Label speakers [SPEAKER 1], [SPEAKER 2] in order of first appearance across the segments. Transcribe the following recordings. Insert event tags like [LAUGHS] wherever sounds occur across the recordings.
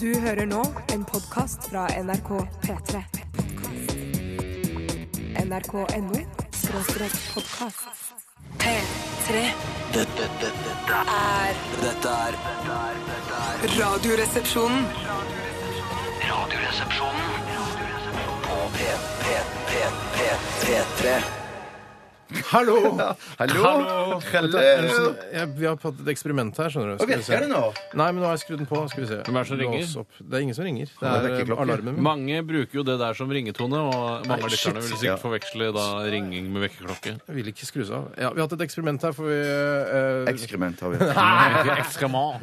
[SPEAKER 1] Du hører nå en podkast fra NRK P3. NRK.no skråstrek podkast. P3
[SPEAKER 2] Dette, dette, dette,
[SPEAKER 1] er
[SPEAKER 2] dette er dette er- dette er
[SPEAKER 1] Radioresepsjonen.
[SPEAKER 2] Radioresepsjonen på P, P, P, P, P3.
[SPEAKER 3] Hallo!
[SPEAKER 4] [LAUGHS] Hallo!
[SPEAKER 3] Hello. Jeg, vi har hatt et eksperiment her, skjønner du. Skal vi
[SPEAKER 4] virker
[SPEAKER 3] se.
[SPEAKER 4] det nå?
[SPEAKER 3] Nei, men nå har jeg skrudd den på. Skal vi se.
[SPEAKER 5] Hvem er det som ringer?
[SPEAKER 3] Lås opp. Det er ingen som ringer. Det
[SPEAKER 4] Nei, det er
[SPEAKER 3] er,
[SPEAKER 4] ikke
[SPEAKER 3] eh,
[SPEAKER 4] klokker.
[SPEAKER 3] alarmen min.
[SPEAKER 5] Mange bruker jo det der som ringetone, og mange av lytterne vil
[SPEAKER 4] Ja.
[SPEAKER 5] sikkert forveksle da ringing med vekkerklokke.
[SPEAKER 3] Jeg vil ikke skru seg av. Ja, vi har hatt et eksperiment her, for vi eh,
[SPEAKER 4] Ekskrement
[SPEAKER 3] [LAUGHS]
[SPEAKER 4] har vi.
[SPEAKER 3] Nei,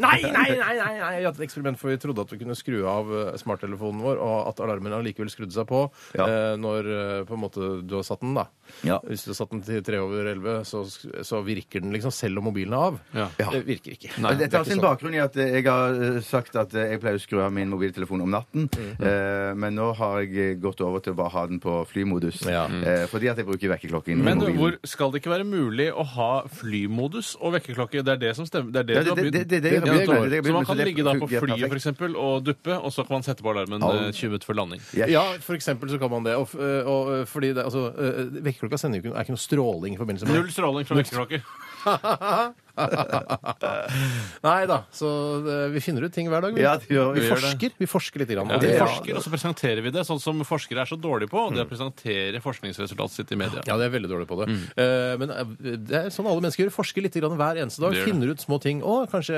[SPEAKER 3] nei, nei! nei, nei. Vi hadde et eksperiment for vi trodde at vi kunne skru av eh, smarttelefonen vår, og at alarmen allikevel skrudde seg på
[SPEAKER 4] Ja.
[SPEAKER 3] eh, når eh, på en måte du har satt den. da.
[SPEAKER 4] Ja.
[SPEAKER 3] Hvis du har satt den til tre over elleve, så, så virker den liksom selv om mobilen er av.
[SPEAKER 5] Ja.
[SPEAKER 3] Det virker ikke. sånn.
[SPEAKER 4] Dette har sin bakgrunn i at jeg har eh, sagt at eh, jeg pleier å skru av min mobiltelefon om natten.
[SPEAKER 3] Mm.
[SPEAKER 4] eh, Men nå har jeg eh, gått over til å bare ha den på flymodus.
[SPEAKER 3] Ja.
[SPEAKER 4] eh, Fordi at jeg bruker vekkerklokken. i
[SPEAKER 5] Men
[SPEAKER 4] mobilen.
[SPEAKER 5] hvor skal det ikke være mulig å ha flymodus og vekkerklokke? Det er det som stemmer. Det er det,
[SPEAKER 4] Ja,
[SPEAKER 5] du har
[SPEAKER 4] det-
[SPEAKER 5] begynt.
[SPEAKER 4] det- det- det-
[SPEAKER 3] det- det-
[SPEAKER 5] Ja,
[SPEAKER 3] det- det-
[SPEAKER 4] det- det-
[SPEAKER 5] så man
[SPEAKER 4] så
[SPEAKER 5] kan
[SPEAKER 4] det
[SPEAKER 5] ligge da på
[SPEAKER 4] fungerer
[SPEAKER 5] flyet
[SPEAKER 4] perfekt.
[SPEAKER 5] for eksempel, og duppe, og så kan man sette på alarmen eh, 20 minutter før landing.
[SPEAKER 4] Yes.
[SPEAKER 3] Ja, for eksempel så kan man det. Og, f- eh, og, og fordi det, altså, eh, Vekkerklokka sender jo ikke, er ikke noe stråling i forbindelse med
[SPEAKER 5] Null stråling fra vekkerklokker.
[SPEAKER 3] [LAUGHS] Nei da. Så eh, vi finner ut ting hver dag. Vi,
[SPEAKER 4] Ja, det gjør
[SPEAKER 3] vi,
[SPEAKER 4] vi.
[SPEAKER 3] forsker, vi forsker litt. Grann,
[SPEAKER 5] Ja,
[SPEAKER 3] og
[SPEAKER 5] vi
[SPEAKER 3] det-
[SPEAKER 5] forsker, og så presenterer vi det, sånn som forskere er så dårlige på, og
[SPEAKER 4] Mm.
[SPEAKER 5] det er å presentere forskningsresultatet sitt i media.
[SPEAKER 3] Ja, det er veldig dårlig på det. Eh, men eh, det er sånn alle mennesker gjør. Forsker litt grann hver eneste dag.
[SPEAKER 5] Det gjør det.
[SPEAKER 3] Finner ut små ting. Å, kanskje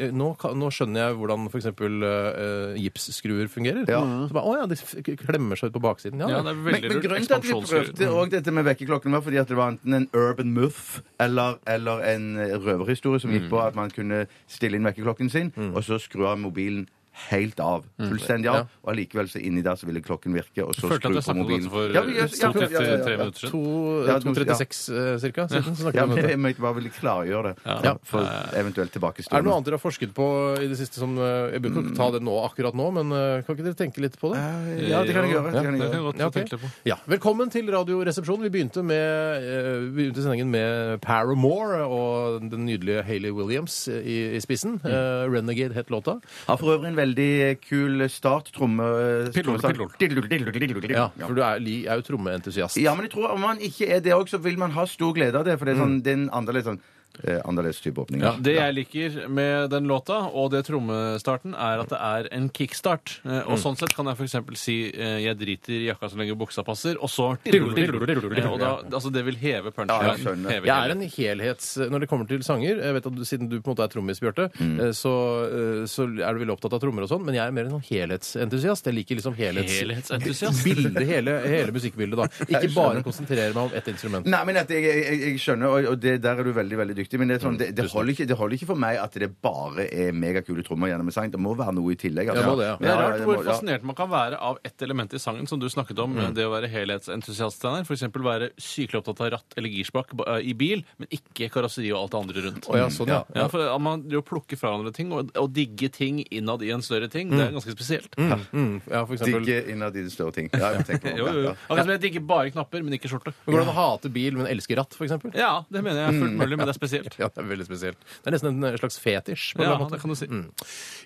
[SPEAKER 3] eh, nå, kan- nå skjønner jeg hvordan f.eks. Uh, gipsskruer fungerer. Så bare, å ja, de f- klemmer seg ut på baksiden. Ja,
[SPEAKER 5] Ja,
[SPEAKER 3] ja.
[SPEAKER 5] det er
[SPEAKER 4] Men,
[SPEAKER 5] veldig
[SPEAKER 4] men
[SPEAKER 5] lurt.
[SPEAKER 4] grunnen til at vi
[SPEAKER 5] Ekspansjonsgruer.
[SPEAKER 4] prøvde også dette med vekkerklokken, var fordi at det var enten en urban muff eller, eller en røverhistorie som gikk
[SPEAKER 5] Mm.
[SPEAKER 4] på at man kunne stille inn vekkerklokken sin, og så skru av mobilen helt av. Fullstendig av. Og allikevel så inni der så ville klokken virke, og så
[SPEAKER 5] Mm. Følte at
[SPEAKER 4] skru
[SPEAKER 5] jeg
[SPEAKER 4] på
[SPEAKER 5] snakket om
[SPEAKER 4] mobilen.
[SPEAKER 5] dette for
[SPEAKER 4] Ja, men jeg-
[SPEAKER 5] eh, stort sett
[SPEAKER 4] ja, ja, ja,
[SPEAKER 5] eh, tre
[SPEAKER 4] ja.
[SPEAKER 5] minutter siden.
[SPEAKER 3] To,
[SPEAKER 4] Ja, to-
[SPEAKER 3] 2.36 eh, cirka. Siden, så snakker vi
[SPEAKER 4] Ja,
[SPEAKER 3] om
[SPEAKER 4] men
[SPEAKER 3] dette.
[SPEAKER 4] jeg mente bare ville klargjøre det.
[SPEAKER 3] Ja.
[SPEAKER 4] For
[SPEAKER 5] Eh,
[SPEAKER 4] eventuelt
[SPEAKER 3] Er det noe
[SPEAKER 4] tilbakestående.
[SPEAKER 3] annet dere har forsket på i det siste som eh, Jeg burde ikke ta det nå akkurat nå, men eh, kan ikke dere tenke litt på det?
[SPEAKER 4] Ja, det kan jeg gjøre. Det kan Eh, jeg
[SPEAKER 5] Det kan jeg
[SPEAKER 4] gjøre.
[SPEAKER 5] godt
[SPEAKER 3] Ja, ok.
[SPEAKER 5] tenke litt på.
[SPEAKER 3] ja. Velkommen til Radioresepsjonen. Vi begynte, med, eh, vi begynte sendingen med Paramore og den nydelige Hayley Williams i, i spissen. Eh, Renegade het låta.
[SPEAKER 4] Har for øvrig en veldig kul start. Tromme...
[SPEAKER 5] Pillol,
[SPEAKER 4] trommesang.
[SPEAKER 5] pillol.
[SPEAKER 4] Dillol, dillol, dillol, dillol.
[SPEAKER 3] Ja, for du er, li- er jo trommeentusiast.
[SPEAKER 4] Ja, men jeg tror om man ikke er det òg, så vil man ha stor glede av det. For det er, sånn,
[SPEAKER 3] Mm.
[SPEAKER 4] det er en annerledes, sånn, eh, annerledes type åpning.
[SPEAKER 5] Ja, det jeg liker med den låta og det trommestarten, er at det er en kickstart. Eh, Og sånn sett kan jeg f.eks. si eh, 'jeg driter i jakka så lenge buksa passer', og så [LAUGHS] Eh, og da, altså Det vil heve
[SPEAKER 4] Ja, jeg
[SPEAKER 5] punchline.
[SPEAKER 4] skjønner.
[SPEAKER 5] Heve
[SPEAKER 3] Jeg er
[SPEAKER 5] hele.
[SPEAKER 3] en helhets... Når det kommer til sanger, jeg vet at du, siden du på en måte er trommis, Bjarte, eh, så, eh, så er du veldig opptatt av trommer og sånn, men jeg er mer en sånn helhetsentusiast. Jeg liker liksom helhets...
[SPEAKER 5] Helhetsentusiast.
[SPEAKER 3] Bilde, hele, hele musikkbildet, da. Ikke bare konsentrere meg om ett instrument.
[SPEAKER 4] Nei, men at jeg, jeg, jeg skjønner, og, og det, der er du veldig veldig dyktig. Men det, er sånn,
[SPEAKER 3] Mm,
[SPEAKER 4] det, det, holder ikke, det holder ikke for meg at det bare er megakule trommer gjennom en sang. Det må være noe i tillegg. altså.
[SPEAKER 3] Ja, må det, ja.
[SPEAKER 5] Men det er
[SPEAKER 4] Ja,
[SPEAKER 5] rart
[SPEAKER 4] det må-
[SPEAKER 5] hvor
[SPEAKER 4] ja.
[SPEAKER 5] fascinert man kan være av ett element i sangen som du snakket om, det å være helhetsentusiast. Steinar. For eksempel være sykelig opptatt av ratt eller girspak ba- eh, i bil, men ikke karosseri og alt det andre rundt.
[SPEAKER 3] Å ja, sånn, ja.
[SPEAKER 5] Ja, for at man, det å plukke fra hverandre ting og, og digge ting innad i en større ting, det er ganske spesielt.
[SPEAKER 3] Mm, ja, for eksempel.
[SPEAKER 4] Digge innad i de større ting. Ja, jeg
[SPEAKER 3] [LAUGHS]
[SPEAKER 4] tenker på det.
[SPEAKER 5] Jo, jo, jo.
[SPEAKER 4] Ja.
[SPEAKER 5] Akkurat som jeg digger bare knapper, men ikke skjorte.
[SPEAKER 3] Men Går Mm. det an å hate bil, men elske ratt, for eksempel?
[SPEAKER 5] Ja, det mener jeg er fullt mulig, men det er spesielt.
[SPEAKER 3] Ja, det er veldig spesielt. Det er nesten en slags fetisj. på en
[SPEAKER 5] Ja,
[SPEAKER 3] eller annen måte.
[SPEAKER 5] det kan du si.
[SPEAKER 3] Mm.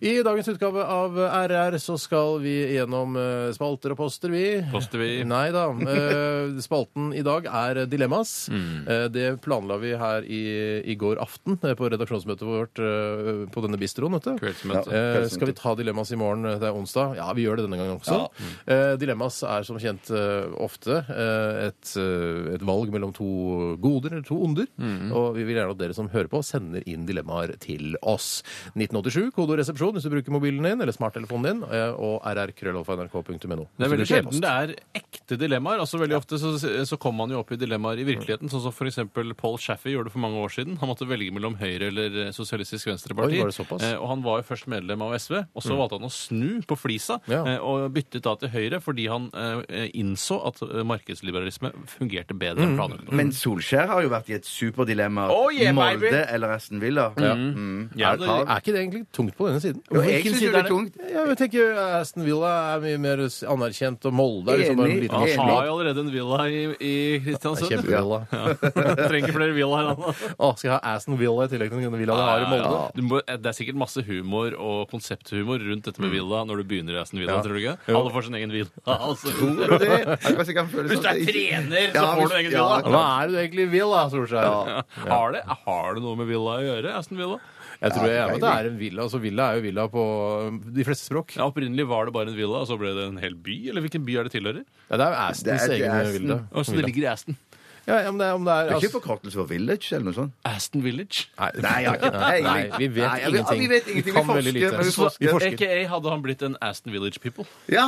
[SPEAKER 3] I dagens utgave av RR så skal vi gjennom eh, spalter og poster, vi.
[SPEAKER 5] Poster vi.
[SPEAKER 3] [LAUGHS] Nei da. Eh, Spalten i dag er Dilemmas.
[SPEAKER 5] Mm.
[SPEAKER 3] Eh, Det planla vi her i, i går aften eh, på redaksjonsmøtet vårt eh, på denne bistroen, vet du.
[SPEAKER 5] Kveldsmøte.
[SPEAKER 3] Eh, skal vi ta Dilemmas i morgen? eh, Det er onsdag. Ja, vi gjør det denne gangen også. Eh, dilemmas er som kjent eh, ofte eh, et, eh, et valg mellom to goder eller to onder.
[SPEAKER 4] Mhm.
[SPEAKER 3] Og vi vil gjerne at dere som hører på, sender inn dilemmaer til oss. 1987, kodeord resepsjon hvis du bruker mobilen din eller smarttelefonen din, eh, og rrkrøllalfa.nrk.no.
[SPEAKER 5] Det er veldig sjelden det er ekte dilemmaer. altså Veldig ofte så, så kommer man jo opp i dilemmaer i virkeligheten, sånn som f.eks. Paul Shaffey gjorde det for mange år siden. Han måtte velge mellom Høyre eller eh, Sosialistisk Venstreparti.
[SPEAKER 3] Oi, var det såpass? Mm.
[SPEAKER 5] Eh, og han var jo først medlem av SV, og så valgte han å snu på flisa
[SPEAKER 3] Ja.
[SPEAKER 5] eh, og byttet da til Høyre fordi han eh, innså
[SPEAKER 3] Mm.
[SPEAKER 5] at eh, markedsliberalisme fungerte bedre enn planøkonomi.
[SPEAKER 4] Men Solskjær har jo vært i et superdilemma
[SPEAKER 5] Oh, yes!
[SPEAKER 4] Molde eller Aston Villa.
[SPEAKER 3] Ja.
[SPEAKER 4] Mm.
[SPEAKER 5] Ja,
[SPEAKER 4] Er-
[SPEAKER 5] det-
[SPEAKER 4] har-
[SPEAKER 3] Er ikke det egentlig tungt på denne siden?
[SPEAKER 4] Jo, jeg
[SPEAKER 3] Hvilken
[SPEAKER 4] synes
[SPEAKER 3] side
[SPEAKER 4] jo det er
[SPEAKER 3] det?
[SPEAKER 4] tungt.
[SPEAKER 3] Ja, men jeg tenker eh, Aston Villa er mye mer anerkjent, og Molde er liksom bare en
[SPEAKER 4] Enig,
[SPEAKER 3] liten
[SPEAKER 5] Han
[SPEAKER 4] enig.
[SPEAKER 5] har jo allerede en villa i, i
[SPEAKER 3] Det er
[SPEAKER 5] Kristiansund.
[SPEAKER 3] Kjempevilla.
[SPEAKER 5] [LAUGHS] Trenger ikke flere villaer. han.
[SPEAKER 3] Å, skal jeg ha Aston Villa i tillegg til den villaen jeg har i Molde?
[SPEAKER 5] Du må, eh, det er sikkert masse humor og konsepthumor rundt dette med villa når du begynner i Aston
[SPEAKER 3] Mm.
[SPEAKER 5] Villa.
[SPEAKER 3] Ja.
[SPEAKER 5] tror du ikke?
[SPEAKER 3] Jo.
[SPEAKER 5] Alle får sin egen
[SPEAKER 3] [LAUGHS]
[SPEAKER 5] villa. Altså.
[SPEAKER 4] Det- jeg vet ikke om jeg føler
[SPEAKER 5] Hvis du
[SPEAKER 4] sånn at
[SPEAKER 5] er
[SPEAKER 4] det ikke-
[SPEAKER 5] trener, så
[SPEAKER 4] Ja,
[SPEAKER 5] får
[SPEAKER 4] hvis-
[SPEAKER 5] du egen
[SPEAKER 4] ja,
[SPEAKER 5] villa.
[SPEAKER 3] Hva er det du egentlig vil, da, Solskjær?
[SPEAKER 4] Ja.
[SPEAKER 5] [LAUGHS] Har, det, har det noe med villa å gjøre, Aston Villa?
[SPEAKER 3] Jeg tror jeg er med at det er en villa. Altså, villa er jo villa på um, de fleste språk.
[SPEAKER 5] Ja, Opprinnelig var det bare en villa, og så ble det en hel by? Eller hvilken by er det tilhører?
[SPEAKER 3] Ja, det er jo Astons
[SPEAKER 4] Det er- det er
[SPEAKER 3] egen
[SPEAKER 4] Aston.
[SPEAKER 3] villa.
[SPEAKER 5] Og så det ligger i Aston.
[SPEAKER 3] Ja, ja, men det, er- om det er
[SPEAKER 4] Det er
[SPEAKER 3] altså,
[SPEAKER 4] ikke forkortelse for village eller noe sånt?
[SPEAKER 5] Aston Village.
[SPEAKER 3] Nei,
[SPEAKER 4] Nei, jeg har ikke
[SPEAKER 3] Nei,
[SPEAKER 4] peiling.
[SPEAKER 3] nei, vi vet
[SPEAKER 4] Nei, ja, vi-
[SPEAKER 3] ingenting.
[SPEAKER 4] Vi vet ingenting. Vi
[SPEAKER 3] kan veldig
[SPEAKER 4] forsker,
[SPEAKER 3] lite.
[SPEAKER 4] men vi
[SPEAKER 3] Så- vi
[SPEAKER 4] forsker.
[SPEAKER 3] forsker.
[SPEAKER 5] AKA hadde han blitt en Aston Village People.
[SPEAKER 4] Ja.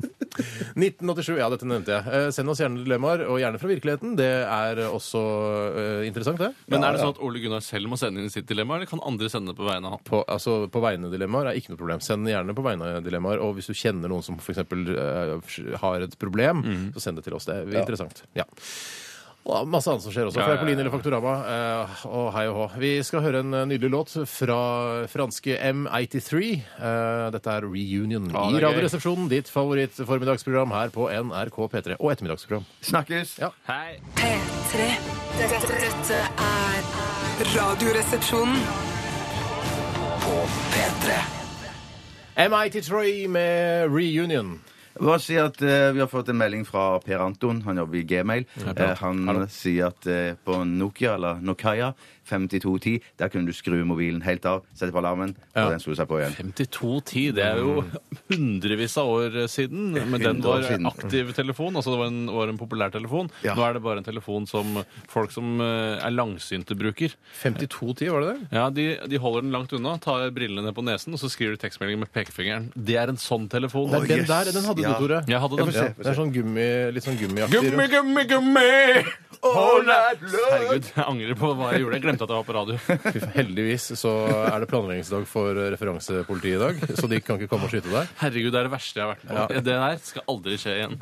[SPEAKER 3] 1987, ja, dette nevnte jeg. Eh, send oss gjerne dilemmaer, og gjerne fra virkeligheten. Det er eh, også eh, interessant, det.
[SPEAKER 5] Men er det sånn at Ole Gunnar selv må sende inn sitt dilemma, eller kan andre sende det på vegne av han?
[SPEAKER 3] På, altså, på vegne-dilemmaer er ikke noe problem. Send gjerne på vegne-dilemmaer. Og hvis du kjenner noen som f.eks. Uh, har et problem,
[SPEAKER 5] Mhm.
[SPEAKER 3] så send det til oss. Det er interessant. Ja. Og masse annet som skjer også.
[SPEAKER 5] Ja,
[SPEAKER 3] Fra
[SPEAKER 5] ja, ja.
[SPEAKER 3] Pauline eller Faktorama. eh, og hei og hå. Vi skal høre en eh, nydelig låt fra franske M83. Eh, dette er Reunion
[SPEAKER 5] Ja,
[SPEAKER 3] i
[SPEAKER 5] det er gøy.
[SPEAKER 3] Radioresepsjonen. Ditt favoritt-formiddagsprogram her på NRK P3. Og ettermiddagsprogram.
[SPEAKER 4] Snakkes.
[SPEAKER 3] Ja.
[SPEAKER 5] Hei.
[SPEAKER 1] P3. Dette, dette er Radioresepsjonen.
[SPEAKER 2] På P3
[SPEAKER 3] M83 med Reunion.
[SPEAKER 4] Bare si at eh, Vi har fått en melding fra Per Anton. Han jobber i Gmail. Eh, han sier at eh, på Nokia eller Nokaya 5210, der kunne du skru mobilen helt av, sette på alarmen,
[SPEAKER 3] Ja.
[SPEAKER 4] og den slo seg på igjen.
[SPEAKER 5] 5210, det er jo hundrevis av år siden. Men den
[SPEAKER 4] 100 år
[SPEAKER 5] var
[SPEAKER 4] siden.
[SPEAKER 5] aktiv telefon, altså det var en, var en populær telefon.
[SPEAKER 4] Ja.
[SPEAKER 5] Nå er det bare en telefon som folk som eh, er langsynte, bruker.
[SPEAKER 3] 5210, var det det?
[SPEAKER 5] Ja, de, de holder den langt unna, tar brillene ned på nesen, og så skriver de tekstmelding med pekefingeren. Det er en sånn telefon.
[SPEAKER 3] Det er
[SPEAKER 4] Å,
[SPEAKER 3] den
[SPEAKER 4] yes.
[SPEAKER 3] der, den hadde
[SPEAKER 4] Ja.
[SPEAKER 3] du, Tore.
[SPEAKER 5] Jeg hadde
[SPEAKER 3] Ja,
[SPEAKER 5] den.
[SPEAKER 3] få se, få se. Det er sånn gummi, litt sånn gummiaktig.
[SPEAKER 5] Gummi,
[SPEAKER 3] rundt.
[SPEAKER 5] gummi, gummi!
[SPEAKER 4] All night long!
[SPEAKER 5] Herregud, jeg angrer på hva jeg gjorde. Jeg glemte at jeg var på radio.
[SPEAKER 3] Fy faen, Heldigvis så er det planleggingsdag for referansepolitiet i dag, så de kan ikke komme og skyte deg.
[SPEAKER 5] Herregud, det er det verste jeg har vært på. Det der skal aldri skje igjen.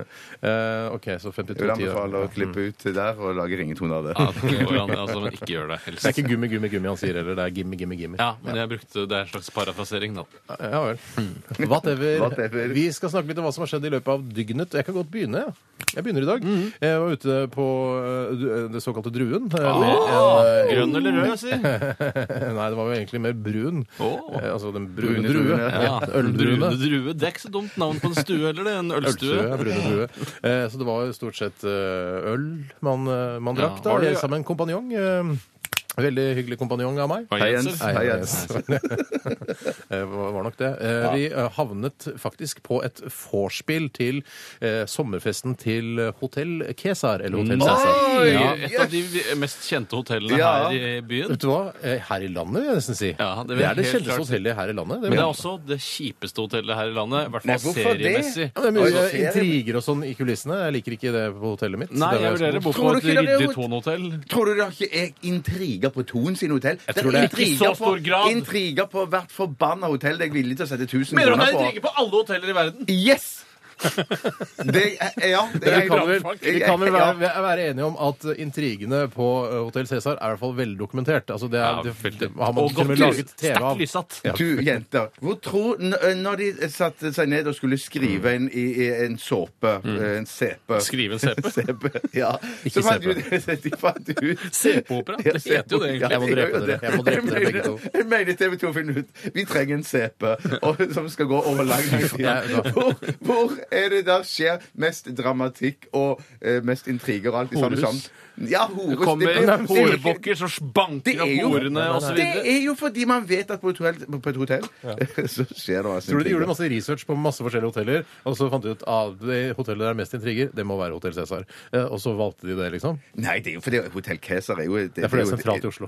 [SPEAKER 3] Eh, OK, så
[SPEAKER 4] Jeg vil
[SPEAKER 3] 5210.
[SPEAKER 4] anbefale å
[SPEAKER 3] ja.
[SPEAKER 4] klippe ut det der og lage ringetone av det.
[SPEAKER 5] Ja, det går an, altså, men ikke gjør det,
[SPEAKER 3] Det er
[SPEAKER 5] helst.
[SPEAKER 3] ikke gummi, gummi, gummi han sier heller. Det er gimmi, gimmi, gimmi.
[SPEAKER 5] Ja, men jeg brukte det er en slags parafrasering, da.
[SPEAKER 3] Ja vel. Hmm. Whatever.
[SPEAKER 4] Whatever.
[SPEAKER 3] Vi skal snakke litt om hva som har skjedd i løpet av dygnet. Jeg kan godt begynne. jeg. Jeg begynner i dag.
[SPEAKER 5] Mhm.
[SPEAKER 3] Jeg var ute på eh, du- det såkalte Druen. eh, med en, eh,
[SPEAKER 5] Grønn eller rød, si?
[SPEAKER 3] Nei, det var jo egentlig mer brun.
[SPEAKER 5] Åh.
[SPEAKER 3] Eh, Altså den brune
[SPEAKER 4] Brune
[SPEAKER 3] drue.
[SPEAKER 4] drue.
[SPEAKER 3] [LAUGHS] Ja,
[SPEAKER 5] Brune
[SPEAKER 3] Øldruene.
[SPEAKER 5] drue. Det er ikke så dumt navn på en stue, eller det? En
[SPEAKER 3] Ølstue.
[SPEAKER 5] ølstue?
[SPEAKER 3] ja, brune drue. Eh, så det var jo stort sett eh, øl man, eh, man
[SPEAKER 5] Ja,
[SPEAKER 3] drakk. da,
[SPEAKER 5] var det-
[SPEAKER 3] Jeg sammen med en kompanjong. Eh, veldig hyggelig kompanjong av meg.
[SPEAKER 5] Hva,
[SPEAKER 4] Hei,
[SPEAKER 5] Jenser?
[SPEAKER 4] Jens.
[SPEAKER 3] Nei,
[SPEAKER 4] Hei,
[SPEAKER 3] yes. [LAUGHS] Eh, var var nok det. Eh, Vi eh, havnet faktisk på et vorspiel til eh, sommerfesten til Hotell Kesar, eller Hotell Cæsar.
[SPEAKER 5] Oi,
[SPEAKER 4] Ja.
[SPEAKER 5] Et av de mest kjente hotellene
[SPEAKER 4] Ja.
[SPEAKER 5] her i byen.
[SPEAKER 3] Vet du hva? Eh, Her i landet, vil jeg nesten si.
[SPEAKER 5] Ja, det
[SPEAKER 3] det,
[SPEAKER 5] vil jeg
[SPEAKER 3] er det
[SPEAKER 5] helt
[SPEAKER 3] kjeldeste
[SPEAKER 5] klart si.
[SPEAKER 3] hotellet her i landet. Det
[SPEAKER 5] Men det
[SPEAKER 3] vil
[SPEAKER 5] er
[SPEAKER 3] jeg-
[SPEAKER 5] også det kjipeste hotellet her i landet, i hvert
[SPEAKER 4] Nei,
[SPEAKER 5] fall
[SPEAKER 4] hvorfor det?
[SPEAKER 5] seriemessig.
[SPEAKER 3] Ja, men det er
[SPEAKER 4] Oi,
[SPEAKER 3] mye intriger og sånn i kulissene. Jeg liker ikke det på hotellet mitt. så
[SPEAKER 5] Nei,
[SPEAKER 3] der
[SPEAKER 5] jeg
[SPEAKER 3] hvor
[SPEAKER 5] vurderer
[SPEAKER 3] skal
[SPEAKER 5] å bo på
[SPEAKER 4] Tror du
[SPEAKER 5] et
[SPEAKER 4] ikke det er
[SPEAKER 5] ryddig
[SPEAKER 4] hot-
[SPEAKER 5] tonehotell.
[SPEAKER 4] Tror du det ikke er intriger på Thon sin hotell? Jeg
[SPEAKER 3] tror det er-
[SPEAKER 5] Ikke i så stor grad.
[SPEAKER 4] Intriger på hvert forbanna hotell det er jeg villig til å sette 1000
[SPEAKER 5] Mener du at
[SPEAKER 4] kroner
[SPEAKER 5] jeg
[SPEAKER 4] på.
[SPEAKER 5] drikker på alle hoteller i verden?
[SPEAKER 4] Yes! Det, er- ja, det
[SPEAKER 3] Vi
[SPEAKER 4] er-
[SPEAKER 3] kan vel, vi kan vel
[SPEAKER 4] Ja.
[SPEAKER 3] være, være enige om at intrigene på Hotell Cæsar er i hvert fall veldokumentert. Altså det er,
[SPEAKER 5] Ja,
[SPEAKER 3] det,
[SPEAKER 5] veldig.
[SPEAKER 3] det har man
[SPEAKER 5] Og
[SPEAKER 3] til og
[SPEAKER 5] godt
[SPEAKER 3] med laget
[SPEAKER 5] lys.
[SPEAKER 3] TV
[SPEAKER 5] Sterkt
[SPEAKER 3] av.
[SPEAKER 5] lyssatt.
[SPEAKER 4] Du, jenter. Hvor tror, n- når de satte seg ned og skulle skrive
[SPEAKER 3] Mm.
[SPEAKER 4] en, i, i en såpe [LAUGHS] En CP.
[SPEAKER 5] Skrive en CP.
[SPEAKER 4] CP. Ja. Så
[SPEAKER 3] Ikke
[SPEAKER 4] fant
[SPEAKER 3] CP.
[SPEAKER 4] ut- [LAUGHS] De fant ut
[SPEAKER 5] CP-opera. Det heter jo det,
[SPEAKER 4] Ja,
[SPEAKER 5] egentlig.
[SPEAKER 3] Jeg må
[SPEAKER 4] det
[SPEAKER 3] drepe
[SPEAKER 4] gjør jo
[SPEAKER 3] dere.
[SPEAKER 4] det.
[SPEAKER 3] Jeg må drepe dere begge to.
[SPEAKER 4] Jeg mener TV 2 finner ut Vi trenger en CP
[SPEAKER 3] [LAUGHS]
[SPEAKER 4] og- som skal gå over lang lang tid.
[SPEAKER 3] Ja, ja.
[SPEAKER 4] [LAUGHS] Hvor, hvor er det der skjer mest dramatikk og eh, mest intriger og alt i samme
[SPEAKER 5] Horus.
[SPEAKER 4] sammen? Ja, horus.
[SPEAKER 5] Det kommer
[SPEAKER 4] blir- det blir-
[SPEAKER 5] horebukker som
[SPEAKER 4] Det
[SPEAKER 5] banker
[SPEAKER 4] er
[SPEAKER 5] opp
[SPEAKER 4] jo-
[SPEAKER 5] horene osv.
[SPEAKER 4] Det er jo fordi man vet at på et hotell, på et hotell [LAUGHS] så skjer det masse
[SPEAKER 3] Tror du de gjorde
[SPEAKER 4] intriger.
[SPEAKER 3] masse research på masse forskjellige hoteller, og så fant de ut at det hotellet der er mest intriger, det må være Hotell Cæsar. Eh, Og så valgte de det, liksom.
[SPEAKER 4] Nei, det er jo fordi Hotell Keser er jo det,
[SPEAKER 3] Det er fordi det er
[SPEAKER 4] jo-
[SPEAKER 3] sentralt i Oslo.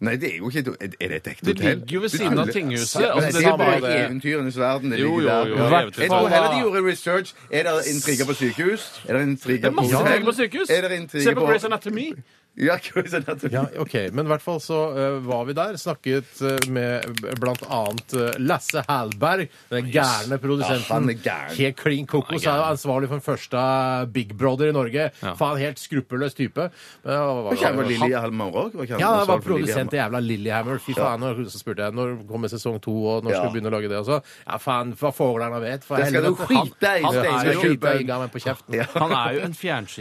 [SPEAKER 4] Nei, det er jo ikke et, Er det et ekte
[SPEAKER 5] Det
[SPEAKER 4] hotell?
[SPEAKER 5] ligger jo ved siden av tinghuset.
[SPEAKER 4] Ja, men
[SPEAKER 5] Altså,
[SPEAKER 4] det
[SPEAKER 5] det
[SPEAKER 4] er bare
[SPEAKER 5] samme
[SPEAKER 4] i
[SPEAKER 5] det-
[SPEAKER 4] eventyrenes verden. Det
[SPEAKER 5] Jo,
[SPEAKER 4] ligger
[SPEAKER 5] jo,
[SPEAKER 4] der.
[SPEAKER 5] jo,
[SPEAKER 4] Ja.
[SPEAKER 5] eventyr.
[SPEAKER 4] Jeg tror heller de gjorde research. Er det intriger på sykehus? Er det intriger
[SPEAKER 5] Det er masse
[SPEAKER 4] hotell?
[SPEAKER 5] intriger på sykehus.
[SPEAKER 4] Er det intriger
[SPEAKER 5] Se på Grace Anatomy.
[SPEAKER 4] Ja, quiz er nettopp.
[SPEAKER 3] Ja, ok, Men i hvert fall så eh, var vi der. Snakket eh, med blant annet eh, Lasse Hallberg, den gærne produsenten.
[SPEAKER 4] Ja, han er gæren.
[SPEAKER 3] Helt klin kokos. Han er ansvarlig for den første Big Brother i Norge. Faen, helt skruppelløs type. Men, ja, hva- hva-
[SPEAKER 4] Var ikke han
[SPEAKER 3] han-
[SPEAKER 4] var Lilly Halmar òg?
[SPEAKER 3] ja, han var produsent i jævla Lillehammer. Fy faen, og så spurte jeg når kommer sesong to, og når
[SPEAKER 4] Ja.
[SPEAKER 3] skal du begynne å lage det? Og så, ja, faen, hva foglerne vet. For
[SPEAKER 4] Det skal
[SPEAKER 3] helvete,
[SPEAKER 4] du skite i,
[SPEAKER 3] Han, han,
[SPEAKER 5] Steinar
[SPEAKER 3] skal skite
[SPEAKER 4] Kjølberg.
[SPEAKER 3] i gammen på kjeften.
[SPEAKER 4] Ja.
[SPEAKER 5] Han er jo en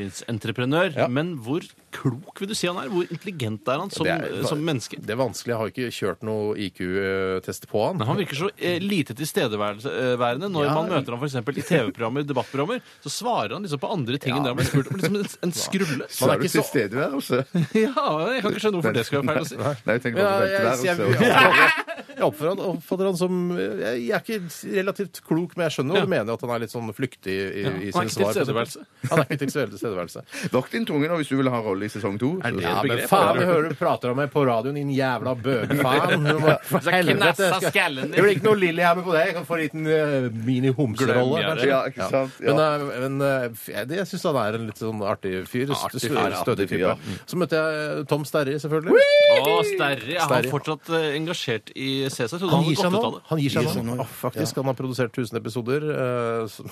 [SPEAKER 5] fjernsynsentreprenør, men hvor klok vil du si han er? Hvor intelligent er han som,
[SPEAKER 3] Det er-
[SPEAKER 5] som menneske?
[SPEAKER 3] Det er vanskelig. Jeg har ikke kjørt noe IQ-test på han.
[SPEAKER 5] Men han virker så eh, lite tilstedeværende når
[SPEAKER 3] Ja.
[SPEAKER 5] man møter ham for eksempel i TV-programmer, debattprogrammer. Så svarer han liksom på andre ting enn det han blir spurt om. Liksom en, en skrulle.
[SPEAKER 4] Man
[SPEAKER 3] Man
[SPEAKER 4] er
[SPEAKER 3] er
[SPEAKER 4] du
[SPEAKER 3] ikke så-
[SPEAKER 4] tilstedeværelse?
[SPEAKER 5] [LAUGHS] Ja, jeg kan ikke skjønne hvorfor det skal være feil å si.
[SPEAKER 4] Nei, jeg tenker
[SPEAKER 3] Ja,
[SPEAKER 4] bare på
[SPEAKER 3] jeg, jeg, jeg,
[SPEAKER 4] [LAUGHS] velteværelse.
[SPEAKER 3] jeg oppfatter han- oppfatter han som jeg, jeg er ikke relativt klok, men jeg skjønner og
[SPEAKER 5] Ja.
[SPEAKER 3] mener at han er litt sånn flyktig i, i
[SPEAKER 5] han er
[SPEAKER 3] sine
[SPEAKER 5] ikke
[SPEAKER 3] svar. for
[SPEAKER 5] tilstedeværelse.
[SPEAKER 3] eksempel. [LAUGHS] Han er ikke til tilstedeværelse.
[SPEAKER 4] [LAUGHS] Vokt din tunge nå hvis du vil ha rolle i sesong to.
[SPEAKER 5] Er det
[SPEAKER 3] Ja,
[SPEAKER 5] et
[SPEAKER 3] men
[SPEAKER 5] begrep?
[SPEAKER 3] faen, jeg hører du prater om meg på radioen, din jævla
[SPEAKER 5] [LAUGHS]
[SPEAKER 3] bøgefaen. Du må- for helvete, jeg skal-
[SPEAKER 5] skallen din.
[SPEAKER 3] Det blir ikke noe Lillehammer på deg. Jeg kan få en liten eh, mini-homserolle.
[SPEAKER 5] Glem jeg det.
[SPEAKER 3] kanskje.
[SPEAKER 4] Ja, ikke sant? Ja.
[SPEAKER 3] Men, eh, men eh, f- jeg- jeg syns han er en litt sånn artig fyr.
[SPEAKER 5] Artig
[SPEAKER 3] Stø-
[SPEAKER 5] fyr, ja. Mm.
[SPEAKER 3] Stødig
[SPEAKER 4] Ja.
[SPEAKER 3] fyr. Så møtte jeg eh, Tom Sterri, selvfølgelig.
[SPEAKER 5] Å, Sterri. Er han
[SPEAKER 3] Sterri.
[SPEAKER 5] fortsatt eh, engasjert i CC? Jeg trodde
[SPEAKER 3] Han
[SPEAKER 5] han
[SPEAKER 3] gir
[SPEAKER 5] hadde
[SPEAKER 3] seg
[SPEAKER 5] gått
[SPEAKER 3] nå.
[SPEAKER 5] ut av det.
[SPEAKER 3] Han gir seg nå.
[SPEAKER 4] nå, ja.
[SPEAKER 3] Å, faktisk, Han har produsert 1000 episoder. eh, så-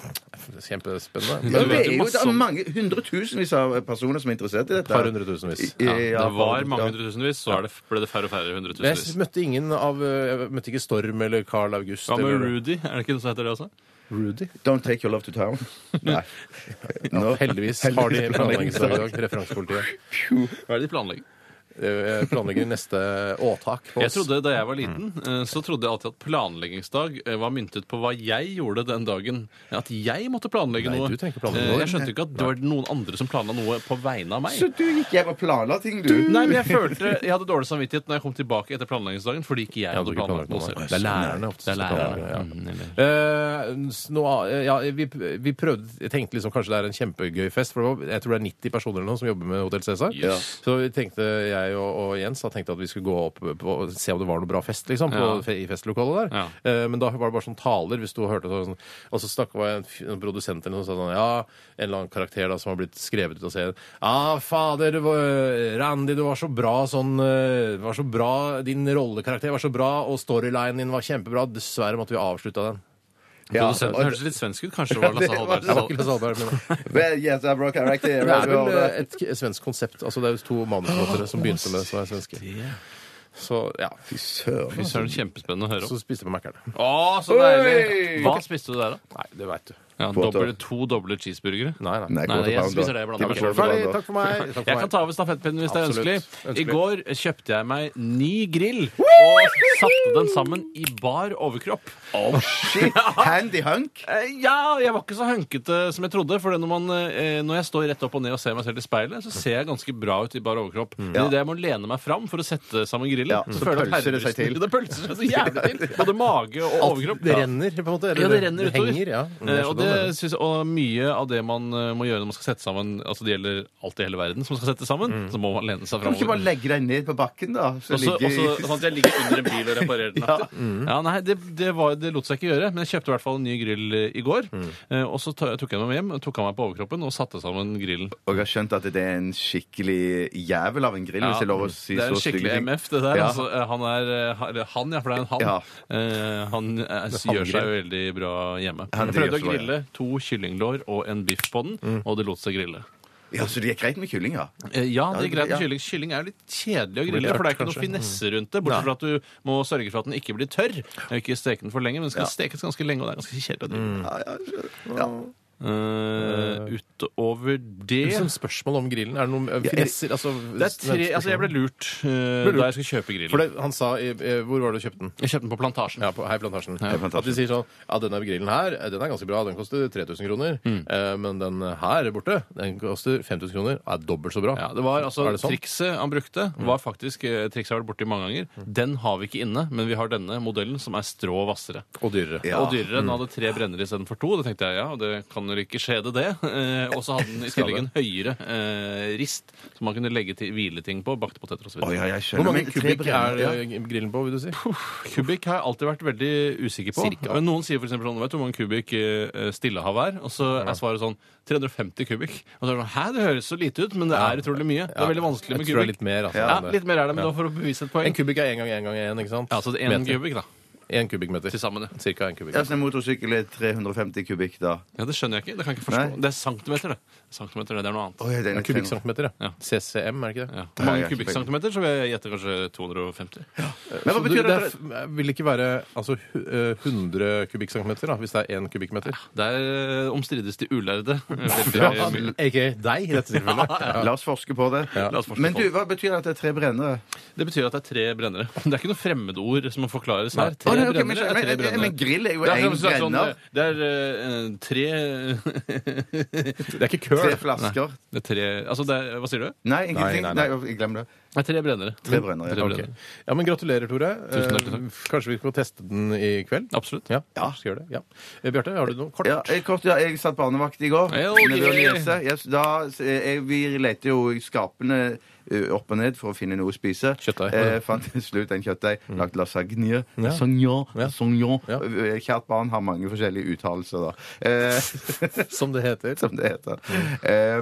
[SPEAKER 3] [LAUGHS] Kjempespennende.
[SPEAKER 4] Men
[SPEAKER 3] Men
[SPEAKER 4] det
[SPEAKER 5] vet jo
[SPEAKER 4] er jo
[SPEAKER 5] masse
[SPEAKER 4] det er
[SPEAKER 5] om-
[SPEAKER 4] mange hundretusenvis av personer som er interessert i dette.
[SPEAKER 3] Et par hundretusenvis.
[SPEAKER 4] I- i-
[SPEAKER 5] Ja,
[SPEAKER 4] ja,
[SPEAKER 5] det var mange
[SPEAKER 4] ja.
[SPEAKER 5] hundretusenvis, så er det, ble det færre og færre
[SPEAKER 3] Jeg
[SPEAKER 5] hundretusenvis.
[SPEAKER 3] møtte ingen av eh, Jeg møtte ikke Storm eller Carl August.
[SPEAKER 5] Hva med
[SPEAKER 3] eller-
[SPEAKER 5] Rudy? Er det ikke noe som heter det også?
[SPEAKER 3] Rudy?
[SPEAKER 4] Don't take your love to town. [LAUGHS] Nei. Nå-
[SPEAKER 3] Heldigvis har de planleggingsdag i dag, referansepolitiet.
[SPEAKER 5] Hva er det de planlegger?
[SPEAKER 3] Eh, Planlegger neste åtak på
[SPEAKER 5] Jeg
[SPEAKER 3] oss.
[SPEAKER 5] trodde, Da jeg var liten, eh, så trodde jeg alltid at planleggingsdag eh, var myntet på hva jeg gjorde den dagen. At jeg måtte planlegge
[SPEAKER 3] Nei,
[SPEAKER 5] noe.
[SPEAKER 3] du trenger ikke planlegge
[SPEAKER 5] Eh,
[SPEAKER 3] noe.
[SPEAKER 5] Jeg skjønte ikke at det var noen andre som planla noe på vegne av meg.
[SPEAKER 4] Så du gikk hjem og planla ting, du?
[SPEAKER 5] Nei, men jeg følte Jeg hadde dårlig samvittighet når jeg kom tilbake etter planleggingsdagen, fordi ikke jeg
[SPEAKER 3] Jeg hadde
[SPEAKER 5] hadde
[SPEAKER 3] ikke planlagt
[SPEAKER 5] planlagt noe
[SPEAKER 3] noe.
[SPEAKER 5] selv.
[SPEAKER 3] Det er lærerne oftest
[SPEAKER 5] Det er
[SPEAKER 3] som planlegger, ja.
[SPEAKER 5] lærerne. Mm, eller-
[SPEAKER 3] Eh, s- noe, annet- ja, vi, vi prøvde Jeg tenkte liksom kanskje det er en kjempegøy fest. For det var, jeg tror det er 90 personer eller noe som jobber med Hotell Cæsar.
[SPEAKER 5] Yes.
[SPEAKER 3] Så vi tenkte jeg og, og Jens da tenkte at vi skulle gå opp på, og se om det var noe bra fest liksom, på,
[SPEAKER 5] Ja.
[SPEAKER 3] fe- i festlokalet der.
[SPEAKER 5] Ja.
[SPEAKER 3] Eh, men da var det bare sånn taler. Hvis du hørte sånn Og så snakka en, f- en produsent eller noe sånn sånn, Ja, en eller annen karakter da som har blitt skrevet ut av serien. Ja, fader, du var, Randy, du var så bra sånn eh, var så bra, Din rollekarakter var så bra, og storylinen din var kjempebra. Dessverre måtte vi avslutta den.
[SPEAKER 4] Ja.
[SPEAKER 5] Produsenten høres litt svensk ut. Kanskje det var Lasse
[SPEAKER 4] det var-
[SPEAKER 5] Hallberg.
[SPEAKER 3] Det
[SPEAKER 5] som
[SPEAKER 3] var
[SPEAKER 5] sa-
[SPEAKER 3] ikke Lasse Hallberg, men
[SPEAKER 4] Well, yes, I broke a record.
[SPEAKER 3] det er vel eh, et k- svensk konsept. Altså, det er jo to manusforfattere som begynte med det, som er svenske. Så ja,
[SPEAKER 4] Fy søren.
[SPEAKER 5] Fy søren, kjempespennende å høre om.
[SPEAKER 3] så spiste vi Mækkern.
[SPEAKER 5] Å, så
[SPEAKER 4] Oi!
[SPEAKER 5] deilig! Hva spiste du der, da?
[SPEAKER 3] Nei, det veit du.
[SPEAKER 5] Ja,
[SPEAKER 4] Båter.
[SPEAKER 5] doble, to doble cheeseburgere?
[SPEAKER 3] Nei,
[SPEAKER 4] Nei,
[SPEAKER 3] nei.
[SPEAKER 5] Nei,
[SPEAKER 4] quarter
[SPEAKER 5] jeg
[SPEAKER 4] pounder.
[SPEAKER 5] spiser det jeg blander meg
[SPEAKER 4] Quarter
[SPEAKER 5] selv.
[SPEAKER 4] pounder.
[SPEAKER 3] Ferdig. Takk for meg. Takk
[SPEAKER 5] Jeg kan
[SPEAKER 3] for meg.
[SPEAKER 5] ta over stafettpinnen hvis det er ønskelig.
[SPEAKER 3] Absolutt. Ønskelig.
[SPEAKER 5] I går kjøpte jeg meg ny grill og satte den sammen i bar overkropp.
[SPEAKER 4] Shit. Handy hunk.
[SPEAKER 5] Eh, Ja, jeg var ikke så hønkete som jeg trodde. For når, man, eh, når jeg står rett opp og ned og ser meg selv i speilet, så ser jeg ganske bra ut i bar overkropp. Men
[SPEAKER 4] Mm. Ja.
[SPEAKER 5] idet jeg må lene meg fram for å sette sammen grillen,
[SPEAKER 4] Ja,
[SPEAKER 5] så,
[SPEAKER 4] så
[SPEAKER 5] føler jeg at
[SPEAKER 4] pølser det seg
[SPEAKER 5] herrerusten-
[SPEAKER 4] til.
[SPEAKER 5] [LAUGHS] Det pølser seg så jævlig til. Både mage og overkropp.
[SPEAKER 3] Det renner, på en måte.
[SPEAKER 5] Ja, det renner utover.
[SPEAKER 3] Henger, ja. Mm, jeg
[SPEAKER 5] Eh,
[SPEAKER 3] skjønner
[SPEAKER 5] og,
[SPEAKER 3] hva du mener.
[SPEAKER 5] det synes, jeg- og mye av det man eh, må gjøre når man skal sette sammen Altså det gjelder alt i hele verden som skal settes sammen, så må man lene seg
[SPEAKER 4] Kan du ikke bare
[SPEAKER 5] framover.
[SPEAKER 4] legge deg ned på bakken, da? Så
[SPEAKER 5] Også,
[SPEAKER 4] ligger-
[SPEAKER 5] også sånn at jeg ligger under en bil og reparerer den.
[SPEAKER 4] [LAUGHS] Ja.
[SPEAKER 5] etter. Ja, nei, det, det, var, det lot seg ikke gjøre, men jeg kjøpte i hvert fall en ny grill eh, i går. Eh, og så ta- tok jeg meg med hjem, tok av meg på overkroppen og satte sammen grillen.
[SPEAKER 4] Og jeg har skjønt at det er en skikkelig jævel av en grill, hvis jeg lover å si
[SPEAKER 5] det er
[SPEAKER 4] så
[SPEAKER 5] en skikkelig
[SPEAKER 4] stygge ting.
[SPEAKER 5] MF, det der.
[SPEAKER 4] Ja.
[SPEAKER 5] Altså, eh, han er eh, ha- eller Han, ja, for det er en han.
[SPEAKER 4] Ja.
[SPEAKER 5] Eh, han eh, gjør seg jo veldig bra hjemme.
[SPEAKER 4] Han
[SPEAKER 5] Jeg
[SPEAKER 4] driver
[SPEAKER 5] prøvde å
[SPEAKER 4] så Mm. bra,
[SPEAKER 5] grille to kyllinglår og en biff på den, og det lot seg grille.
[SPEAKER 4] Ja, Så det gikk greit med kylling, ja?
[SPEAKER 5] Eh, Ja, det er greit
[SPEAKER 4] ja.
[SPEAKER 5] med kylling. Kylling er jo litt kjedelig å grille,
[SPEAKER 3] tørt,
[SPEAKER 5] for det er ikke noe
[SPEAKER 3] kanskje.
[SPEAKER 5] finesse rundt det. Bortsett fra at du må sørge for at den ikke blir tørr. Ikke steke den for lenge, men den skal stekes ganske lenge, og det er ganske kjedelig å drive med.
[SPEAKER 4] Ja, ja, ja.
[SPEAKER 5] Eh, utover
[SPEAKER 3] Det er
[SPEAKER 5] det
[SPEAKER 3] liksom spørsmål om grillen. Er det noen eh, finesser? Altså,
[SPEAKER 5] det er tre, altså Jeg ble lurt eh, da jeg skulle kjøpe
[SPEAKER 3] For
[SPEAKER 5] grillen.
[SPEAKER 3] det, han sa i, eh, Hvor var det du kjøpte den?
[SPEAKER 5] Jeg kjøpte den på Plantasjen.
[SPEAKER 3] Ja, på Hei Plantasjen.
[SPEAKER 4] Hei Plantasjen.
[SPEAKER 3] At de sier sånn Ja, denne grillen her, eh, den er ganske bra. Den koster 3000 kroner.
[SPEAKER 5] Mm.
[SPEAKER 3] Eh, men den her borte, den koster 5000 kroner. Er dobbelt så bra.
[SPEAKER 5] Ja, det var altså
[SPEAKER 3] Er det Mm. sånn?
[SPEAKER 5] Trikset han brukte, var faktisk eh, trikset jeg har vært borti mange
[SPEAKER 3] Mm.
[SPEAKER 5] ganger. Den har vi ikke inne, men vi har denne modellen, som er strå hvassere.
[SPEAKER 3] Og dyrere.
[SPEAKER 4] Ja.
[SPEAKER 3] Mm.
[SPEAKER 5] Og dyrere. Den hadde tre brenner istedenfor to. Det tenkte jeg, ja, og det kan kan vel ikke skje det, det. Eh, og så hadde den i tillegg en høyere eh, rist som man kunne legge til hvileting på. Bakte poteter osv.
[SPEAKER 4] Å, ja, jeg
[SPEAKER 3] Hvor
[SPEAKER 4] skjønner.
[SPEAKER 3] mange
[SPEAKER 4] men tre
[SPEAKER 3] kubikk er
[SPEAKER 4] brenner- ja.
[SPEAKER 3] eh, grillen på, vil du si?
[SPEAKER 5] Kubikk har jeg alltid vært veldig usikker på.
[SPEAKER 3] Cirka.
[SPEAKER 5] Men noen sier for eksempel sånn Vet du hvor mange kubikk eh, Stillehav er? Og så er svaret sånn 350 kubikk. Og så er det sånn Hæ, det høres så lite ut, men det er utrolig mye. Det er veldig vanskelig
[SPEAKER 3] Jeg tror
[SPEAKER 5] med
[SPEAKER 3] det er
[SPEAKER 5] kubikk.
[SPEAKER 3] litt mer, altså,
[SPEAKER 5] Ja,
[SPEAKER 3] enn det.
[SPEAKER 5] litt mer er det, men da for å bevise et poeng.
[SPEAKER 3] En kubikk er én gang én gang én, ikke sant?
[SPEAKER 5] Ja, så Altså, en
[SPEAKER 3] Meter.
[SPEAKER 5] kubikk, da.
[SPEAKER 3] En kubikkmeter.
[SPEAKER 5] Til sammen, ja.
[SPEAKER 3] Cirka en kubikk.
[SPEAKER 4] Ja, så en motorsykkel er 350 kubikk, da.
[SPEAKER 5] Ja, Det skjønner jeg ikke. Det kan jeg ikke forstå.
[SPEAKER 4] Nei.
[SPEAKER 5] Det er centimeter, det. Centimeter, det er noe annet.
[SPEAKER 4] Oi, den er
[SPEAKER 3] En kubikkcentimeter,
[SPEAKER 5] Ja. sånn.
[SPEAKER 3] ja. CCM, er det ikke det?
[SPEAKER 5] Ja.
[SPEAKER 4] Nei, jeg
[SPEAKER 5] Hvor mange
[SPEAKER 4] har ikke
[SPEAKER 5] kubikkcentimeter? Så vil jeg gjette kanskje 250.
[SPEAKER 4] Men hva
[SPEAKER 3] Så
[SPEAKER 4] betyr
[SPEAKER 3] du,
[SPEAKER 4] det?
[SPEAKER 3] det er, f- eh, vil ikke være altså, hu- eh, 100 kubikkcentimeter, da, hvis det er én kubikkmeter? Eh,
[SPEAKER 5] Der eh, omstrides de
[SPEAKER 4] [LAUGHS]
[SPEAKER 5] ulærde. Veldig eh, mye.
[SPEAKER 3] Ikke deg, i dette
[SPEAKER 5] [LAUGHS]
[SPEAKER 3] tilfellet.
[SPEAKER 4] La oss forske på det.
[SPEAKER 5] La oss forske
[SPEAKER 4] Men
[SPEAKER 5] på
[SPEAKER 4] du,
[SPEAKER 5] det.
[SPEAKER 4] hva betyr det at det er tre brennere?
[SPEAKER 5] Det betyr at det er tre brennere. Det er ikke noe fremmedord som må forklares her.
[SPEAKER 4] Å,
[SPEAKER 5] Tre
[SPEAKER 4] nei, ok, men,
[SPEAKER 5] brennere er tre
[SPEAKER 4] men, men,
[SPEAKER 5] brennere.
[SPEAKER 4] men grill er jo
[SPEAKER 5] Det er,
[SPEAKER 4] én
[SPEAKER 5] som sagt sånn,
[SPEAKER 4] brenner.
[SPEAKER 5] det er eh, tre [LAUGHS] Det
[SPEAKER 3] Det er ikke køl.
[SPEAKER 4] Tre flasker.
[SPEAKER 5] er tre Altså, det er, hva sier du?
[SPEAKER 4] Nei, ingenting.
[SPEAKER 3] Nei,
[SPEAKER 4] Nei,
[SPEAKER 3] nei,
[SPEAKER 4] glem det.
[SPEAKER 5] Det er tre brennere.
[SPEAKER 4] Tre brennere, ja.
[SPEAKER 5] Tre
[SPEAKER 3] Ok. Ja, men Gratulerer, Tore.
[SPEAKER 5] Tusen takk, tusen
[SPEAKER 3] Eh, Kanskje vi skal teste den i kveld?
[SPEAKER 5] Absolutt.
[SPEAKER 3] Ja, skal gjøre det. Ja. Eh, Bjarte, har du noe kort?
[SPEAKER 4] Ja, jeg, kort, ja, jeg satt barnevakt i går.
[SPEAKER 5] Ja,
[SPEAKER 4] med Bjørn
[SPEAKER 5] ok.
[SPEAKER 4] Jesse. Yes, da, s- jeg, vi leter jo i skapene ø, opp og ned for å finne noe å spise.
[SPEAKER 3] Kjøttdeig. Mm.
[SPEAKER 4] Eh, fant [LAUGHS] til slutt en kjøttdeig. Lagd lasagne.
[SPEAKER 3] Ja.
[SPEAKER 4] Lasagne.
[SPEAKER 3] Ja.
[SPEAKER 4] lasagne.
[SPEAKER 3] Ja.
[SPEAKER 4] Eh, Kjært barn har mange forskjellige uttalelser, da. Eh,
[SPEAKER 3] Som det heter.
[SPEAKER 4] som det heter. Eh,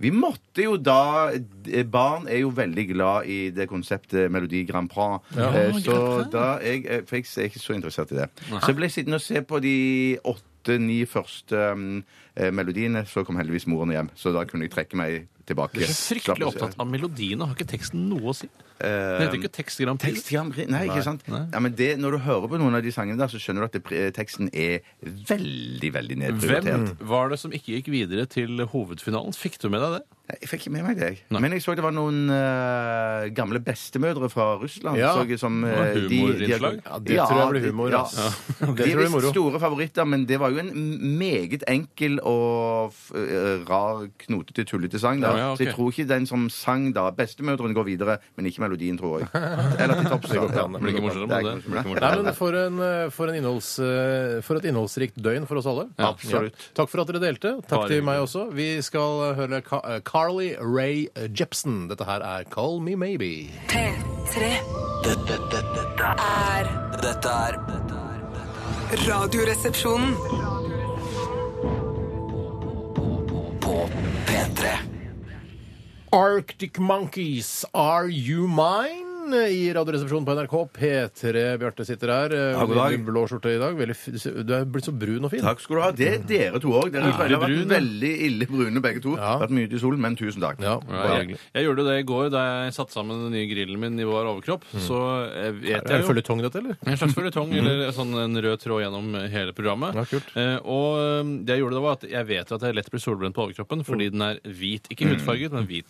[SPEAKER 4] vi måtte jo da eh, Barn er jo veldig glad i det konseptet Melodi Grand Prix.
[SPEAKER 3] Ja.
[SPEAKER 4] Eh,
[SPEAKER 5] Ja, Grand
[SPEAKER 4] så
[SPEAKER 5] Prix.
[SPEAKER 4] da jeg, eh, For jeg er ikke så interessert i det. Så jeg ble sittende og se på de åtte-ni første um, eh, melodiene. Så kom heldigvis moren hjem, så da kunne jeg trekke meg tilbake.
[SPEAKER 5] Jeg er så
[SPEAKER 4] Slapp
[SPEAKER 5] fryktelig
[SPEAKER 4] å se.
[SPEAKER 5] opptatt av melodiene. Har ikke teksten noe å si? Det
[SPEAKER 4] Eh,
[SPEAKER 5] heter ikke tekst Grand Prix.
[SPEAKER 4] Tekst i Amri- Nei, ikke sant? Ja, men det, når du hører på noen av de sangene, der, så skjønner du at det, pre- teksten er veldig veldig
[SPEAKER 5] Hvem
[SPEAKER 4] nedprioritert.
[SPEAKER 5] var det som ikke gikk videre til hovedfinalen? Fikk du med deg det?
[SPEAKER 4] Nei, Jeg fikk ikke med meg det. jeg. Men jeg så det var noen eh, gamle bestemødre fra Russland.
[SPEAKER 3] Ja.
[SPEAKER 4] Så jeg, som, eh,
[SPEAKER 5] Det var humorinnslag.
[SPEAKER 4] de-
[SPEAKER 3] Ja, det tror jeg blir humor, ass. Ja. Det
[SPEAKER 4] De er
[SPEAKER 3] tror jeg blir moro.
[SPEAKER 4] visst store favoritter, men det var jo en meget enkel og f eh, rar, knotete, tullete sang. Da.
[SPEAKER 5] Ja, ja, ok.
[SPEAKER 4] Så jeg tror ikke den som sang da 'Bestemødrene' går videre, men ikke melodien, tror
[SPEAKER 3] [LAUGHS]
[SPEAKER 4] jeg. Eller til topps.
[SPEAKER 3] Det går
[SPEAKER 4] da.
[SPEAKER 3] ikke an, det blir
[SPEAKER 5] ikke
[SPEAKER 4] Ja,
[SPEAKER 5] morsommere,
[SPEAKER 4] det er
[SPEAKER 5] det.
[SPEAKER 4] ikke
[SPEAKER 5] Det blir
[SPEAKER 4] morsommere.
[SPEAKER 5] ikke morsommere.
[SPEAKER 3] Nei, men for, en, eh, for, en innholds, eh, for et innholdsrikt døgn for oss alle.
[SPEAKER 5] Ja, absolutt.
[SPEAKER 3] Ja. Takk for at dere delte. Takk
[SPEAKER 5] Bare
[SPEAKER 3] til
[SPEAKER 5] hyggelig.
[SPEAKER 3] meg også. Vi skal eh, høre Ka- eh, Carly Ray Jepsen. Dette her er Call Me Maybe.
[SPEAKER 1] P3
[SPEAKER 2] Dette, dette, dette,
[SPEAKER 1] er
[SPEAKER 2] dette er dette er- dette
[SPEAKER 1] Radioresepsjonen.
[SPEAKER 2] er På P3
[SPEAKER 3] Arctic Monkeys, Are You Mine? I Radioresepsjonen på NRK. P3 Bjarte sitter her. eh,
[SPEAKER 4] god dag.
[SPEAKER 3] i blå skjorte i dag. Veldig, f- du er blitt så brun og fin.
[SPEAKER 4] Takk skal du ha. Det er dere to òg. Dere har vært veldig ille brune begge to.
[SPEAKER 3] Ja.
[SPEAKER 4] Vært mye ute i solen, men tusen takk.
[SPEAKER 3] Ja,
[SPEAKER 5] Ja,
[SPEAKER 3] bare
[SPEAKER 5] jeg,
[SPEAKER 3] hyggelig.
[SPEAKER 5] jeg gjorde det i går da jeg satte sammen den nye grillen min i vår overkropp. Så jeg
[SPEAKER 3] Er
[SPEAKER 5] vet
[SPEAKER 3] det
[SPEAKER 5] jeg jo
[SPEAKER 3] føljetong, dette, eller?
[SPEAKER 5] en slags føljetong eller sånn en rød tråd gjennom hele programmet.
[SPEAKER 3] Ja, kult.
[SPEAKER 5] Eh, og eh, det jeg gjorde da var at jeg vet jo at jeg lett blir solbrent på overkroppen fordi den er hvit. Ikke hudfarget, men hvit.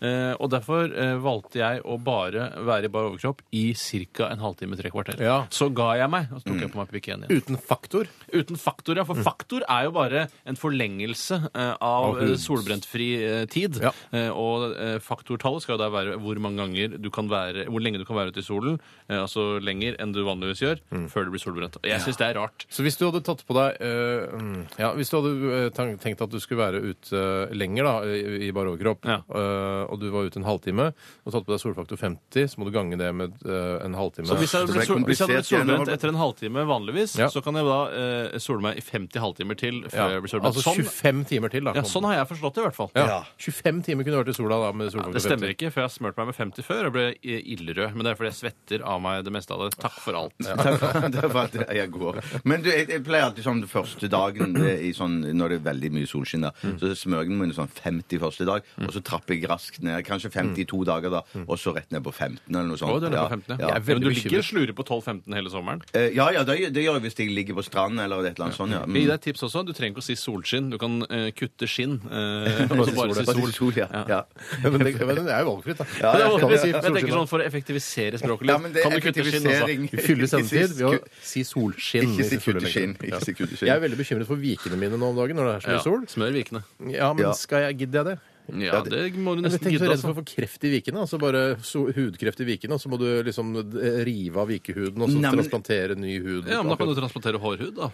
[SPEAKER 5] Eh, og derfor eh, valgte jeg å bare være i bar overkropp i ca. en halvtime, tre kvarter.
[SPEAKER 3] Ja.
[SPEAKER 5] Så ga jeg meg, og så tok jeg på meg pikéen igjen.
[SPEAKER 3] Uten faktor.
[SPEAKER 5] Uten faktor, ja. For faktor er jo bare en forlengelse eh,
[SPEAKER 3] Mm. Av
[SPEAKER 5] av eh,
[SPEAKER 3] hud.
[SPEAKER 5] solbrentfri eh, tid.
[SPEAKER 3] Ja.
[SPEAKER 5] Eh, og eh, faktortallet skal jo da være hvor mange ganger du kan være, hvor lenge du kan være ute i solen. eh, altså lenger enn du vanligvis gjør
[SPEAKER 3] Mm.
[SPEAKER 5] før du blir solbrent. Og jeg syns det er rart.
[SPEAKER 3] Så hvis du hadde tatt på deg eh, mm, Ja, hvis du hadde eh, tan- tenkt at du skulle være ute lenger da, i, i bar overkropp,
[SPEAKER 5] Ja.
[SPEAKER 3] eh, og du var ute en halvtime, og tatt på deg solfaktor 50, så må du gange det med eh, en halvtime.
[SPEAKER 5] Så hvis jeg hadde
[SPEAKER 4] det ble
[SPEAKER 5] blitt, sol, hvis
[SPEAKER 4] komplisert
[SPEAKER 5] jeg hadde blitt
[SPEAKER 4] igjen,
[SPEAKER 5] solbrent
[SPEAKER 4] Robert.
[SPEAKER 5] etter en halvtime vanligvis,
[SPEAKER 3] Ja.
[SPEAKER 5] så kan jeg da eh, sole meg i 50 halvtimer til før
[SPEAKER 3] ja.
[SPEAKER 5] jeg blir solbrent.
[SPEAKER 3] Altså
[SPEAKER 5] sånn,
[SPEAKER 3] 25 timer til, da.
[SPEAKER 5] ja, sånn har jeg forstått det, i hvert fall.
[SPEAKER 3] ja. 25 timer kunne du vært i sola da med
[SPEAKER 5] Ja,
[SPEAKER 3] solfaktor
[SPEAKER 5] det stemmer
[SPEAKER 3] 50.
[SPEAKER 5] ikke, for jeg har smurt meg med 50 før og ble eh, ildrød. Men det er fordi jeg svetter av meg det meste av det. Takk for alt.
[SPEAKER 4] Takk for det er for at jeg går. Men du, jeg, jeg pleier alltid sånn første dagen det, er i sånn, når det er veldig mye solskinn, da,
[SPEAKER 5] Mm.
[SPEAKER 4] så smører jeg meg sånn 50 første dag, og så trapper jeg raskt ned. Kanskje 52 dager, da, og så rett ned på 15 eller noe sånt.
[SPEAKER 5] Mm. Å, du er nede på 15.
[SPEAKER 4] Ja,
[SPEAKER 3] Jeg
[SPEAKER 5] Ja.
[SPEAKER 3] er
[SPEAKER 4] ja.
[SPEAKER 3] veldig
[SPEAKER 5] Men du ligger
[SPEAKER 3] bekymret.
[SPEAKER 5] og slurer på 12-15 hele sommeren.
[SPEAKER 4] Eh, ja, ja det, det gjør jeg hvis jeg ligger på stranden eller et eller annet sånt. Ja. Mm.
[SPEAKER 5] Jeg gir deg et tips også. Du trenger ikke å si solskinn. Du kan eh, kutte skinn. [LAUGHS] eh, og så bare si
[SPEAKER 4] Bare til
[SPEAKER 5] sol.
[SPEAKER 4] sol, ja. ja.
[SPEAKER 3] [LAUGHS] Men det, men det er jo valgfritt, da.
[SPEAKER 5] Men det
[SPEAKER 3] Kan du
[SPEAKER 5] er vanskelig.
[SPEAKER 3] si
[SPEAKER 5] Jeg tenker
[SPEAKER 3] solskinn, da?
[SPEAKER 5] sånn For å effektivisere språket
[SPEAKER 4] Ja,
[SPEAKER 5] litt,
[SPEAKER 4] men det
[SPEAKER 5] kan
[SPEAKER 4] er
[SPEAKER 5] du kutte skinn også?
[SPEAKER 4] effektivisering.
[SPEAKER 3] Du fyller sendetid ved å
[SPEAKER 4] Ikke si-
[SPEAKER 3] si solskinn.
[SPEAKER 4] Ikke si
[SPEAKER 3] i fulle
[SPEAKER 4] kutte skinn,
[SPEAKER 3] lengder.
[SPEAKER 4] ikke si kutte skinn.
[SPEAKER 3] Jeg er veldig bekymret for vikene mine nå om dagen når det er så mye
[SPEAKER 5] Ja.
[SPEAKER 3] sol.
[SPEAKER 5] Smør vikene.
[SPEAKER 3] Ja, men
[SPEAKER 4] Ja.
[SPEAKER 3] skal jeg gidde jeg det?
[SPEAKER 5] Ja, det må du
[SPEAKER 3] Jeg
[SPEAKER 5] nesten
[SPEAKER 3] tenker så redd
[SPEAKER 5] gidde.
[SPEAKER 3] for
[SPEAKER 5] Altså.
[SPEAKER 3] å få kreft i vikene. altså Bare so hudkreft i vikene, og så må du liksom eh, rive av vikehuden og så
[SPEAKER 4] Nei, men-
[SPEAKER 3] transplantere ny hud.
[SPEAKER 5] Ja, men da kan du transplantere hårhud, da.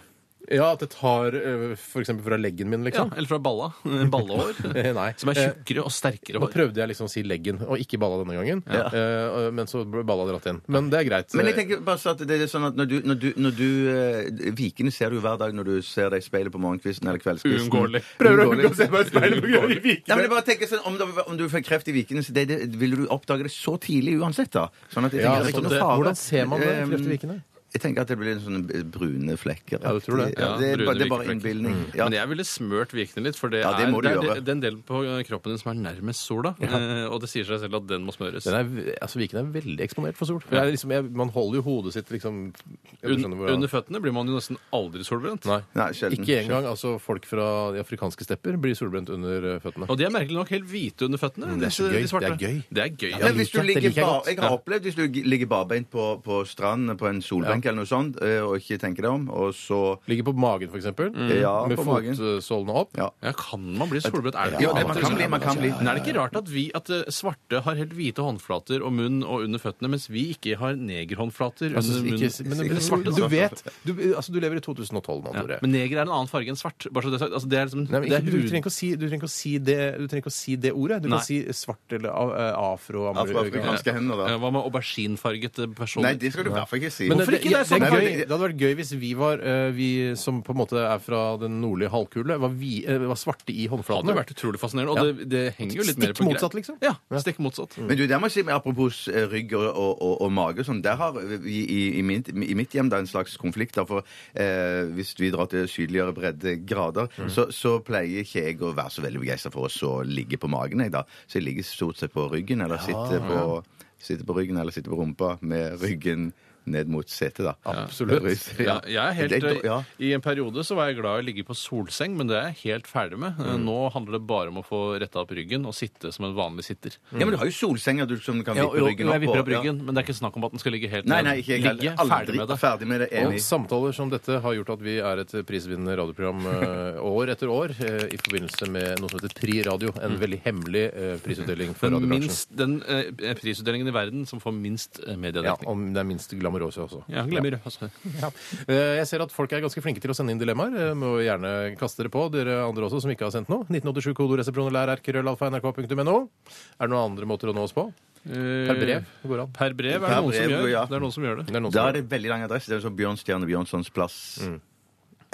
[SPEAKER 3] Ja, at det tar eh, for eksempel fra leggen min,
[SPEAKER 5] Ja,
[SPEAKER 3] liksom.
[SPEAKER 5] eller fra balla. [LAUGHS] Ballehår.
[SPEAKER 3] Eh, [LAUGHS] Nei.
[SPEAKER 5] [LAUGHS] Som er
[SPEAKER 3] Eh,
[SPEAKER 5] tjukkere og sterkere
[SPEAKER 3] Nå
[SPEAKER 5] hår.
[SPEAKER 3] prøvde jeg liksom å si leggen, og ikke balla denne gangen. Eh, men så ble balla dratt inn. Men det er greit.
[SPEAKER 4] Men jeg tenker bare så at det er sånn at når du, når du, når du eh, Vikene ser du jo hver dag når du ser deg i speilet på morgenkvisten eller kveldskvisten. [LAUGHS]
[SPEAKER 5] Uunngåelig.
[SPEAKER 3] Prøver å unngå å se meg i speilet på grunn av de
[SPEAKER 4] Nei, men
[SPEAKER 3] vikene.
[SPEAKER 4] jeg bare tenker sånn, om, du- om du får kreft i vikene, så det, det, vil du oppdage det så tidlig uansett. da. Sånn at jeg tenker det
[SPEAKER 3] Ja,
[SPEAKER 4] er
[SPEAKER 3] sånn
[SPEAKER 4] ikke noe
[SPEAKER 3] det-
[SPEAKER 4] fare.
[SPEAKER 3] hvordan ser man det, kreft i vikene?
[SPEAKER 4] Eh, Jeg tenker at det blir en sånne brune flekker.
[SPEAKER 3] Ja, Mm. du tror det?
[SPEAKER 4] Ja, det, er,
[SPEAKER 5] Ja,
[SPEAKER 4] bare-
[SPEAKER 5] brune
[SPEAKER 4] det er bare
[SPEAKER 5] vikeflekker.
[SPEAKER 4] innbilning. Ja.
[SPEAKER 5] Men jeg ville smørt vikene litt, for det,
[SPEAKER 4] Ja, det
[SPEAKER 5] er,
[SPEAKER 4] må du
[SPEAKER 5] det, er
[SPEAKER 4] gjøre.
[SPEAKER 5] det- den delen på kroppen din som er nærmest sola. Eh, og det sier seg selv at den må smøres.
[SPEAKER 3] Den er, altså, Viken er veldig eksponert for sol. Det er liksom, jeg, man holder jo hodet sitt liksom jeg
[SPEAKER 5] Un,
[SPEAKER 3] skjønner hvor jeg-
[SPEAKER 5] under føttene blir man jo nesten aldri solbrent.
[SPEAKER 3] Nei.
[SPEAKER 4] Nei, sjelden.
[SPEAKER 3] Ikke engang altså, folk fra de afrikanske stepper blir solbrent under eh, føttene.
[SPEAKER 5] Og de er merkelig nok helt hvite under føttene.
[SPEAKER 3] det er
[SPEAKER 5] disse-
[SPEAKER 3] så gøy.
[SPEAKER 5] de svarte.
[SPEAKER 3] Det er gøy.
[SPEAKER 5] Det er gøy.
[SPEAKER 4] Men hvis du
[SPEAKER 3] liker jeg. Det
[SPEAKER 4] ligger
[SPEAKER 3] liker jeg
[SPEAKER 4] bar,
[SPEAKER 3] godt.
[SPEAKER 4] jeg har opplevd hvis du ligger barbeint på, på stranden på en solbenk eller noe sånt, eh, og ikke tenker deg om, og så
[SPEAKER 3] Ligger på magen, for eksempel.
[SPEAKER 5] Mm.
[SPEAKER 4] Ja,
[SPEAKER 3] med
[SPEAKER 4] på magen.
[SPEAKER 3] fotsålene opp.
[SPEAKER 4] Ja.
[SPEAKER 5] Ja, kan man bli solbrent? Er det
[SPEAKER 4] Ja, det- man kan bli, man kan bli.
[SPEAKER 5] Men er det ikke rart at vi at eh, svarte har helt hvite håndflater og munn og under føttene, mens vi ikke har negerhåndflater
[SPEAKER 3] Altså,
[SPEAKER 5] under
[SPEAKER 3] ikke,
[SPEAKER 5] munnen?
[SPEAKER 3] men,
[SPEAKER 5] Eller svarte,
[SPEAKER 3] du
[SPEAKER 5] da.
[SPEAKER 3] vet du, altså, du lever i 2012 nå,
[SPEAKER 5] Ja.
[SPEAKER 3] Tore.
[SPEAKER 5] Men neger er en annen farge enn svart. Bare så det er sagt. Altså, det er liksom,
[SPEAKER 3] Nei, men
[SPEAKER 5] det
[SPEAKER 3] ikke,
[SPEAKER 5] er
[SPEAKER 3] du,
[SPEAKER 5] hud-
[SPEAKER 3] trenger ikke å si, du trenger ikke å si det Du trenger ikke å si det ordet. Du
[SPEAKER 5] Nei.
[SPEAKER 3] kan si svart eller a- eh, afro. amer-
[SPEAKER 4] Afroafrikansk. Ganske hender, da.
[SPEAKER 5] Ja, Hva med auberginefarget person?
[SPEAKER 4] Nei, det skal du i hvert fall ikke si.
[SPEAKER 3] Men
[SPEAKER 5] Hvorfor
[SPEAKER 3] det,
[SPEAKER 5] ikke?
[SPEAKER 3] ja,
[SPEAKER 5] Det er
[SPEAKER 4] sånn-
[SPEAKER 3] det, er gøy, det hadde vært gøy hvis vi var eh, Vi som på en måte er fra den nordlige halvkule, var, vi, eh, var svarte i
[SPEAKER 5] hadde
[SPEAKER 3] håndflatene.
[SPEAKER 5] vært utrolig fascinerende. Og
[SPEAKER 3] Ja.
[SPEAKER 5] det, det henger jo litt mer
[SPEAKER 3] Stikk
[SPEAKER 5] på greip.
[SPEAKER 3] motsatt, liksom.
[SPEAKER 5] Ja, stikk motsatt.
[SPEAKER 4] Men du, der må jeg si, med apropos eh, rygg og, og, og, og mage og sånn, der har vi i, i, mitt, i mitt hjem da en slags konflikt. Da, for eh, hvis vi drar til sydligere breddegrader,
[SPEAKER 5] Mm.
[SPEAKER 4] så, så pleier ikke jeg å være så veldig begeistra for å så ligge på magen, jeg, da. Så jeg ligger stort sett på ryggen, eller sitter, på, sitter på ryggen, eller sitter på rumpa med ryggen ned mot setet, da.
[SPEAKER 3] Absolutt.
[SPEAKER 4] Rys-
[SPEAKER 5] Ja, jeg er helt,
[SPEAKER 4] Det er- ja.
[SPEAKER 5] I en periode så var jeg glad i å ligge på solseng, men det er jeg helt ferdig med. Eh, Nå handler det bare om å få retta opp ryggen og sitte som en vanlig sitter.
[SPEAKER 4] ja, men du har jo solsenger du som du kan
[SPEAKER 5] mm. Ja,
[SPEAKER 4] vippe
[SPEAKER 5] jo,
[SPEAKER 4] ryggen
[SPEAKER 5] jo,
[SPEAKER 4] opp
[SPEAKER 5] jeg vipper opp
[SPEAKER 4] ja.
[SPEAKER 5] ryggen, men det er ikke snakk om at den skal ligge helt
[SPEAKER 4] Nei,
[SPEAKER 5] ned.
[SPEAKER 4] nei, ikke jeg
[SPEAKER 5] ligge,
[SPEAKER 4] heller. Aldri
[SPEAKER 5] ferdig med det.
[SPEAKER 4] Ferdig med det,
[SPEAKER 3] Og
[SPEAKER 4] enig.
[SPEAKER 3] samtaler som dette har gjort at vi er et prisvinnende radioprogram eh, år etter år eh, i forbindelse med noe som heter Pri Radio. En veldig hemmelig eh, prisutdeling for
[SPEAKER 5] Mm. Den,
[SPEAKER 3] radiobransjen.
[SPEAKER 5] minst, den eh, prisutdelingen i verden som får minst eh,
[SPEAKER 3] Ja,
[SPEAKER 5] mediedekning.
[SPEAKER 3] om det er minst glamorøse også.
[SPEAKER 5] Ja, glemmer det. Altså.
[SPEAKER 3] Ja. Eh, Jeg ser at folk er ganske flinke til å sende inn dilemmaer. Eh, Må gjerne kaste dere på, dere andre også som ikke har sendt noe. 1987 kodoresepron eller rrkrøllalfa.nrk.no. Er det noen andre måter å nå oss på?
[SPEAKER 5] Eh,
[SPEAKER 3] Per brev det går an.
[SPEAKER 5] Per brev er
[SPEAKER 4] Per
[SPEAKER 5] det noen som
[SPEAKER 4] brev,
[SPEAKER 5] gjør.
[SPEAKER 4] ja.
[SPEAKER 5] Det er noen som gjør
[SPEAKER 3] Det
[SPEAKER 5] det.
[SPEAKER 3] er noen som
[SPEAKER 4] Da er det veldig lang adresse. Det er jo sånn Bjørnstjerne Bjørnsons plass.
[SPEAKER 3] Mm.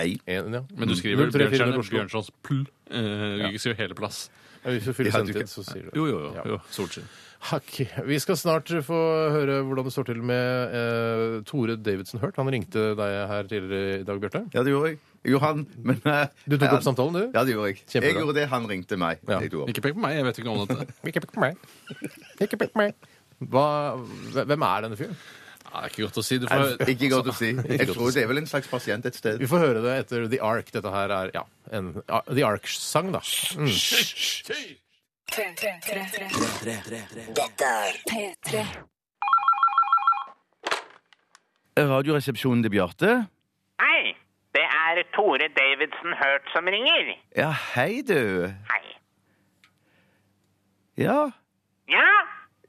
[SPEAKER 4] Ei.
[SPEAKER 3] En, ja.
[SPEAKER 5] Men du skriver
[SPEAKER 3] 034
[SPEAKER 5] Bjørnstjerne
[SPEAKER 3] Oslo.
[SPEAKER 5] Bjørnsons pl. Eh, Du skriver hele plass.
[SPEAKER 3] Ja, Hvis du fyller
[SPEAKER 4] Ja, du
[SPEAKER 3] sendetid,
[SPEAKER 4] kan-
[SPEAKER 3] så sier du det.
[SPEAKER 5] Jo, jo, jo.
[SPEAKER 3] Ja.
[SPEAKER 5] jo. Solskinn.
[SPEAKER 3] Hakk. Vi skal snart få høre hvordan det står til med eh, Tore Davidsen Hurt. Han ringte deg her tidligere i dag, Bjarte.
[SPEAKER 4] Ja, det gjorde jeg. Jo, han, men eh,
[SPEAKER 3] Du tok
[SPEAKER 4] han-
[SPEAKER 3] opp samtalen, du?
[SPEAKER 4] Ja, det gjorde jeg.
[SPEAKER 3] Kjempebra.
[SPEAKER 4] Jeg gjorde det, han ringte meg.
[SPEAKER 3] Ja.
[SPEAKER 4] Jeg tok opp.
[SPEAKER 5] Ikke pek på meg, jeg vet ikke noe om dette.
[SPEAKER 3] Ikke pek på meg. Ikke pek på meg. Hva, hvem er denne fyren?
[SPEAKER 5] Nei, det er ikke godt å si. Du får,
[SPEAKER 4] Nei, Ikke godt å si. Jeg tror det er vel en slags pasient et sted.
[SPEAKER 3] Vi får høre det etter The Ark. Dette her er ja, en ja, The Ark-sang, da. Mm.
[SPEAKER 1] P3.
[SPEAKER 4] Eh, Radioresepsjonen til Bjarte.
[SPEAKER 6] Hei, det er Tore Davidsen Hurt som ringer.
[SPEAKER 4] Ja, hei, du.
[SPEAKER 6] Hei.
[SPEAKER 4] Ja.
[SPEAKER 6] Ja,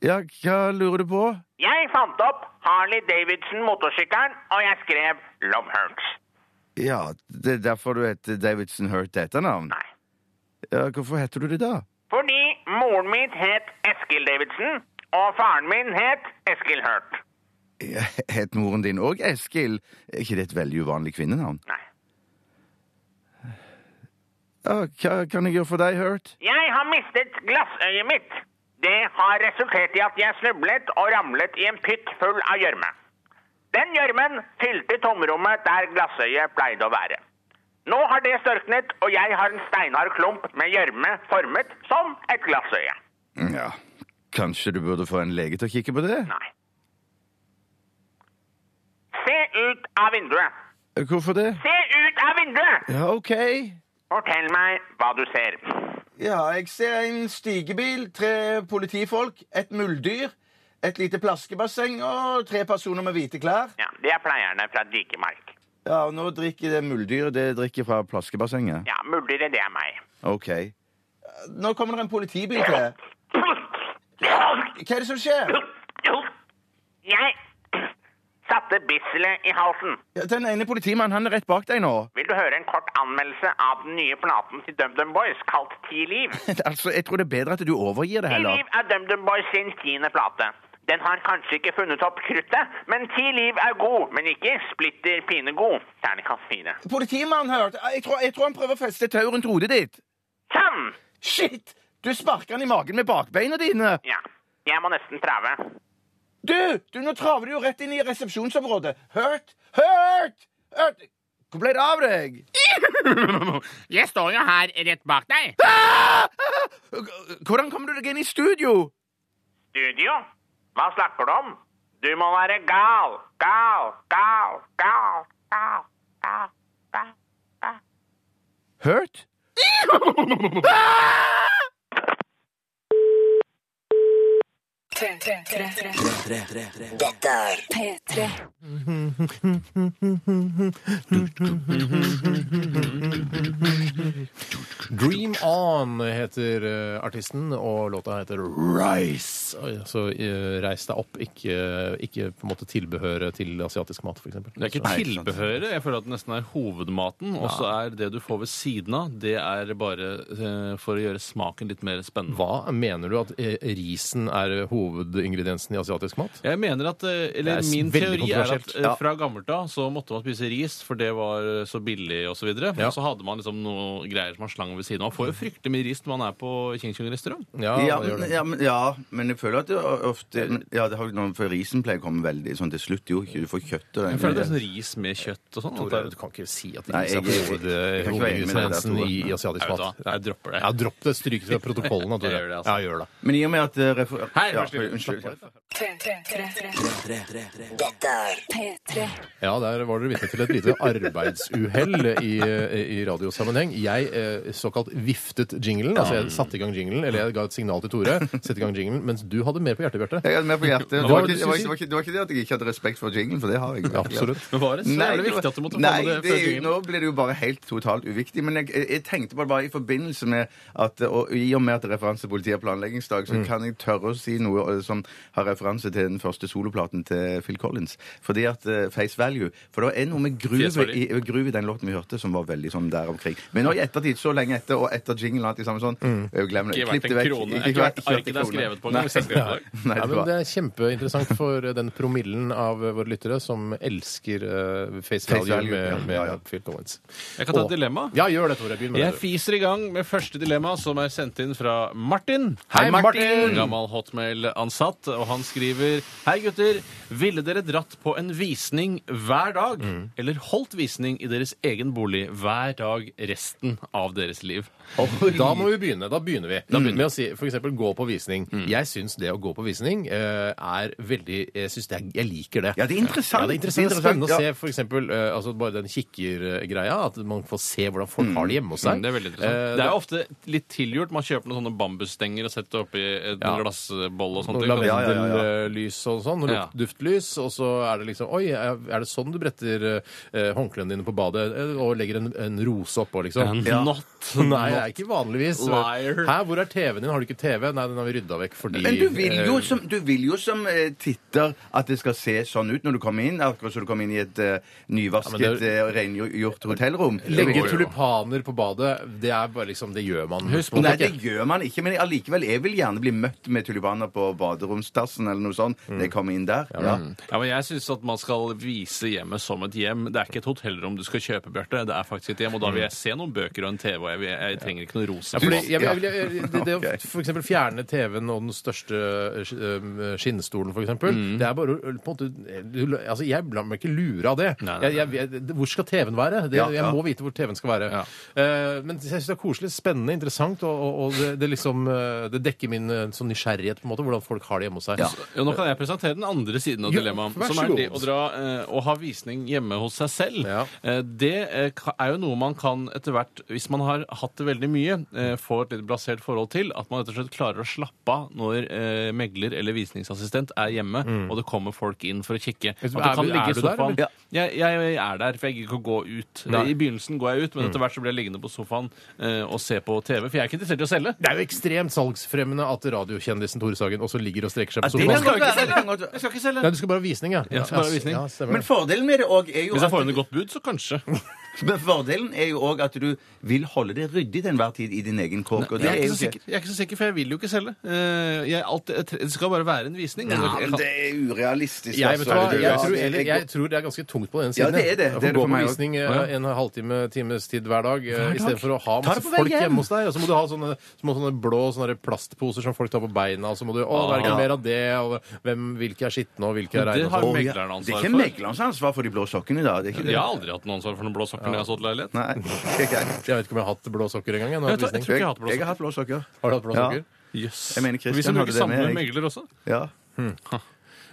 [SPEAKER 4] ja, hva lurer du på?
[SPEAKER 6] jeg fant opp Harley Davidson motorsykkelen, og jeg skrev Love Hurts.
[SPEAKER 4] Ja, det er derfor du heter Davidson Hurt til etternavn?
[SPEAKER 6] Nei.
[SPEAKER 4] Ja, hvorfor heter du det da?
[SPEAKER 6] Fordi moren min het Eskil Davidson, og faren min het Eskil Hurt.
[SPEAKER 4] Ja, Het moren din òg Eskil? Er ikke det et veldig uvanlig kvinnenavn?
[SPEAKER 6] Nei.
[SPEAKER 4] Ja, hva kan jeg gjøre for deg, Hurt?
[SPEAKER 6] Jeg har mistet glassøyet mitt. Det har resultert i at jeg snublet og ramlet i en pytt full av gjørme. Den gjørmen fylte tomrommet der glassøyet pleide å være. Nå har det størknet, og jeg har en steinhard klump med gjørme formet som et glassøye.
[SPEAKER 4] Ja, kanskje du burde få en lege til å kikke på det?
[SPEAKER 6] Nei. Se ut av vinduet!
[SPEAKER 4] Hvorfor det?
[SPEAKER 6] Se ut av vinduet!
[SPEAKER 4] Ja, OK.
[SPEAKER 6] Fortell meg hva du ser.
[SPEAKER 4] Ja, jeg ser en stigebil, tre politifolk, et muldyr, et lite plaskebasseng og tre personer med hvite klær.
[SPEAKER 6] Ja, Det er pleierne fra Dikemark.
[SPEAKER 4] Ja, og nå drikker det muldyret det drikker fra plaskebassenget.
[SPEAKER 6] Ja, muldere, det er meg.
[SPEAKER 4] OK. Nå kommer det en politibil til. Hva er det som skjer?
[SPEAKER 6] Jeg satt satte bisselet i halsen.
[SPEAKER 4] Ja, Den ene politimannen han er rett bak deg nå. [LAUGHS]
[SPEAKER 6] Vil du høre en kort anmeldelse av den nye platen til DumDum Boys kalt Ti liv?
[SPEAKER 4] Altså, Jeg tror det er bedre at du overgir det
[SPEAKER 6] Ti
[SPEAKER 4] heller.
[SPEAKER 6] liv er DumDum Boys sin tiende plate. Den har kanskje ikke funnet opp kruttet, men Ti liv er god, men ikke splitter pinegod. Terningkast fire.
[SPEAKER 4] Politimannen har hørt. Jeg tror, jeg tror han prøver å feste et tau rundt hodet ditt.
[SPEAKER 6] Sånn!
[SPEAKER 4] Shit! Du sparker han i magen med bakbeina dine.
[SPEAKER 6] Ja, jeg må nesten prøve.
[SPEAKER 4] Du, du, nå traver du jo rett inn i resepsjonsområdet. Hørt? Hørt? Hørt? Hvor ble det av deg?
[SPEAKER 7] [LAUGHS] Jeg står jo her rett bak deg.
[SPEAKER 4] Ah! Hvordan kommer du deg inn i studio?
[SPEAKER 6] Studio? Hva snakker du om? Du må være gal, gal, gal, gal, gal, gal, gal.
[SPEAKER 4] Hørt?
[SPEAKER 1] P3.
[SPEAKER 3] Dream On heter eh, artisten, og låta heter Rise. Oi, Så eh, reis deg opp, ikke, ikke på en måte tilbehøret til asiatisk mat, f.eks.
[SPEAKER 5] Det er ikke tilbehøret. Jeg føler at det nesten er hovedmaten. Og så er det du får ved siden av, det er bare eh, for å gjøre smaken litt mer spennende.
[SPEAKER 3] Hva mener du at eh, risen er hovedingrediensen i asiatisk mat?
[SPEAKER 5] Jeg mener at, eh,
[SPEAKER 3] Det
[SPEAKER 5] eller
[SPEAKER 3] er
[SPEAKER 5] Min
[SPEAKER 3] veldig
[SPEAKER 5] teori er at
[SPEAKER 3] kontroversielt.
[SPEAKER 5] eh, fra gammelt av så måtte man spise ris, for det var eh, så billig osv. Og, så videre.
[SPEAKER 3] Ja.
[SPEAKER 5] og så hadde man liksom noe greier som man slang ved siden av. Man får jo fryktelig mye ris når man er på King Kong restaurant.
[SPEAKER 3] Ja,
[SPEAKER 4] Ja,
[SPEAKER 3] det gjør
[SPEAKER 4] men,
[SPEAKER 3] det.
[SPEAKER 4] ja, men, ja, men jeg føler at det ofte men- Ja, det har jo noe for risen pleier å komme veldig sånn til slutt, jo. Ikke du får kjøtt og
[SPEAKER 5] Jeg føler det er sånn ris med kjøtt og sånn. at
[SPEAKER 3] Tore,
[SPEAKER 5] det er-
[SPEAKER 3] du kan ikke si at
[SPEAKER 4] Nei,
[SPEAKER 3] ris er
[SPEAKER 4] jeg- jeg- jeg kan ikke være enig med deg der,
[SPEAKER 3] hovedingrediensen
[SPEAKER 4] Tore.
[SPEAKER 3] i, i asiatisk
[SPEAKER 5] Jeg vet
[SPEAKER 3] mat.
[SPEAKER 5] hva, jeg dropper det.
[SPEAKER 3] Ja, dropp det. Stryk det fra protokollen.
[SPEAKER 5] [LAUGHS]
[SPEAKER 3] da, Tore.
[SPEAKER 5] Jeg gjør det, altså.
[SPEAKER 3] Ja, gjør det.
[SPEAKER 4] Men i og med at eh, refer...
[SPEAKER 5] Hei,
[SPEAKER 4] ja,
[SPEAKER 5] unnskyld.
[SPEAKER 4] unnskyld.
[SPEAKER 1] P3.
[SPEAKER 3] Ja, der var dere vitne til et lite arbeidsuhell i, i radiosammenheng. Jeg eh, såkalt viftet jinglen. Altså, jeg satte i gang jinglen, eller jeg ga et signal til Tore,
[SPEAKER 5] [LAUGHS]
[SPEAKER 3] sette i gang jinglen, mens du hadde mer på hjertet, Bjarte.
[SPEAKER 4] Jeg hadde mer på hjertet. Det
[SPEAKER 3] var
[SPEAKER 4] var, ikke,
[SPEAKER 3] det du
[SPEAKER 4] det, var ikke, det var
[SPEAKER 3] skulle
[SPEAKER 4] ikke- det var ikke det at jeg ikke hadde respekt for jinglen, for det har jeg. virkelig.
[SPEAKER 3] Absolutt.
[SPEAKER 5] Men var det så
[SPEAKER 4] Nei,
[SPEAKER 5] jævlig viktig at du måtte få
[SPEAKER 4] nei,
[SPEAKER 5] med det
[SPEAKER 4] det
[SPEAKER 5] før
[SPEAKER 4] er jo-
[SPEAKER 5] King
[SPEAKER 4] nå blir det jo bare helt totalt uviktig. Men jeg, jeg, jeg tenkte bare, bare i forbindelse med at og I og med at det er referanse til politiet og planleggingsdag,
[SPEAKER 5] Mm.
[SPEAKER 4] så kan jeg tørre å si noe eh, som har referanse til den første soloplaten til Phil Collins. Fordi at eh, Face Value For det er noe med
[SPEAKER 5] Face
[SPEAKER 4] groove
[SPEAKER 5] Value.
[SPEAKER 4] i, groove i den låten vi hørte, som var veldig sånn der omkring. Men nå i ettertid, så lenge etter, og etter jinglen og alt det samme sånn eh, Glem det.
[SPEAKER 5] Mm. Ikke
[SPEAKER 4] Klipp
[SPEAKER 5] verdt
[SPEAKER 4] det
[SPEAKER 5] en
[SPEAKER 4] vekk.
[SPEAKER 5] krone. Ikke verdt arket det er skrevet på. engang, hvis jeg skrev det.
[SPEAKER 4] Nei,
[SPEAKER 3] Ja,
[SPEAKER 4] det
[SPEAKER 3] men
[SPEAKER 4] var
[SPEAKER 3] det er kjempeinteressant for eh, den promillen av eh, våre lyttere som elsker eh, face
[SPEAKER 4] Face
[SPEAKER 3] value,
[SPEAKER 4] value, ja,
[SPEAKER 3] med, med
[SPEAKER 4] ja, ja.
[SPEAKER 3] Phil Collins.
[SPEAKER 5] Jeg kan ta
[SPEAKER 3] Og-
[SPEAKER 5] et dilemma.
[SPEAKER 3] Ja, gjør det, Tore. Begynn med
[SPEAKER 5] Jeg
[SPEAKER 3] det.
[SPEAKER 5] fiser i gang med første dilemma, som er sendt inn fra Martin.
[SPEAKER 3] Hei, Martin!
[SPEAKER 5] Gammel hotmail-ansatt, og han skriver Hei, gutter. Ville dere dratt på en visning hver dag, eller holdt visning i deres egen bolig hver dag resten av deres liv?
[SPEAKER 3] Da må vi begynne. Da begynner vi. Da begynner vi å si f.eks. gå på visning. Jeg syns det å gå på visning eh, er veldig Jeg syns det er Jeg liker det.
[SPEAKER 4] Ja, det er interessant.
[SPEAKER 3] Ja, det er interessant.
[SPEAKER 4] Det er
[SPEAKER 3] spennende
[SPEAKER 4] interessant,
[SPEAKER 3] å se for eksempel, eh, altså bare den kikkergreia. At man får se hvordan folk har det hjemme hos seg.
[SPEAKER 5] Mm, Det er veldig interessant.
[SPEAKER 3] Eh,
[SPEAKER 5] det er ofte litt tilgjort. Man kjøper noen sånne bambusstenger og setter oppi en
[SPEAKER 3] Ja.
[SPEAKER 5] glassbolle og sånt.
[SPEAKER 3] Noe
[SPEAKER 5] Ikke sant?
[SPEAKER 4] ja, ja.
[SPEAKER 3] lavendellys og sånn, og
[SPEAKER 5] Ja.
[SPEAKER 3] lukt- duftlys, og så er det liksom Oi, er det sånn du bretter eh, håndklærne dine på badet? eh, Og legger en, en rose oppå, liksom?
[SPEAKER 4] [LAUGHS]
[SPEAKER 5] En Not.
[SPEAKER 3] Nei, det er ikke vanligvis.
[SPEAKER 5] Liar.
[SPEAKER 3] Hæ, hvor er TV-en din? Har du ikke TV? Nei, den har vi rydda vekk fordi
[SPEAKER 4] Men du vil jo
[SPEAKER 3] eh,
[SPEAKER 4] som, du vil jo som eh, titter at det skal se sånn ut når du kommer inn, akkurat som du kommer inn i et eh, nyvasket,
[SPEAKER 3] Ja, men det-
[SPEAKER 4] eh, rengjort hotellrom.
[SPEAKER 3] Legge
[SPEAKER 5] Jo, jo.
[SPEAKER 3] tulipaner på badet, det er bare liksom Det gjør man. Husk
[SPEAKER 4] Nei, det gjør man ikke, men allikevel, jeg vil gjerne bli møtt med tulipaner på baderomstassen eller noe sånt
[SPEAKER 3] Mm.
[SPEAKER 4] når jeg kommer inn der. Ja.
[SPEAKER 5] Ja, men Jeg syns at man skal vise hjemmet som et hjem. Det er ikke et hotellrom du skal kjøpe, Bjarte. Det er faktisk et hjem, og da vil jeg se noen bøker og en TV, og jeg, vil, jeg trenger ikke noe rosa.
[SPEAKER 3] Fordi,
[SPEAKER 5] mat.
[SPEAKER 3] jeg, jeg, jeg, jeg, det, det å
[SPEAKER 5] [LAUGHS]
[SPEAKER 4] Ok.
[SPEAKER 3] for eksempel fjerne TV-en og den største eh, skinnstolen, for eksempel,
[SPEAKER 5] Mm.
[SPEAKER 3] det er bare å- på en måte du- Altså, jeg lar meg ikke lure av det.
[SPEAKER 5] Nei, nei,
[SPEAKER 3] Jeg, jeg, jeg, hvor skal TV-en være? Det,
[SPEAKER 4] Ja,
[SPEAKER 3] Jeg
[SPEAKER 4] ja.
[SPEAKER 3] må vite hvor TV-en skal være.
[SPEAKER 5] Ja.
[SPEAKER 3] Eh, men jeg syns det er koselig, spennende, interessant, og, og, og det, det liksom eh, Det dekker min eh, sånn nysgjerrighet, på en måte, hvordan folk har det hjemme hos seg.
[SPEAKER 5] Ja, nå kan jeg presentere den andre siden av
[SPEAKER 3] Ja,
[SPEAKER 5] dilemmaet,
[SPEAKER 3] vær så
[SPEAKER 5] som er
[SPEAKER 3] god.
[SPEAKER 5] det å dra eh, og ha visning hjemme hos seg selv.
[SPEAKER 3] Ja.
[SPEAKER 5] Eh, det eh, ka- er jo noe man kan etter hvert, hvis man har hatt det veldig mye, eh, få et litt blasert forhold til, at man rett og slett klarer å slappe av når eh, megler eller visningsassistent er hjemme, og det kommer folk inn for å kikke. At
[SPEAKER 3] Mm. er-
[SPEAKER 5] kan
[SPEAKER 3] er
[SPEAKER 5] ligge i
[SPEAKER 3] du der,
[SPEAKER 5] sofaen-
[SPEAKER 3] eller?
[SPEAKER 5] Jeg, jeg, jeg er der, for jeg gidder ikke å gå ut.
[SPEAKER 3] Nei. Mm.
[SPEAKER 5] I begynnelsen går jeg ut, men etter hvert så blir jeg liggende på sofaen eh, og se på TV, for jeg er ikke interessert i å selge.
[SPEAKER 3] Det er jo ekstremt salgsfremmende at radiokjendisen Tore Sagen også ligger og strekker seg på
[SPEAKER 4] det
[SPEAKER 3] sofaen.
[SPEAKER 4] kan
[SPEAKER 5] skal
[SPEAKER 4] godt
[SPEAKER 5] ikke
[SPEAKER 4] være,
[SPEAKER 5] selge.
[SPEAKER 4] det kan godt være.
[SPEAKER 5] Jeg skal ikke selge.
[SPEAKER 3] Nei, du skal bare ha visning, ja.
[SPEAKER 5] Ja, skal bare ha visning.
[SPEAKER 3] Ja, stemmer
[SPEAKER 4] Men
[SPEAKER 3] det.
[SPEAKER 4] fordelen med det òg er jo
[SPEAKER 5] Hvis jeg
[SPEAKER 4] at
[SPEAKER 5] får inn et godt bud, så kanskje.
[SPEAKER 4] Men fordelen er jo òg at du vil holde det ryddig til enhver tid i din egen kåk. Og det
[SPEAKER 5] Jeg
[SPEAKER 4] er
[SPEAKER 5] er,
[SPEAKER 4] jo
[SPEAKER 5] ikke så sikker,
[SPEAKER 4] ikke
[SPEAKER 5] jeg er ikke så sikker, for jeg vil jo ikke selge. Eh, Jeg, alt, jeg, tre- det skal bare være en visning.
[SPEAKER 4] Ja, men det er urealistisk.
[SPEAKER 3] Jeg, vet
[SPEAKER 4] altså.
[SPEAKER 3] du hva,
[SPEAKER 4] Det er
[SPEAKER 3] jeg,
[SPEAKER 4] jo-
[SPEAKER 3] tror, eller, jeg
[SPEAKER 4] jeg-
[SPEAKER 3] tror det er ganske tungt på den
[SPEAKER 4] Ja,
[SPEAKER 3] siden.
[SPEAKER 4] det er det.
[SPEAKER 3] Jeg
[SPEAKER 4] Det er
[SPEAKER 3] får
[SPEAKER 4] det
[SPEAKER 3] gå
[SPEAKER 4] for
[SPEAKER 3] på
[SPEAKER 4] meg
[SPEAKER 3] visning eh, en halvtime, times tid hver dag, eh, i stedet for å ha
[SPEAKER 4] det
[SPEAKER 3] masse
[SPEAKER 4] på vei
[SPEAKER 3] folk
[SPEAKER 4] hjem.
[SPEAKER 3] hjemme hos deg. Og så må du ha sånne små sånne blå sånne plastposer som folk tar på beina, og så må du Å, det er
[SPEAKER 4] Ah.
[SPEAKER 3] ikke mer av det, og hvem, hvilke er skitne, og hvilke er
[SPEAKER 5] det
[SPEAKER 3] reine.
[SPEAKER 5] har
[SPEAKER 3] og sånn.
[SPEAKER 4] Det
[SPEAKER 5] megleren
[SPEAKER 4] er
[SPEAKER 5] ansvar
[SPEAKER 4] ikke
[SPEAKER 5] for.
[SPEAKER 4] meglerens ansvar for de blå sokkene, da. Det er ikke det.
[SPEAKER 5] Jeg har aldri hatt noe ansvar for noen blå sokker når jeg har stått i leilighet.
[SPEAKER 4] Nei. det er ikke jeg.
[SPEAKER 3] Jeg vet ikke om jeg har hatt blå sokker engang. jeg, når
[SPEAKER 5] Jeg
[SPEAKER 3] jeg
[SPEAKER 5] tror-
[SPEAKER 3] har
[SPEAKER 5] jeg
[SPEAKER 3] visning.
[SPEAKER 5] tror- ikke jeg har hatt blå
[SPEAKER 4] Jeg har hatt blå sokker.
[SPEAKER 3] Har du hatt blå
[SPEAKER 4] Ja.
[SPEAKER 3] sokker?
[SPEAKER 5] Yes.
[SPEAKER 4] Jeg mener
[SPEAKER 5] Vi
[SPEAKER 4] Christian
[SPEAKER 5] som
[SPEAKER 4] hadde
[SPEAKER 5] bruker
[SPEAKER 4] det med-
[SPEAKER 5] samme megler også.
[SPEAKER 4] Ja.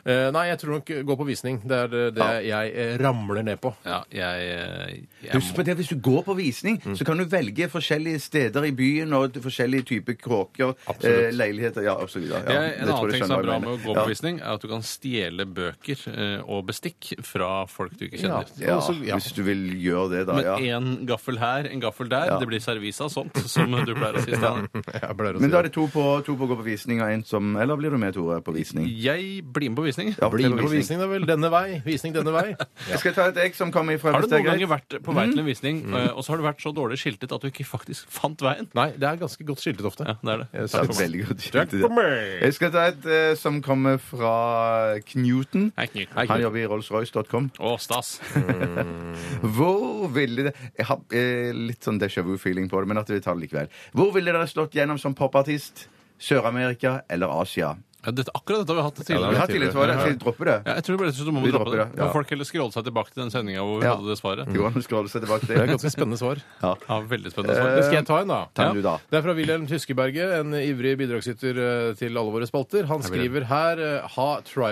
[SPEAKER 3] Eh, nei, jeg tror nok gå på visning. Det er det det jeg eh, ramler ned på.
[SPEAKER 5] Ja, jeg, Mm.
[SPEAKER 4] Husk på det, Hvis du går på visning, så kan du velge forskjellige steder i byen og forskjellige typer kråker,
[SPEAKER 3] Absolutt.
[SPEAKER 4] eh, leiligheter ja, og så videre. Ja,
[SPEAKER 5] Jeg,
[SPEAKER 4] det
[SPEAKER 5] en
[SPEAKER 4] tror
[SPEAKER 5] annen
[SPEAKER 4] jeg
[SPEAKER 5] ting som
[SPEAKER 4] skjønner
[SPEAKER 5] er bra
[SPEAKER 4] hva jeg
[SPEAKER 5] med å gå
[SPEAKER 4] mener.
[SPEAKER 5] på visning, er at du kan stjele bøker eh, og bestikk fra folk du ikke kjenner.
[SPEAKER 4] Ja,
[SPEAKER 3] Og så-
[SPEAKER 4] ja, [LAUGHS]
[SPEAKER 3] ja.
[SPEAKER 4] hvis du vil gjøre det, da.
[SPEAKER 5] Men
[SPEAKER 4] ja.
[SPEAKER 5] én gaffel her, en gaffel der.
[SPEAKER 4] Ja.
[SPEAKER 5] Det blir servise av sånt, som du pleier å si. [LAUGHS] Stian.
[SPEAKER 3] Jeg pleier å si
[SPEAKER 4] Men da er det to på, to på å gå på visning og en som Eller blir du med, Tore, på visning?
[SPEAKER 5] Jeg blir med på visning.
[SPEAKER 4] Ja,
[SPEAKER 3] Bli
[SPEAKER 4] fortell om
[SPEAKER 3] med på visning, da vel. Denne vei. Visning denne vei.
[SPEAKER 4] Jeg skal ta et egg som kommer fra
[SPEAKER 5] Har du noen ganger vært på vei til en visning, eh, og så har du vært så dårlig skiltet at du ikke faktisk fant veien?
[SPEAKER 3] Nei, det er ganske godt skiltet ofte.
[SPEAKER 5] Ja, det er det.
[SPEAKER 4] Ja, veldig godt. Jeg skal ta et eh, som kommer fra Knuten.
[SPEAKER 5] Hei, Knut.
[SPEAKER 4] Han jobber i rolls-royce.com.
[SPEAKER 5] Å, stas.
[SPEAKER 4] Hvor ville det Jeg har eh, litt sånn déjà vu-feeling på det, men at vi tar det likevel. Hvor ville dere slått gjennom som popartist? Sør-Amerika eller Asia?
[SPEAKER 5] Ja, dette, akkurat dette har vi hatt
[SPEAKER 4] Vi
[SPEAKER 5] tidligere.
[SPEAKER 4] har tidligere svar, skal vi droppe det?
[SPEAKER 5] Ja, jeg tror det ble så må
[SPEAKER 4] Vi
[SPEAKER 5] vi droppe det.
[SPEAKER 4] dropper det, ja.
[SPEAKER 5] Må Folk heller scrolle seg tilbake til den sendinga hvor vi
[SPEAKER 4] Ja.
[SPEAKER 5] hadde det svaret.
[SPEAKER 4] Det går an å scrolle seg tilbake
[SPEAKER 3] Det er
[SPEAKER 4] til.
[SPEAKER 3] ganske spennende svar.
[SPEAKER 5] Ja, veldig spennende svar.
[SPEAKER 3] Men [LAUGHS] skal jeg ta en, da?
[SPEAKER 4] Ta den du da.
[SPEAKER 3] Det er fra Wilhelm Tyskeberget, en ivrig bidragsyter eh, til alle våre spalter. Han skriver her eh, ha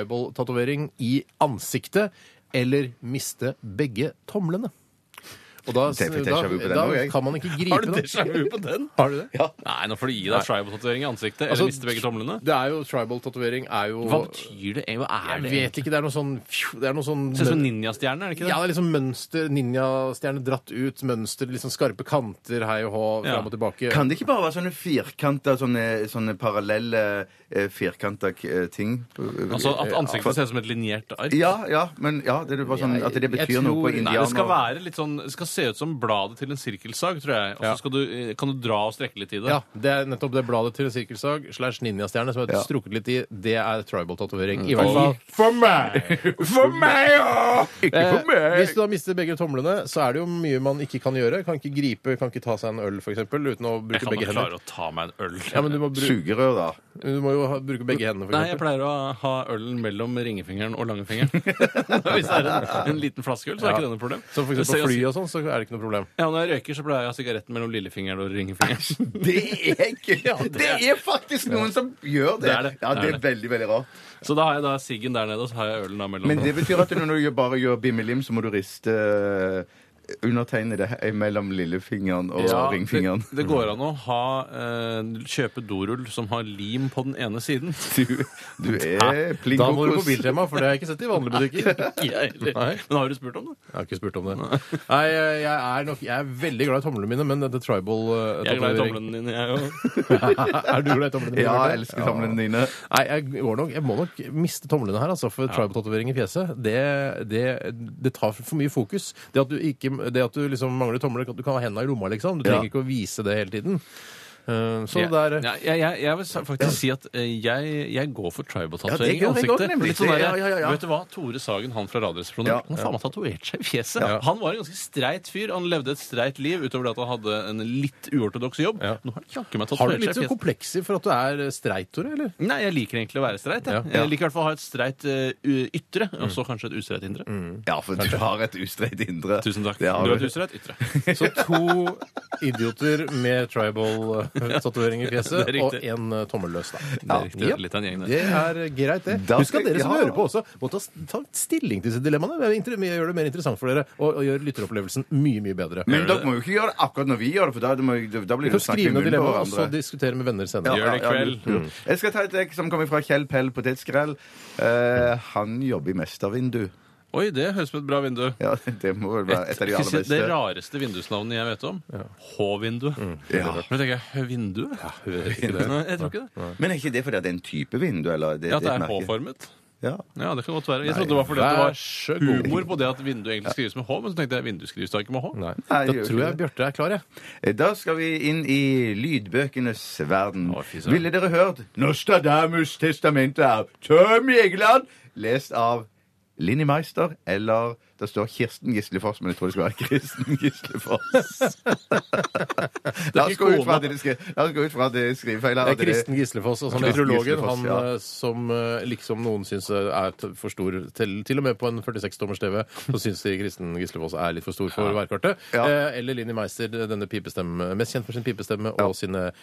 [SPEAKER 3] tribal-tatovering i ansiktet eller miste begge tomlene. Og da,
[SPEAKER 4] Det fikk jeg
[SPEAKER 3] da,
[SPEAKER 4] déjà vu på den
[SPEAKER 3] da
[SPEAKER 4] også, jeg.
[SPEAKER 3] kan man ikke gripe [LAUGHS]
[SPEAKER 5] Har du déjà vu på den?
[SPEAKER 3] Har du det?
[SPEAKER 5] Nei, nå får du gi deg tribal-tatovering i ansiktet
[SPEAKER 3] Altså,
[SPEAKER 5] eller miste begge tomlene.
[SPEAKER 3] Det er jo Tribal-tatovering er jo
[SPEAKER 5] Hva betyr det? Hva er
[SPEAKER 3] Jeg
[SPEAKER 5] det?
[SPEAKER 3] vet ikke. Det er noe sånn fju, Det er noe sånn
[SPEAKER 5] Ser ut som ninjastjerne, er det ikke
[SPEAKER 3] Ja,
[SPEAKER 5] det?
[SPEAKER 3] det er liksom mønster, ninjastjerne dratt ut, mønster, liksom skarpe kanter, hei og hå,
[SPEAKER 5] Ja.
[SPEAKER 3] fram og tilbake.
[SPEAKER 4] Kan det ikke bare være sånne firkanta, sånne, sånne parallelle eh, firkanta eh, ting?
[SPEAKER 5] Altså At ansiktet ser ut som et linjert ark?
[SPEAKER 4] Ja, ja, men ja, det er bare sånn at det
[SPEAKER 3] Jeg- jeg
[SPEAKER 4] betyr noe på
[SPEAKER 3] tror-
[SPEAKER 5] Nei, det skal
[SPEAKER 4] indianer...
[SPEAKER 5] være litt sånn Det skal se ut som bladet til en sirkelsag, tror jeg. Og så
[SPEAKER 3] Ja.
[SPEAKER 5] skal du, eh, kan du dra og strekke litt i det.
[SPEAKER 3] Ja, det er nettopp det bladet til en sirkelsag slash ninjastjerne som er
[SPEAKER 4] Ja. Mm.
[SPEAKER 3] strukket litt i. Det er tribal-tatovering. I hvert fall
[SPEAKER 5] Og-
[SPEAKER 3] for meg!
[SPEAKER 4] For meg, ja! Ikke
[SPEAKER 3] Eh,
[SPEAKER 4] for meg!
[SPEAKER 3] hvis du da mister begge tomlene, så er det jo mye man ikke kan gjøre. Kan ikke gripe, kan ikke ta seg en øl, for eksempel, uten å
[SPEAKER 5] Jeg
[SPEAKER 3] bruke
[SPEAKER 5] kan
[SPEAKER 3] begge
[SPEAKER 5] ikke
[SPEAKER 3] hender.
[SPEAKER 5] klare å ta meg en øl.
[SPEAKER 3] Ja, men du må, bru
[SPEAKER 4] Sugerør, da.
[SPEAKER 3] du må jo ha- bruke begge hendene, for
[SPEAKER 5] Nei, jeg
[SPEAKER 3] eksempel.
[SPEAKER 5] pleier å ha ølen mellom ringefingeren
[SPEAKER 3] [LAUGHS]
[SPEAKER 5] og langefingeren. Hvis det er en, en liten flaske øl, så er ikke det noe problem.
[SPEAKER 3] Så for
[SPEAKER 5] Det ser
[SPEAKER 3] eksempel på
[SPEAKER 5] jo-
[SPEAKER 3] fly og sånn, så er det ikke noe problem.
[SPEAKER 5] Ja, Når jeg røyker, så pleier jeg å ha sigaretten mellom lillefingeren og
[SPEAKER 3] [LAUGHS]
[SPEAKER 5] ringefingeren.
[SPEAKER 4] Det er
[SPEAKER 5] [LAUGHS]
[SPEAKER 4] ekkelt! det, er faktisk noen som gjør det.
[SPEAKER 5] Det er det.
[SPEAKER 4] Ja, det
[SPEAKER 5] Det er
[SPEAKER 4] er veldig, veldig rart.
[SPEAKER 5] Så da har jeg da siggen der nede, og så har jeg ølen da mellom.
[SPEAKER 4] Men det betyr at når du gjør- bare gjør bimmelim, så må du riste eh, undertegne det he- mellom lillefingeren og
[SPEAKER 5] Ja,
[SPEAKER 4] ringfingeren. [LAUGHS]
[SPEAKER 5] Det, det går an å ha, eh, kjøpe dorull som har lim på den ene siden.
[SPEAKER 4] Du, du er plink
[SPEAKER 3] Da må du
[SPEAKER 4] kokos.
[SPEAKER 3] på Biltema, for det har jeg ikke sett i vanlige butikker.
[SPEAKER 5] [LAUGHS] Jeg, eller-
[SPEAKER 3] Nei.
[SPEAKER 5] men har du spurt om det?
[SPEAKER 3] Jeg har ikke spurt om det. Nei, jeg er nok Jeg er veldig glad i tomlene mine, men dette
[SPEAKER 5] Jeg er glad i
[SPEAKER 3] tribal-tatovering
[SPEAKER 5] tomlene dine, jeg òg.
[SPEAKER 3] [LAUGHS]
[SPEAKER 5] [LAUGHS]
[SPEAKER 3] Er du glad i tomlene dine?
[SPEAKER 4] Ja,
[SPEAKER 3] Bjarte?
[SPEAKER 4] jeg elsker samlene dine.
[SPEAKER 3] Nei, jeg, går nok, jeg må nok miste tomlene her, altså, for tribal-tatovering i fjeset, det, det, det tar for mye fokus. Det at du, ikke, det at du liksom mangler tomler, at du kan ha hendene i lomma, liksom. Du
[SPEAKER 4] Ja.
[SPEAKER 3] trenger ikke å vise det hele tiden. Eh, så
[SPEAKER 5] Ja.
[SPEAKER 3] det er
[SPEAKER 5] Ja, jeg, jeg, jeg vil sa- faktisk si at eh, jeg, jeg går for
[SPEAKER 4] Ja,
[SPEAKER 5] tribal-tatovering
[SPEAKER 4] det gjør
[SPEAKER 5] i
[SPEAKER 4] jeg også,
[SPEAKER 5] ansiktet.
[SPEAKER 4] nemlig.
[SPEAKER 5] Litt sånn der,
[SPEAKER 4] Ja, ja, ja, ja.
[SPEAKER 5] Vet du hva? Tore Sagen, han fra Radioresepsjonen,
[SPEAKER 4] Ja.
[SPEAKER 5] han har faen meg tatovert seg i fjeset.
[SPEAKER 4] Ja.
[SPEAKER 5] Han var en ganske streit fyr. Han levde et streit liv utover det at han hadde en litt uortodoks jobb.
[SPEAKER 3] Ja.
[SPEAKER 5] Nå har han jakke meg
[SPEAKER 3] Har du
[SPEAKER 5] tatovert
[SPEAKER 3] litt
[SPEAKER 5] seg i
[SPEAKER 3] så
[SPEAKER 5] fjeset.
[SPEAKER 3] komplekser for at du er streit, Tore?
[SPEAKER 5] [LAUGHS]
[SPEAKER 3] Eller?
[SPEAKER 5] Nei, jeg liker egentlig å være streit. Jeg,
[SPEAKER 3] Ja.
[SPEAKER 5] jeg liker i hvert fall å ha et streit eh, u- ytre, og så kanskje et ustreit indre.
[SPEAKER 4] Ja, for du har et ustreit indre.
[SPEAKER 5] Tusen takk.
[SPEAKER 4] Det har
[SPEAKER 5] Du Mm. har et
[SPEAKER 4] du.
[SPEAKER 5] ustreit [LAUGHS] ytre.
[SPEAKER 3] Så to idioter med tribal-tatovering i fjeset,
[SPEAKER 5] [LAUGHS] Det er
[SPEAKER 3] og
[SPEAKER 5] riktig.
[SPEAKER 3] en eh, tommelløs, da.
[SPEAKER 5] Det er riktig.
[SPEAKER 3] Ja.
[SPEAKER 5] Litt av en gjeng, det.
[SPEAKER 3] Det er greit, det.
[SPEAKER 4] Da
[SPEAKER 3] Husk
[SPEAKER 4] skal-
[SPEAKER 3] at dere som
[SPEAKER 4] ja.
[SPEAKER 3] hører på også, må ta, ta stilling til disse dilemmaene. Det er inter- gjør det mer interessant for dere, og, og gjør lytteropplevelsen mye, mye bedre.
[SPEAKER 4] Men dere må jo ikke gjøre det akkurat når vi gjør det, for da, da, må, da blir det
[SPEAKER 3] Du kan
[SPEAKER 4] å snakke i
[SPEAKER 3] skrive ned
[SPEAKER 4] munnen på
[SPEAKER 3] dilemmaet og så
[SPEAKER 4] hverandre.
[SPEAKER 3] diskutere med venner senere.
[SPEAKER 5] Gjør det i kveld. Mm.
[SPEAKER 4] Ja, lurt. Eh, Jeg skal ta et egg som kommer fra Kjell Pell Potetskrell. Eh, han jobber i Mestervindu.
[SPEAKER 5] Oi, det høres ut som et bra vindu.
[SPEAKER 4] Ja, [LAUGHS] det må vel være et av de
[SPEAKER 5] Skal vi
[SPEAKER 4] aller
[SPEAKER 5] si Det
[SPEAKER 4] beste.
[SPEAKER 5] rareste vindusnavnet jeg vet om. H-vindu.
[SPEAKER 4] Ja.
[SPEAKER 5] Men tenker jeg, «Hø, vindu? Ja, Nei, jeg tror ikke det.
[SPEAKER 4] Men er ikke det fordi at det er en type vindu? Eller det,
[SPEAKER 5] Ja, At det er
[SPEAKER 4] et merke?
[SPEAKER 5] H-formet.
[SPEAKER 4] Ja.
[SPEAKER 5] Ja, det kan godt være. Jeg trodde det var fordi at
[SPEAKER 3] Vær så
[SPEAKER 5] det
[SPEAKER 3] god.
[SPEAKER 5] var humor på det at vindu egentlig skrives med H, men så tenkte jeg vindu skrives da ikke med H.
[SPEAKER 3] Nei.
[SPEAKER 4] Nei,
[SPEAKER 3] Da
[SPEAKER 4] det gjør
[SPEAKER 3] tror
[SPEAKER 4] ikke
[SPEAKER 3] jeg
[SPEAKER 4] det.
[SPEAKER 3] Bjarte er klar, jeg.
[SPEAKER 4] Eh, Da skal vi inn i lydbøkenes verden.
[SPEAKER 5] Å, fy søren.
[SPEAKER 4] Ville dere hørt Nostradamus' testamente av Tom Jægeland, lest av Linni Meister, eller det står Kirsten Gislefoss, men jeg tror det skal være [LAUGHS] Kristen Gislefoss.
[SPEAKER 5] [LAUGHS]
[SPEAKER 4] La oss gå ut fra at det er skri- la oss gå ut fra at det er skrivefeil. her,
[SPEAKER 3] Det
[SPEAKER 4] at
[SPEAKER 3] er Kristen Gislefoss, og som
[SPEAKER 4] Kristen
[SPEAKER 3] meteorologen,
[SPEAKER 4] Gislefoss,
[SPEAKER 3] han
[SPEAKER 4] ja.
[SPEAKER 3] eh, som eh, liksom noen syns er t- for stor til, til og med på en 46-tommers TV,
[SPEAKER 4] [LAUGHS]
[SPEAKER 3] så syns de Kristen Gislefoss er litt for stor for værkartet.
[SPEAKER 4] Ja.
[SPEAKER 3] Eh, Eller Linni Meister, denne pipestemme, mest kjent for sin pipestemme og sine,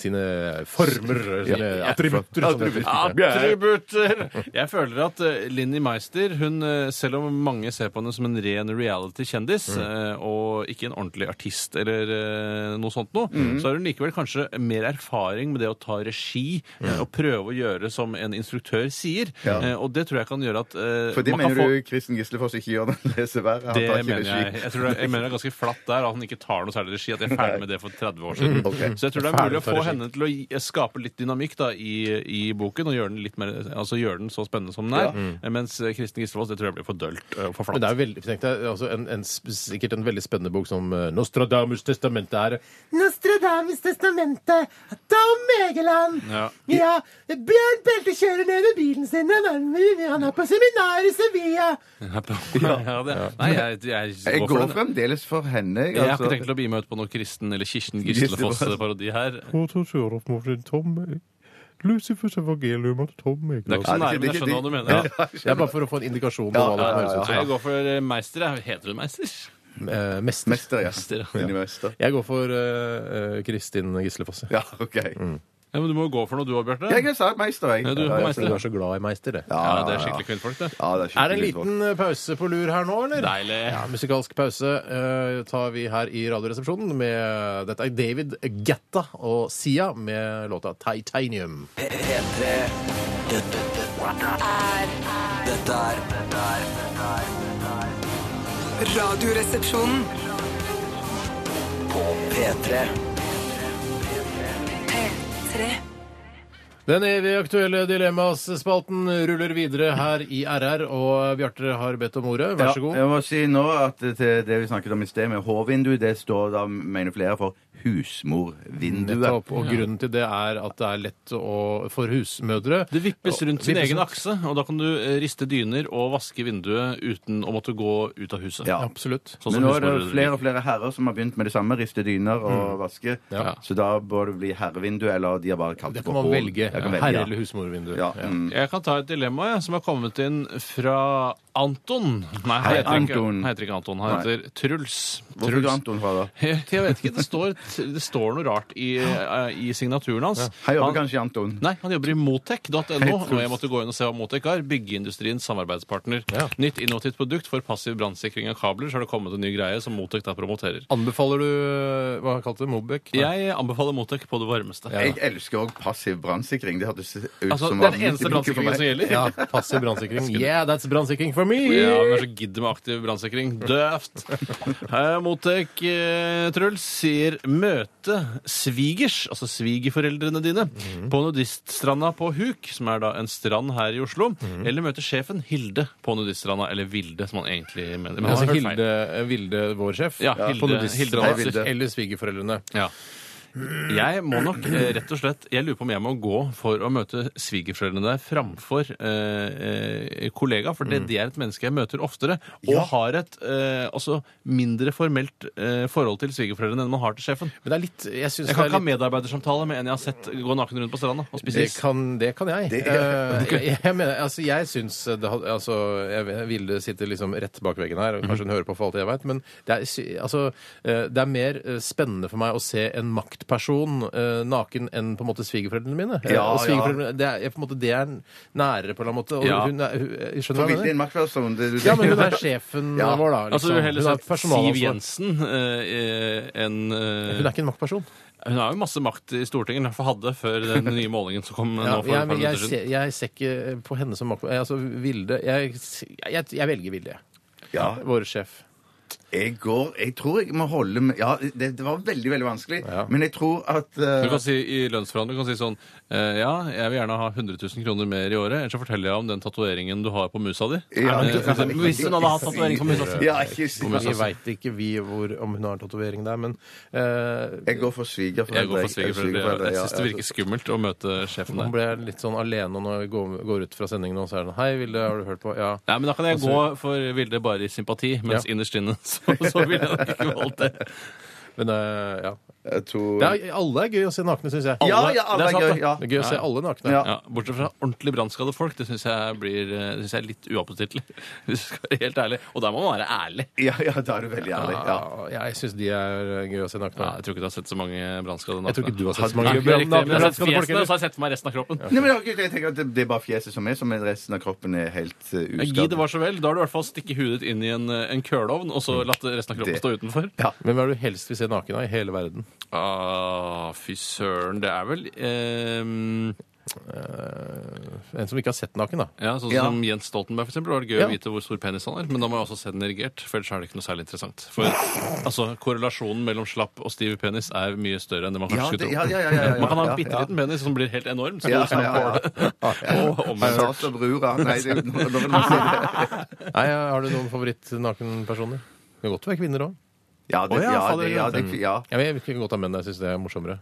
[SPEAKER 3] sine former, sine
[SPEAKER 4] Ja.
[SPEAKER 3] attributter. som det heter.
[SPEAKER 5] Attributter! Jeg føler at eh, Linni Meister, hun, eh, selv om mange ser på henne som en ren reality-kjendis,
[SPEAKER 4] Mm.
[SPEAKER 5] eh, og ikke en ordentlig artist eller eh, noe sånt noe,
[SPEAKER 4] Mm.
[SPEAKER 5] så har hun likevel kanskje mer erfaring med det å ta regi eh, og prøve å gjøre som en instruktør sier.
[SPEAKER 4] Mm. Ja.
[SPEAKER 5] Eh, Og det tror jeg kan gjøre at eh,
[SPEAKER 4] For det
[SPEAKER 5] man kan
[SPEAKER 4] mener
[SPEAKER 5] få-
[SPEAKER 4] du Kristen Gislefoss ikke gjør den leseværet? Han
[SPEAKER 5] det
[SPEAKER 4] tar ikke
[SPEAKER 5] mener
[SPEAKER 4] regi.
[SPEAKER 5] jeg. Jeg, tror det, jeg mener det er ganske flatt der at han ikke tar noe særlig regi. At jeg er ferdig med det for 30 år siden.
[SPEAKER 4] Ok.
[SPEAKER 5] Så jeg tror det er
[SPEAKER 3] Ferdig
[SPEAKER 5] mulig å
[SPEAKER 3] for
[SPEAKER 5] få
[SPEAKER 3] regi.
[SPEAKER 5] henne til å gi- skape litt dynamikk da, i, i boken, og gjøre den, litt mer, altså, gjøre den så spennende som den er. Mens eh, Kristin Gislevold, det tror jeg blir for dølt eh, og for
[SPEAKER 3] Men
[SPEAKER 5] flatt.
[SPEAKER 3] det er jo veldig, tenk deg, altså en, en, sp- sikkert en veldig spennende bok som eh, Nostradamus' testamente er.
[SPEAKER 8] Nostradamus' testamente. Tom Egeland.
[SPEAKER 5] Ja.
[SPEAKER 8] Ja, Bjørn Belte kjører ned med bilen sin. Han er- Han er på seminar i Sevilla.
[SPEAKER 5] [LAUGHS] ja, det, nei, jeg, jeg,
[SPEAKER 4] Jeg
[SPEAKER 5] går
[SPEAKER 4] går
[SPEAKER 5] for den.
[SPEAKER 4] fremdeles for henne.
[SPEAKER 5] Jeg har
[SPEAKER 4] altså.
[SPEAKER 5] ikke tenkt til å bli med ut på noe Kristen eller Kirsten
[SPEAKER 4] Gislefoss.
[SPEAKER 5] Gislefoss-parodi her.
[SPEAKER 9] Lucifers evangelium at Tom
[SPEAKER 5] Det er ikke så
[SPEAKER 4] Nei,
[SPEAKER 5] nære,
[SPEAKER 4] det er
[SPEAKER 5] men jeg
[SPEAKER 4] ikke-
[SPEAKER 5] skjønner hva du mener.
[SPEAKER 3] Ja. Det er bare for å få en indikasjon på
[SPEAKER 4] Ja,
[SPEAKER 3] hva det kan
[SPEAKER 4] ja,
[SPEAKER 3] høres
[SPEAKER 4] ja,
[SPEAKER 3] ut
[SPEAKER 5] Nei,
[SPEAKER 3] som.
[SPEAKER 5] jeg går for eh, Meister. jeg. Heter hun Meister?
[SPEAKER 3] Eh, Mester.
[SPEAKER 4] Mester, ja.
[SPEAKER 5] Mester, ja.
[SPEAKER 4] Linni Meister.
[SPEAKER 3] Jeg går for eh, eh, Kristin Gislefoss. jeg.
[SPEAKER 4] Ja, OK.
[SPEAKER 5] Ja, men du må jo gå for noe, du òg, Bjarte.
[SPEAKER 4] Jeg sa Meister, jeg.
[SPEAKER 5] Ja, du er
[SPEAKER 4] Ja,
[SPEAKER 5] Meister.
[SPEAKER 3] Du er så glad i Meister, det.
[SPEAKER 5] Ja, det er skikkelig kvinnfolk, det.
[SPEAKER 4] Ja, det er,
[SPEAKER 3] Er det en
[SPEAKER 4] skikkelig godt.
[SPEAKER 3] liten eh, pause på lur her nå, eller?
[SPEAKER 5] Deilig.
[SPEAKER 3] Ja, musikalsk pause eh, tar vi her i Radioresepsjonen med Dette er David Gatta og Sia med låta 'Titanium'.
[SPEAKER 2] P- P3 Dette dette- Dette er Dette er
[SPEAKER 1] Radioresepsjonen.
[SPEAKER 2] På P3
[SPEAKER 1] P3.
[SPEAKER 3] Den evig aktuelle Dilemmas-spalten ruller videre her i RR, og Bjarte har bedt om ordet. Vær så god.
[SPEAKER 4] Ja, jeg må si nå at det, det vi snakket om i sted med H-vindu, det står da, mener flere, for husmorvinduet.
[SPEAKER 3] Nettopp. Og grunnen til det er at det er lett å, for husmødre
[SPEAKER 5] Det vippes rundt sin
[SPEAKER 3] Vippes
[SPEAKER 5] egen
[SPEAKER 3] rundt.
[SPEAKER 5] akse, og da kan du eh, riste dyner og vaske vinduet uten å måtte gå ut av huset.
[SPEAKER 4] Ja.
[SPEAKER 3] Absolutt.
[SPEAKER 5] Sånn
[SPEAKER 4] Men
[SPEAKER 5] som
[SPEAKER 4] nå er det
[SPEAKER 5] husmødre
[SPEAKER 4] flere og
[SPEAKER 5] liker.
[SPEAKER 4] flere herrer som har begynt med det samme, riste dyner og vaske.
[SPEAKER 3] Ja.
[SPEAKER 4] Så da bør det bli herrevindu, eller de har bare kalt
[SPEAKER 3] Det
[SPEAKER 4] for
[SPEAKER 3] kan man
[SPEAKER 4] H.
[SPEAKER 3] velge.
[SPEAKER 4] Jeg kan
[SPEAKER 3] Herre-
[SPEAKER 4] ja.
[SPEAKER 3] eller husmorvindu.
[SPEAKER 4] Ja, mm.
[SPEAKER 5] Jeg kan ta et dilemma jeg, som har kommet inn fra Anton. Nei, han
[SPEAKER 4] Hei,
[SPEAKER 5] heter ikke-
[SPEAKER 4] Anton.
[SPEAKER 5] Han heter ikke Anton, han
[SPEAKER 4] Nei.
[SPEAKER 5] heter Truls.
[SPEAKER 4] Hvor fikk du Anton fra, da?
[SPEAKER 5] [LAUGHS] Jeg jeg vet ikke, det står, det står noe rart i, eh, i signaturen hans.
[SPEAKER 4] Her jobber
[SPEAKER 5] Han-
[SPEAKER 4] kanskje Anton.
[SPEAKER 5] Nei, han jobber i motec.no, og
[SPEAKER 4] Truls.
[SPEAKER 5] jeg måtte gå inn og se hva Motec er. Byggeindustriens samarbeidspartner. Nytt innovativt produkt for passiv brannsikring av kabler, så har det kommet en ny greie som Motec da promoterer.
[SPEAKER 3] Anbefaler du eh, Hva kalte du Mobek? Nei.
[SPEAKER 5] Jeg anbefaler Motec på det varmeste.
[SPEAKER 4] Jeg elsker òg passiv brannsikring. Det hørtes ut
[SPEAKER 5] Altså,
[SPEAKER 4] som
[SPEAKER 5] det er
[SPEAKER 4] vanlig
[SPEAKER 5] den eneste
[SPEAKER 4] bruk for
[SPEAKER 5] brannsikringen
[SPEAKER 4] meg.
[SPEAKER 5] som gjelder.
[SPEAKER 3] Ja, passiv brannsikring. Yeah, that's brannsikring for me!
[SPEAKER 5] Ja, men så gidder med aktiv brannsikring. Døvt! Her, Motec eh, Truls sier møte svigers, altså svigerforeldrene dine, på nudiststranda på Huk, som er da en strand her i Oslo, eller møte sjefen Hilde på nudiststranda, eller Vilde, som han egentlig mener. Men han
[SPEAKER 3] Altså
[SPEAKER 5] har hørt feil.
[SPEAKER 3] Hilde, Vilde, vår sjef,
[SPEAKER 5] Ja,
[SPEAKER 3] på
[SPEAKER 5] Hilde- Hilde
[SPEAKER 4] Hei,
[SPEAKER 3] nudiststranda.
[SPEAKER 4] Vilde.
[SPEAKER 3] Eller svigerforeldrene.
[SPEAKER 5] Ja. Jeg må nok eh, rett og slett Jeg lurer på om jeg må gå for å møte svigerforeldrene der framfor eh, eh, kollega, for
[SPEAKER 3] Mm.
[SPEAKER 5] det, det er et menneske jeg møter oftere, og har et eh, også mindre formelt eh, forhold til svigerforeldrene enn man har til sjefen.
[SPEAKER 3] Men det er litt Jeg syns
[SPEAKER 5] Jeg
[SPEAKER 3] det
[SPEAKER 5] kan
[SPEAKER 3] er
[SPEAKER 5] ikke ha
[SPEAKER 3] litt
[SPEAKER 5] medarbeidersamtale med en jeg har sett gå naken rundt på stranda og spise
[SPEAKER 3] det
[SPEAKER 5] is.
[SPEAKER 3] kan, det kan jeg.
[SPEAKER 5] [LAUGHS]
[SPEAKER 3] Eh, jeg, jeg mener, altså, jeg syns det had- altså, jeg, vet- Vilde sitter liksom rett bak veggen her, og kanskje
[SPEAKER 5] Mhm.
[SPEAKER 3] hun hører på for alt jeg veit, men det er, sy- altså, eh, det er mer eh, spennende for meg å se en maktperson eh, naken enn på en måte svigerforeldrene mine. Eh,
[SPEAKER 4] Ja,
[SPEAKER 3] og svigerforeldrene, det, er, på en måte, det er nærere, på en eller annen måte. Og
[SPEAKER 5] Ja.
[SPEAKER 3] hun, er- hun, jeg skjønner
[SPEAKER 4] For
[SPEAKER 3] hva jeg
[SPEAKER 4] Vilde er
[SPEAKER 3] mener.
[SPEAKER 4] en maktperson. det- du-
[SPEAKER 3] Ja, men hun er sjefen
[SPEAKER 4] Ja.
[SPEAKER 3] vår, da. liksom.
[SPEAKER 5] Altså, du vil
[SPEAKER 3] Hun
[SPEAKER 5] heller
[SPEAKER 3] har
[SPEAKER 5] sett Siv
[SPEAKER 3] personalansvar.
[SPEAKER 5] Jensen eh, eh, enn eh,
[SPEAKER 3] Hun er ikke en maktperson.
[SPEAKER 5] Hun har jo masse makt i Stortinget, i hvert fall hadde før den nye målingen som kom
[SPEAKER 3] Ja,
[SPEAKER 5] nå for
[SPEAKER 3] jeg,
[SPEAKER 5] et par
[SPEAKER 3] men jeg,
[SPEAKER 5] minutter siden.
[SPEAKER 3] ser, jeg ser ikke eh, på henne som makro... Altså, Vilde Jeg, jeg, jeg velger Vilde, jeg.
[SPEAKER 4] Ja,
[SPEAKER 3] Vår sjef.
[SPEAKER 4] jeg går Jeg tror jeg må holde med Ja, det, det var veldig, veldig vanskelig, men jeg tror at eh,
[SPEAKER 5] Du kan si i lønnsforhandling du kan si sånn eh, Ja, jeg vil gjerne ha 100 000 kroner mer i året, ellers så forteller jeg om den tatoveringen du har på musa di.
[SPEAKER 4] Ja,
[SPEAKER 5] Eh, for eksempel, hvis hun hadde hatt tatovering på musa si.
[SPEAKER 4] Ja, ikke si
[SPEAKER 3] Vi veit ikke vi hvor, om hun har en tatovering der, men eh,
[SPEAKER 4] Jeg går for svigerforeldre.
[SPEAKER 5] Jeg går for
[SPEAKER 4] svigerforeldre,
[SPEAKER 5] svigerforeldre. Jeg
[SPEAKER 4] ja,
[SPEAKER 5] syns det virker skummelt å møte sjefen
[SPEAKER 3] nå
[SPEAKER 5] der.
[SPEAKER 3] ble jeg litt sånn alene og når jeg går, går ut fra sendingen nå, så er det sånn Hei, Vilde, har du hørt på? Ja.
[SPEAKER 5] Nei, men Da kan jeg gå for Vilde bare i sympati, mens
[SPEAKER 3] Altså- Ja.
[SPEAKER 5] innerst inne så, så ville jeg nok ikke valgt det.
[SPEAKER 3] Men eh, ja.
[SPEAKER 4] altså, jeg tror...
[SPEAKER 3] Det er, alle er gøy å se nakne, syns jeg.
[SPEAKER 4] Ja,
[SPEAKER 5] alle-
[SPEAKER 4] ja, alle
[SPEAKER 5] det er
[SPEAKER 4] er
[SPEAKER 5] sant,
[SPEAKER 4] gøy.
[SPEAKER 5] det.
[SPEAKER 4] Ja.
[SPEAKER 3] Det er gøy å se alle nakne.
[SPEAKER 4] Ja.
[SPEAKER 5] Ja, Bortsett fra ordentlig brannskadde folk. Det syns jeg, blir, eh, det synes jeg er litt uappetittlig. [LAUGHS] Hvis du skal være helt ærlig. Og der må man være ærlig.
[SPEAKER 4] ja, ja, da er du veldig ærlig. Ja.
[SPEAKER 3] Ja, jeg syns de er gøy å se nakne.
[SPEAKER 5] Ja, jeg tror ikke du har sett så mange brannskadde
[SPEAKER 3] Jeg tror ikke du har sett så
[SPEAKER 5] Nei,
[SPEAKER 3] mange
[SPEAKER 5] det er
[SPEAKER 3] nakne
[SPEAKER 5] riktig, men jeg har sett
[SPEAKER 3] nakne folk
[SPEAKER 5] fjesene, og så
[SPEAKER 3] heller.
[SPEAKER 5] har jeg sett for meg resten av kroppen.
[SPEAKER 4] Nei, men jeg, jeg tenker at det, det er bare fjeset som er, som er resten av kroppen er helt uh,
[SPEAKER 5] Ja, Gi det var så vel. Da har du i hvert fall stikket hudet ditt inn i en, eh, en kølovn, og så latt resten av kroppen
[SPEAKER 4] Mm. Det-
[SPEAKER 5] stå utenfor.
[SPEAKER 3] Men hva er det du helst vil se naken av i hele verden?
[SPEAKER 5] Ah, fy søren. Det er vel eh,
[SPEAKER 3] Eh, en som ikke har sett naken, da.
[SPEAKER 5] Ja, sånn
[SPEAKER 4] Ja.
[SPEAKER 5] som Jens Stoltenberg, for eksempel. Da er det gøy
[SPEAKER 3] Ja.
[SPEAKER 5] å vite hvor stor penis han har, men da må jeg også se den erigert, for ellers er det ikke noe særlig interessant. For altså, korrelasjonen mellom slapp og stiv penis er mye større enn det man kanskje
[SPEAKER 4] Ja,
[SPEAKER 5] skulle
[SPEAKER 4] det-
[SPEAKER 5] tro.
[SPEAKER 4] ja, ja, ja, ja, ja,
[SPEAKER 5] man kan ha en
[SPEAKER 4] ja,
[SPEAKER 5] bitte liten penis som blir helt enorm. Så
[SPEAKER 4] Ja,
[SPEAKER 5] det er
[SPEAKER 4] ja, ja,
[SPEAKER 5] sånn Og omvendt.
[SPEAKER 4] Sats og brura. Nei, det, nå, nå vil man si det.
[SPEAKER 3] Nei, Har du noen favorittnakenpersoner? Det kan godt være kvinner òg.
[SPEAKER 4] Ja, det,
[SPEAKER 3] Å, ja,
[SPEAKER 4] ja,
[SPEAKER 3] fader,
[SPEAKER 4] det, ja, det, ja.
[SPEAKER 3] Jeg vil ikke godt ha menn. Jeg syns det er morsommere.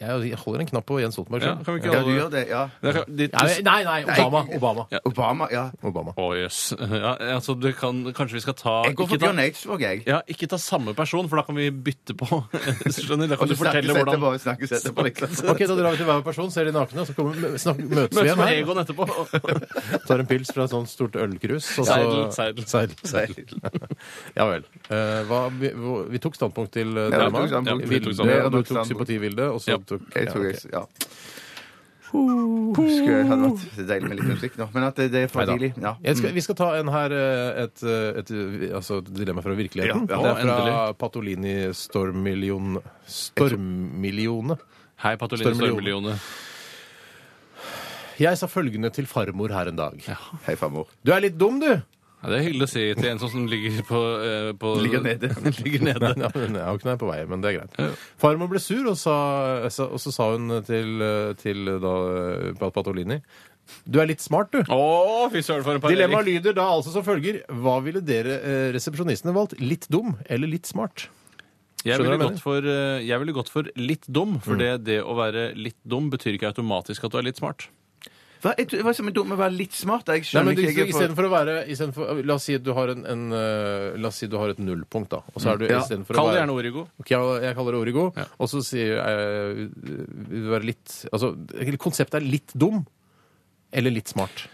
[SPEAKER 3] Jeg, jeg holder en knapp på Jens Stoltenberg.
[SPEAKER 5] Ja,
[SPEAKER 3] selv.
[SPEAKER 5] kan vi
[SPEAKER 4] ja,
[SPEAKER 5] ikke
[SPEAKER 4] du
[SPEAKER 5] alle
[SPEAKER 4] gjør det. Ja.
[SPEAKER 5] Det kan- de-
[SPEAKER 3] Nei, nei, nei, Obama. Obama.
[SPEAKER 5] Ja.
[SPEAKER 4] Obama, ja.
[SPEAKER 3] Obama.
[SPEAKER 5] Å, jøss. Ja, altså, du kan, kanskje vi skal ta
[SPEAKER 4] Jeg går
[SPEAKER 5] ikke
[SPEAKER 4] for
[SPEAKER 5] ta-
[SPEAKER 4] Bjørn Eidsvåg, jeg.
[SPEAKER 5] Ja, ikke ta samme person, for da kan vi bytte på. [LAUGHS] Skjønner? Da kan du
[SPEAKER 4] Så snakkes
[SPEAKER 5] fortelle hvordan
[SPEAKER 4] etterpå, snakkes etterpå, [LAUGHS] liksom.
[SPEAKER 3] Ok, Da drar vi til hver person, ser de nakne, og så kommer, mø- snak, møtes vi
[SPEAKER 5] Møtes
[SPEAKER 3] igjen
[SPEAKER 5] med
[SPEAKER 3] her.
[SPEAKER 5] Egon etterpå.
[SPEAKER 3] [LAUGHS] Tar en pils fra et sånt stort ølkrus. Og så,
[SPEAKER 5] Seidel, seidel.
[SPEAKER 3] seidel, seidel. [LAUGHS] ja vel. Eh, hva, vi, hvor- vi tok standpunkt til eh,
[SPEAKER 4] Ja, vi
[SPEAKER 3] Drama.
[SPEAKER 4] tok standpunkt.
[SPEAKER 3] Ja,
[SPEAKER 5] vi tok
[SPEAKER 3] Vilde,
[SPEAKER 5] standpunkt.
[SPEAKER 3] og du tok
[SPEAKER 4] Standpunkt.
[SPEAKER 3] sympativilde, og så
[SPEAKER 5] Ja.
[SPEAKER 3] tok
[SPEAKER 4] Jeg tror
[SPEAKER 3] ja,
[SPEAKER 4] jeg,
[SPEAKER 3] ok.
[SPEAKER 4] ja. Skulle hadde vært deilig med litt musikk nå, men at det, det er for
[SPEAKER 3] Neida.
[SPEAKER 4] tidlig. Ja.
[SPEAKER 3] Jeg skal, vi skal ta en her, eh, et, eh, et, eh, altså et dilemma fra virkeligheten.
[SPEAKER 4] Ja, ja,
[SPEAKER 3] det er fra Patolini Stormmillion... Stormmillione.
[SPEAKER 5] [LAUGHS] Hei, Patoline
[SPEAKER 3] Stormillione.
[SPEAKER 5] Stormillione.
[SPEAKER 3] Jeg sa følgende til farmor her en dag.
[SPEAKER 4] Mm. Hei, farmor.
[SPEAKER 3] Du er litt dum, du!
[SPEAKER 5] Ja, det er hyggelig å si til en sånn som ligger på, eh, på
[SPEAKER 4] Ligger nede.
[SPEAKER 5] [LAUGHS] ligger
[SPEAKER 3] [LAUGHS]
[SPEAKER 5] nede.
[SPEAKER 3] [LAUGHS] Ja, men jeg har jo ikke noe på vei, men det er
[SPEAKER 5] Ja.
[SPEAKER 3] greit. Farmor ble sur, og, sa, sa- og så sa hun til, eh, til da, eh, Pat- Patolini Du er litt smart, du.
[SPEAKER 5] Å, fy søren for en parering.
[SPEAKER 3] Dilemmaet lyder da altså som følger. Hva ville dere eh, resepsjonistene valgt? Litt dum eller litt smart?
[SPEAKER 5] Jeg
[SPEAKER 3] Skjønner
[SPEAKER 5] ville,
[SPEAKER 3] du hva jeg
[SPEAKER 5] gått for, eh, jeg ville gått for litt dum, for det, det å være litt dum betyr ikke automatisk at du er litt smart.
[SPEAKER 4] Hva, jeg, tror- hva som er dumt med å være litt smart? Jeg
[SPEAKER 3] Nei,
[SPEAKER 4] skjønner
[SPEAKER 3] men du,
[SPEAKER 4] ikke. Jeg er for-
[SPEAKER 3] istedenfor å være istedenfor, La oss si at du har en, en eh, La oss si du har et nullpunkt, da. Og så er du
[SPEAKER 4] Ja.
[SPEAKER 3] istedenfor å
[SPEAKER 5] Kall det
[SPEAKER 3] være
[SPEAKER 5] gjerne origo.
[SPEAKER 3] Ok, jeg, jeg kaller det origo,
[SPEAKER 5] Ja.
[SPEAKER 3] og så sier jeg eh, vil du være litt Altså, konseptet er litt dum eller litt smart.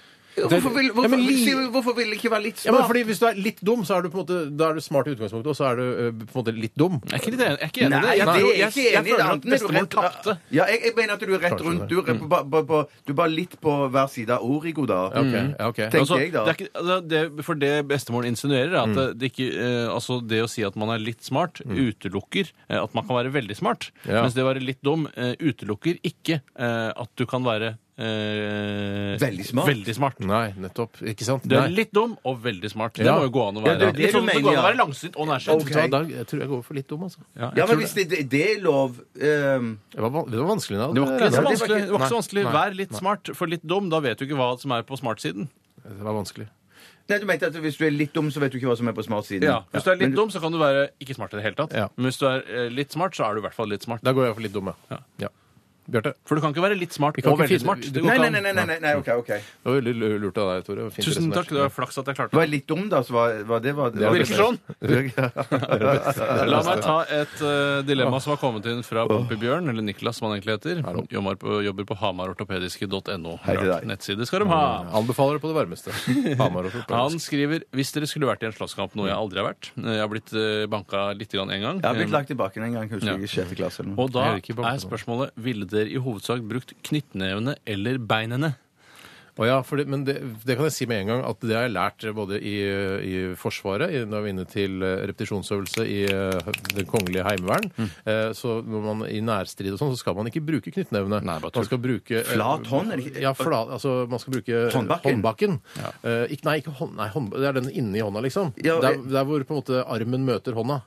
[SPEAKER 4] Hvorfor vil, hvorfor,
[SPEAKER 3] Ja, men li-
[SPEAKER 4] sier du- hvorfor vil det ikke være litt
[SPEAKER 3] Ja,
[SPEAKER 4] smart?
[SPEAKER 3] men fordi Hvis du er litt dum, så er du på en måte, da er du smart i utgangspunktet, og så er du eh, på en måte litt dum.
[SPEAKER 5] Jeg er ikke litt enig, jeg er ikke enig i det.
[SPEAKER 4] Nei,
[SPEAKER 5] Jeg,
[SPEAKER 4] det er
[SPEAKER 5] tror-
[SPEAKER 4] jeg
[SPEAKER 5] jeg,
[SPEAKER 4] ikke
[SPEAKER 5] jeg,
[SPEAKER 4] enig i. Enten
[SPEAKER 5] føler
[SPEAKER 4] er
[SPEAKER 5] at
[SPEAKER 4] du
[SPEAKER 5] bestemor
[SPEAKER 4] rett-
[SPEAKER 5] tapte.
[SPEAKER 4] Ja, jeg, jeg mener at du er rett rundt. Du er, på, på, på, på, du er bare litt på hver side av origo, da.
[SPEAKER 3] Ja, ok, ja, ok.
[SPEAKER 4] Tenk-
[SPEAKER 5] Altså,
[SPEAKER 4] jeg, da.
[SPEAKER 5] Det er ikke, altså, det, for det bestemoren insinuerer, er at det, det ikke, eh, altså, det å si at man er litt smart, utelukker eh, at man kan være veldig smart.
[SPEAKER 3] Ja.
[SPEAKER 5] Mens det å være litt dum eh, utelukker ikke eh, at du kan være eh,
[SPEAKER 4] Veldig smart.
[SPEAKER 5] veldig smart.
[SPEAKER 3] Nei, nettopp. Ikke sant?
[SPEAKER 5] Du er
[SPEAKER 3] Nei.
[SPEAKER 5] litt dum og veldig smart. Det
[SPEAKER 3] Ja.
[SPEAKER 5] må jo gå an å
[SPEAKER 4] Ja,
[SPEAKER 5] være.
[SPEAKER 4] det er det
[SPEAKER 5] Litt
[SPEAKER 4] du
[SPEAKER 5] sånn som det
[SPEAKER 4] mener,
[SPEAKER 5] går an å
[SPEAKER 4] ja.
[SPEAKER 5] være langsynt og nærsynt.
[SPEAKER 4] Ok.
[SPEAKER 3] Så da, jeg tror jeg går for litt dum, altså.
[SPEAKER 5] Ja, jeg
[SPEAKER 4] Ja,
[SPEAKER 5] tror
[SPEAKER 4] men hvis det, det, det er lov ehm,
[SPEAKER 3] Det var, van- det var vanskelig. da.
[SPEAKER 5] det var ikke så
[SPEAKER 3] Nei,
[SPEAKER 5] vanskelig. Det var ikke så vanskelig.
[SPEAKER 3] Nei.
[SPEAKER 5] Vær litt smart, for litt dum, da vet du ikke hva som er på smart-siden.
[SPEAKER 3] Det var vanskelig.
[SPEAKER 4] Nei, du mente at hvis du er litt dum, så vet du ikke hva som er på smart-siden.
[SPEAKER 5] Ja. Hvis du er
[SPEAKER 4] Men
[SPEAKER 5] litt dum, så kan du være ikke smart i det hele tatt.
[SPEAKER 3] Ja.
[SPEAKER 5] Men hvis du er eh, litt smart, så er du i hvert fall litt smart.
[SPEAKER 3] Da går jeg for litt dum, ja. ja. Bjarte,
[SPEAKER 5] For du kan ikke være litt smart
[SPEAKER 3] kan
[SPEAKER 5] og
[SPEAKER 3] ikke
[SPEAKER 5] veldig
[SPEAKER 3] finne-
[SPEAKER 5] smart.
[SPEAKER 3] du-
[SPEAKER 5] Det går
[SPEAKER 4] Nei,
[SPEAKER 5] ikke
[SPEAKER 4] nei,
[SPEAKER 5] an.
[SPEAKER 4] nei, nei, nei, nei, nei ok, ok.
[SPEAKER 3] det var veldig lu- lurt av deg, Tore. Fint
[SPEAKER 5] Tusen
[SPEAKER 3] resonert.
[SPEAKER 5] takk. Det var flaks at jeg klarte det.
[SPEAKER 4] Var jeg litt dum, da, så var, var det var,
[SPEAKER 3] var
[SPEAKER 4] var
[SPEAKER 5] Virker
[SPEAKER 3] [LAUGHS]
[SPEAKER 5] sånn. La
[SPEAKER 4] La
[SPEAKER 5] meg ta et eh, dilemma som har kommet inn fra Pompy Bjørn, eller Niklas som han egentlig heter. Jobber på, jobber på hamarortopediske.no.
[SPEAKER 4] Hei til deg.
[SPEAKER 5] Nettside skal de ha.
[SPEAKER 3] Anbefaler det på det varmeste. Hamar og Fotball.
[SPEAKER 5] Han skriver hvis dere skulle vært i en slåsskamp, noe jeg aldri har vært. Eh, Jeg har blitt eh, banka litt grann en gang.
[SPEAKER 4] Jeg har blitt
[SPEAKER 5] Eh,
[SPEAKER 4] lagt tilbake en gang, husker jeg, i sjette klasse. eller noe.
[SPEAKER 5] Og da
[SPEAKER 3] Jeg er ikke banka
[SPEAKER 5] er spørsmålet ville dere i hovedsak brukt knyttnevene eller beinene?
[SPEAKER 3] Å ja, for det, men det, det kan jeg si med en gang at det har jeg lært både i, i Forsvaret, i, når vi er inne til eh, repetisjonsøvelse i eh, det kongelige heimevern.
[SPEAKER 5] Mm.
[SPEAKER 3] Eh, så når man i nærstrid og sånn, så skal man ikke bruke knyttnevene.
[SPEAKER 5] Nei, bare tull.
[SPEAKER 3] man skal bruke eh,
[SPEAKER 4] Flat hånd, er det ikke-
[SPEAKER 3] Ja, flat, altså man skal bruke
[SPEAKER 4] Håndbakken.
[SPEAKER 3] håndbakken. Eh, ikke, nei, ikke hånd, nei, hånd, det er den inni hånda, liksom.
[SPEAKER 4] Ja,
[SPEAKER 3] der,
[SPEAKER 4] eh.
[SPEAKER 3] der hvor på en måte armen møter hånda.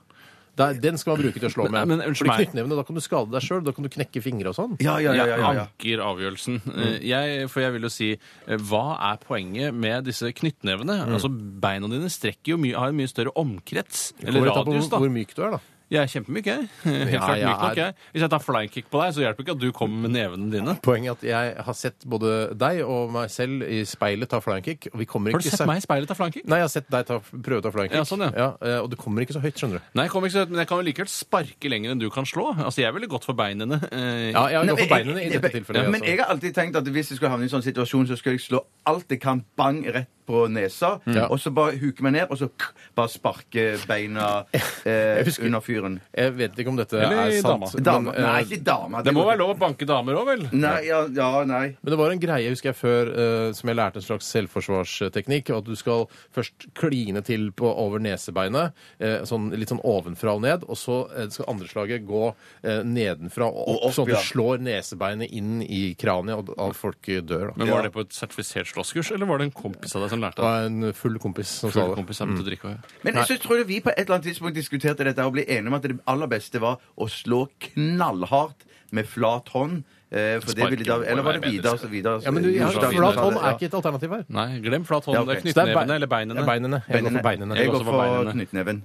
[SPEAKER 3] Der, den skal man bruke til å slå med.
[SPEAKER 5] Men- men unnskyld
[SPEAKER 3] Fordi
[SPEAKER 5] meg.
[SPEAKER 3] knyttnevene, da kan du skade deg sjøl. Da kan du knekke fingre og sånn.
[SPEAKER 4] Ja, ja, ja, ja, ja, ja.
[SPEAKER 5] Jeg anker avgjørelsen.
[SPEAKER 3] Mm.
[SPEAKER 5] Eh, Jeg, for jeg vil jo si, eh, hva er poenget med disse knyttnevene?
[SPEAKER 3] Mm.
[SPEAKER 5] Altså, Beina dine strekker jo mye, har en mye større omkrets. Eller
[SPEAKER 3] Kommer litt an på
[SPEAKER 5] radius, da.
[SPEAKER 3] Hvor myk du er, da.
[SPEAKER 5] Jeg er kjempemyk, jeg. [LAUGHS] Helt
[SPEAKER 3] Ja,
[SPEAKER 5] klart
[SPEAKER 3] jeg
[SPEAKER 5] myk nok,
[SPEAKER 3] er-
[SPEAKER 5] jeg. Hvis jeg tar flykick på deg, så hjelper ikke at du kommer med nevene dine.
[SPEAKER 3] Poenget er at jeg har sett både deg og meg selv i speilet ta flyingkick. Og vi kommer
[SPEAKER 5] Har du
[SPEAKER 3] ikke
[SPEAKER 5] sett
[SPEAKER 3] så-
[SPEAKER 5] meg i speilet ta flykick?
[SPEAKER 3] Nei, jeg har sett deg ta, prøve å ta flyingkick.
[SPEAKER 5] Ja, sånn, ja.
[SPEAKER 3] eh, og du kommer ikke så høyt, skjønner du.
[SPEAKER 5] Nei, jeg kommer ikke så høyt, men jeg kan jo likevel sparke lenger enn du kan slå. Altså, jeg ville gått for beinene. eh,
[SPEAKER 3] Ja, jeg har
[SPEAKER 4] Nei,
[SPEAKER 3] gått for
[SPEAKER 4] men jeg-
[SPEAKER 3] beinene i
[SPEAKER 4] jeg-
[SPEAKER 3] dette tilfellet.
[SPEAKER 4] Ja, men
[SPEAKER 3] altså.
[SPEAKER 4] jeg har alltid tenkt at hvis jeg skulle havne i en sånn situasjon, så skal jeg slå alt jeg kan bang rett på nesa,
[SPEAKER 3] Mm. Ja.
[SPEAKER 4] og så bare huke meg ned, og så k- bare sparke beina eh,
[SPEAKER 3] [LAUGHS] Jeg husker-
[SPEAKER 4] under fyren.
[SPEAKER 3] Jeg vet ikke om dette
[SPEAKER 5] Eller
[SPEAKER 3] er sant.
[SPEAKER 5] dama.
[SPEAKER 4] Dame.
[SPEAKER 3] Men, eh,
[SPEAKER 4] Nei, ikke dame.
[SPEAKER 5] Det må
[SPEAKER 4] går
[SPEAKER 5] være lov å banke damer òg, vel?
[SPEAKER 4] ikke. Nei, ja, ja, nei.
[SPEAKER 3] men det var en greie husker jeg før eh, som jeg lærte en slags selvforsvarsteknikk. At du skal først kline til på over nesebeinet, eh, sånn, litt sånn ovenfra og ned. Og så eh, skal andre slaget gå eh, nedenfra og opp,
[SPEAKER 4] Og opp,
[SPEAKER 3] sånn at
[SPEAKER 4] ja.
[SPEAKER 3] du slår nesebeinet inn i kraniet, og at folk dør. Da.
[SPEAKER 5] Men Var det på et sertifisert slåsskurs, eller var det en kompis av deg som
[SPEAKER 3] Det
[SPEAKER 5] lærte det?
[SPEAKER 3] var en full kompis som sa
[SPEAKER 5] Full
[SPEAKER 3] det.
[SPEAKER 5] kompis jeg begynte å drikke også, ja.
[SPEAKER 4] Men jeg synes, tror jeg vi på et eller annet tidspunkt diskuterte dette og ble enige om at det aller beste var å slå knallhardt med flat hånd. Eh, for det
[SPEAKER 5] Sparke
[SPEAKER 4] ville da,
[SPEAKER 5] må jo
[SPEAKER 4] eller var
[SPEAKER 5] være
[SPEAKER 4] det Vidar som Vidar
[SPEAKER 3] Ja, men du, ja,
[SPEAKER 5] Jorda
[SPEAKER 3] flat
[SPEAKER 5] Vidar.
[SPEAKER 3] hånd er ikke et alternativ her.
[SPEAKER 5] Nei, glem flat hånd.
[SPEAKER 4] Ja, ok.
[SPEAKER 5] Det
[SPEAKER 3] Så
[SPEAKER 5] er
[SPEAKER 3] det er bei-
[SPEAKER 5] knyttnevene eller beinene.
[SPEAKER 3] Ja, beinene. Jeg går for beinene.
[SPEAKER 4] Jeg går
[SPEAKER 5] også for
[SPEAKER 4] for
[SPEAKER 5] beinene.
[SPEAKER 4] knyttneven.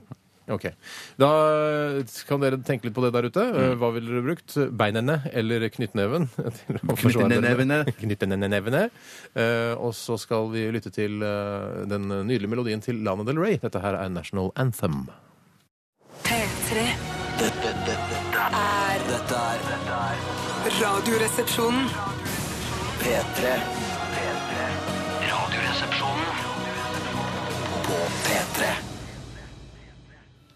[SPEAKER 3] Ok. Da eh, kan dere tenke litt på det der ute. Eh,
[SPEAKER 5] Mm.
[SPEAKER 3] Hva ville dere brukt? Beinene eller knyttneven? [LAUGHS] til å forsvare
[SPEAKER 4] Knyttnevene.
[SPEAKER 3] dere. Knyttnevene. Eh, Og så skal vi lytte til eh, den nydelige melodien til Lana Del Rey. Dette her er National Anthem.
[SPEAKER 1] P3.
[SPEAKER 2] Dette, dette, dette er Dette er dette er
[SPEAKER 1] Radioresepsjonen.
[SPEAKER 2] P3. P3. Radioresepsjonen. På P3.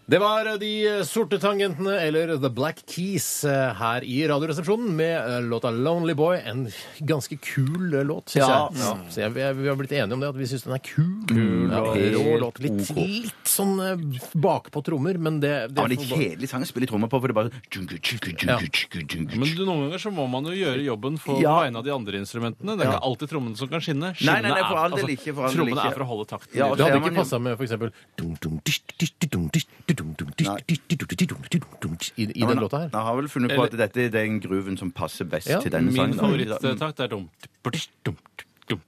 [SPEAKER 3] Det var De sorte tangentene, eller The Black Keys, eh, her i Radioresepsjonen med eh, låta 'Lonely Boy'. En ganske kul eh, låt, syns
[SPEAKER 4] Ja.
[SPEAKER 3] jeg. Så jeg, jeg. Vi har blitt enige om det, at vi syns den er kul. ja,
[SPEAKER 4] og
[SPEAKER 3] rå
[SPEAKER 4] helt
[SPEAKER 3] låt. Litt,
[SPEAKER 4] ok.
[SPEAKER 3] litt sånn eh, bakpå trommer, men det, det
[SPEAKER 4] Ja, men det er kjedelig sang å spille trommer på, for det er bare tjungu, tjungu, tjungu, tjungu, tjungu.
[SPEAKER 5] Men du, noen ganger så må man jo gjøre jobben for
[SPEAKER 4] Ja.
[SPEAKER 5] vegne av de andre instrumentene. Det er ikke alltid trommene som kan skinne.
[SPEAKER 4] Nei, nei, nei,
[SPEAKER 5] Skinnene
[SPEAKER 4] for
[SPEAKER 5] er-
[SPEAKER 4] all del ikke, for all del
[SPEAKER 5] trommene
[SPEAKER 4] ikke.
[SPEAKER 5] er for å holde takten.
[SPEAKER 4] Ja,
[SPEAKER 5] i
[SPEAKER 4] og
[SPEAKER 3] det
[SPEAKER 4] så-
[SPEAKER 5] det.
[SPEAKER 4] ser
[SPEAKER 3] hadde
[SPEAKER 4] man
[SPEAKER 3] ikke
[SPEAKER 4] jo-
[SPEAKER 3] passa med for eksempel i, i
[SPEAKER 4] Ja, men
[SPEAKER 3] den låta her.
[SPEAKER 4] Jeg har vel funnet på at dette er den grooven som passer best
[SPEAKER 3] Ja,
[SPEAKER 4] til denne
[SPEAKER 5] Min
[SPEAKER 4] sangen. da.
[SPEAKER 5] favorittakt er dumt, dumt, dumt, dumt,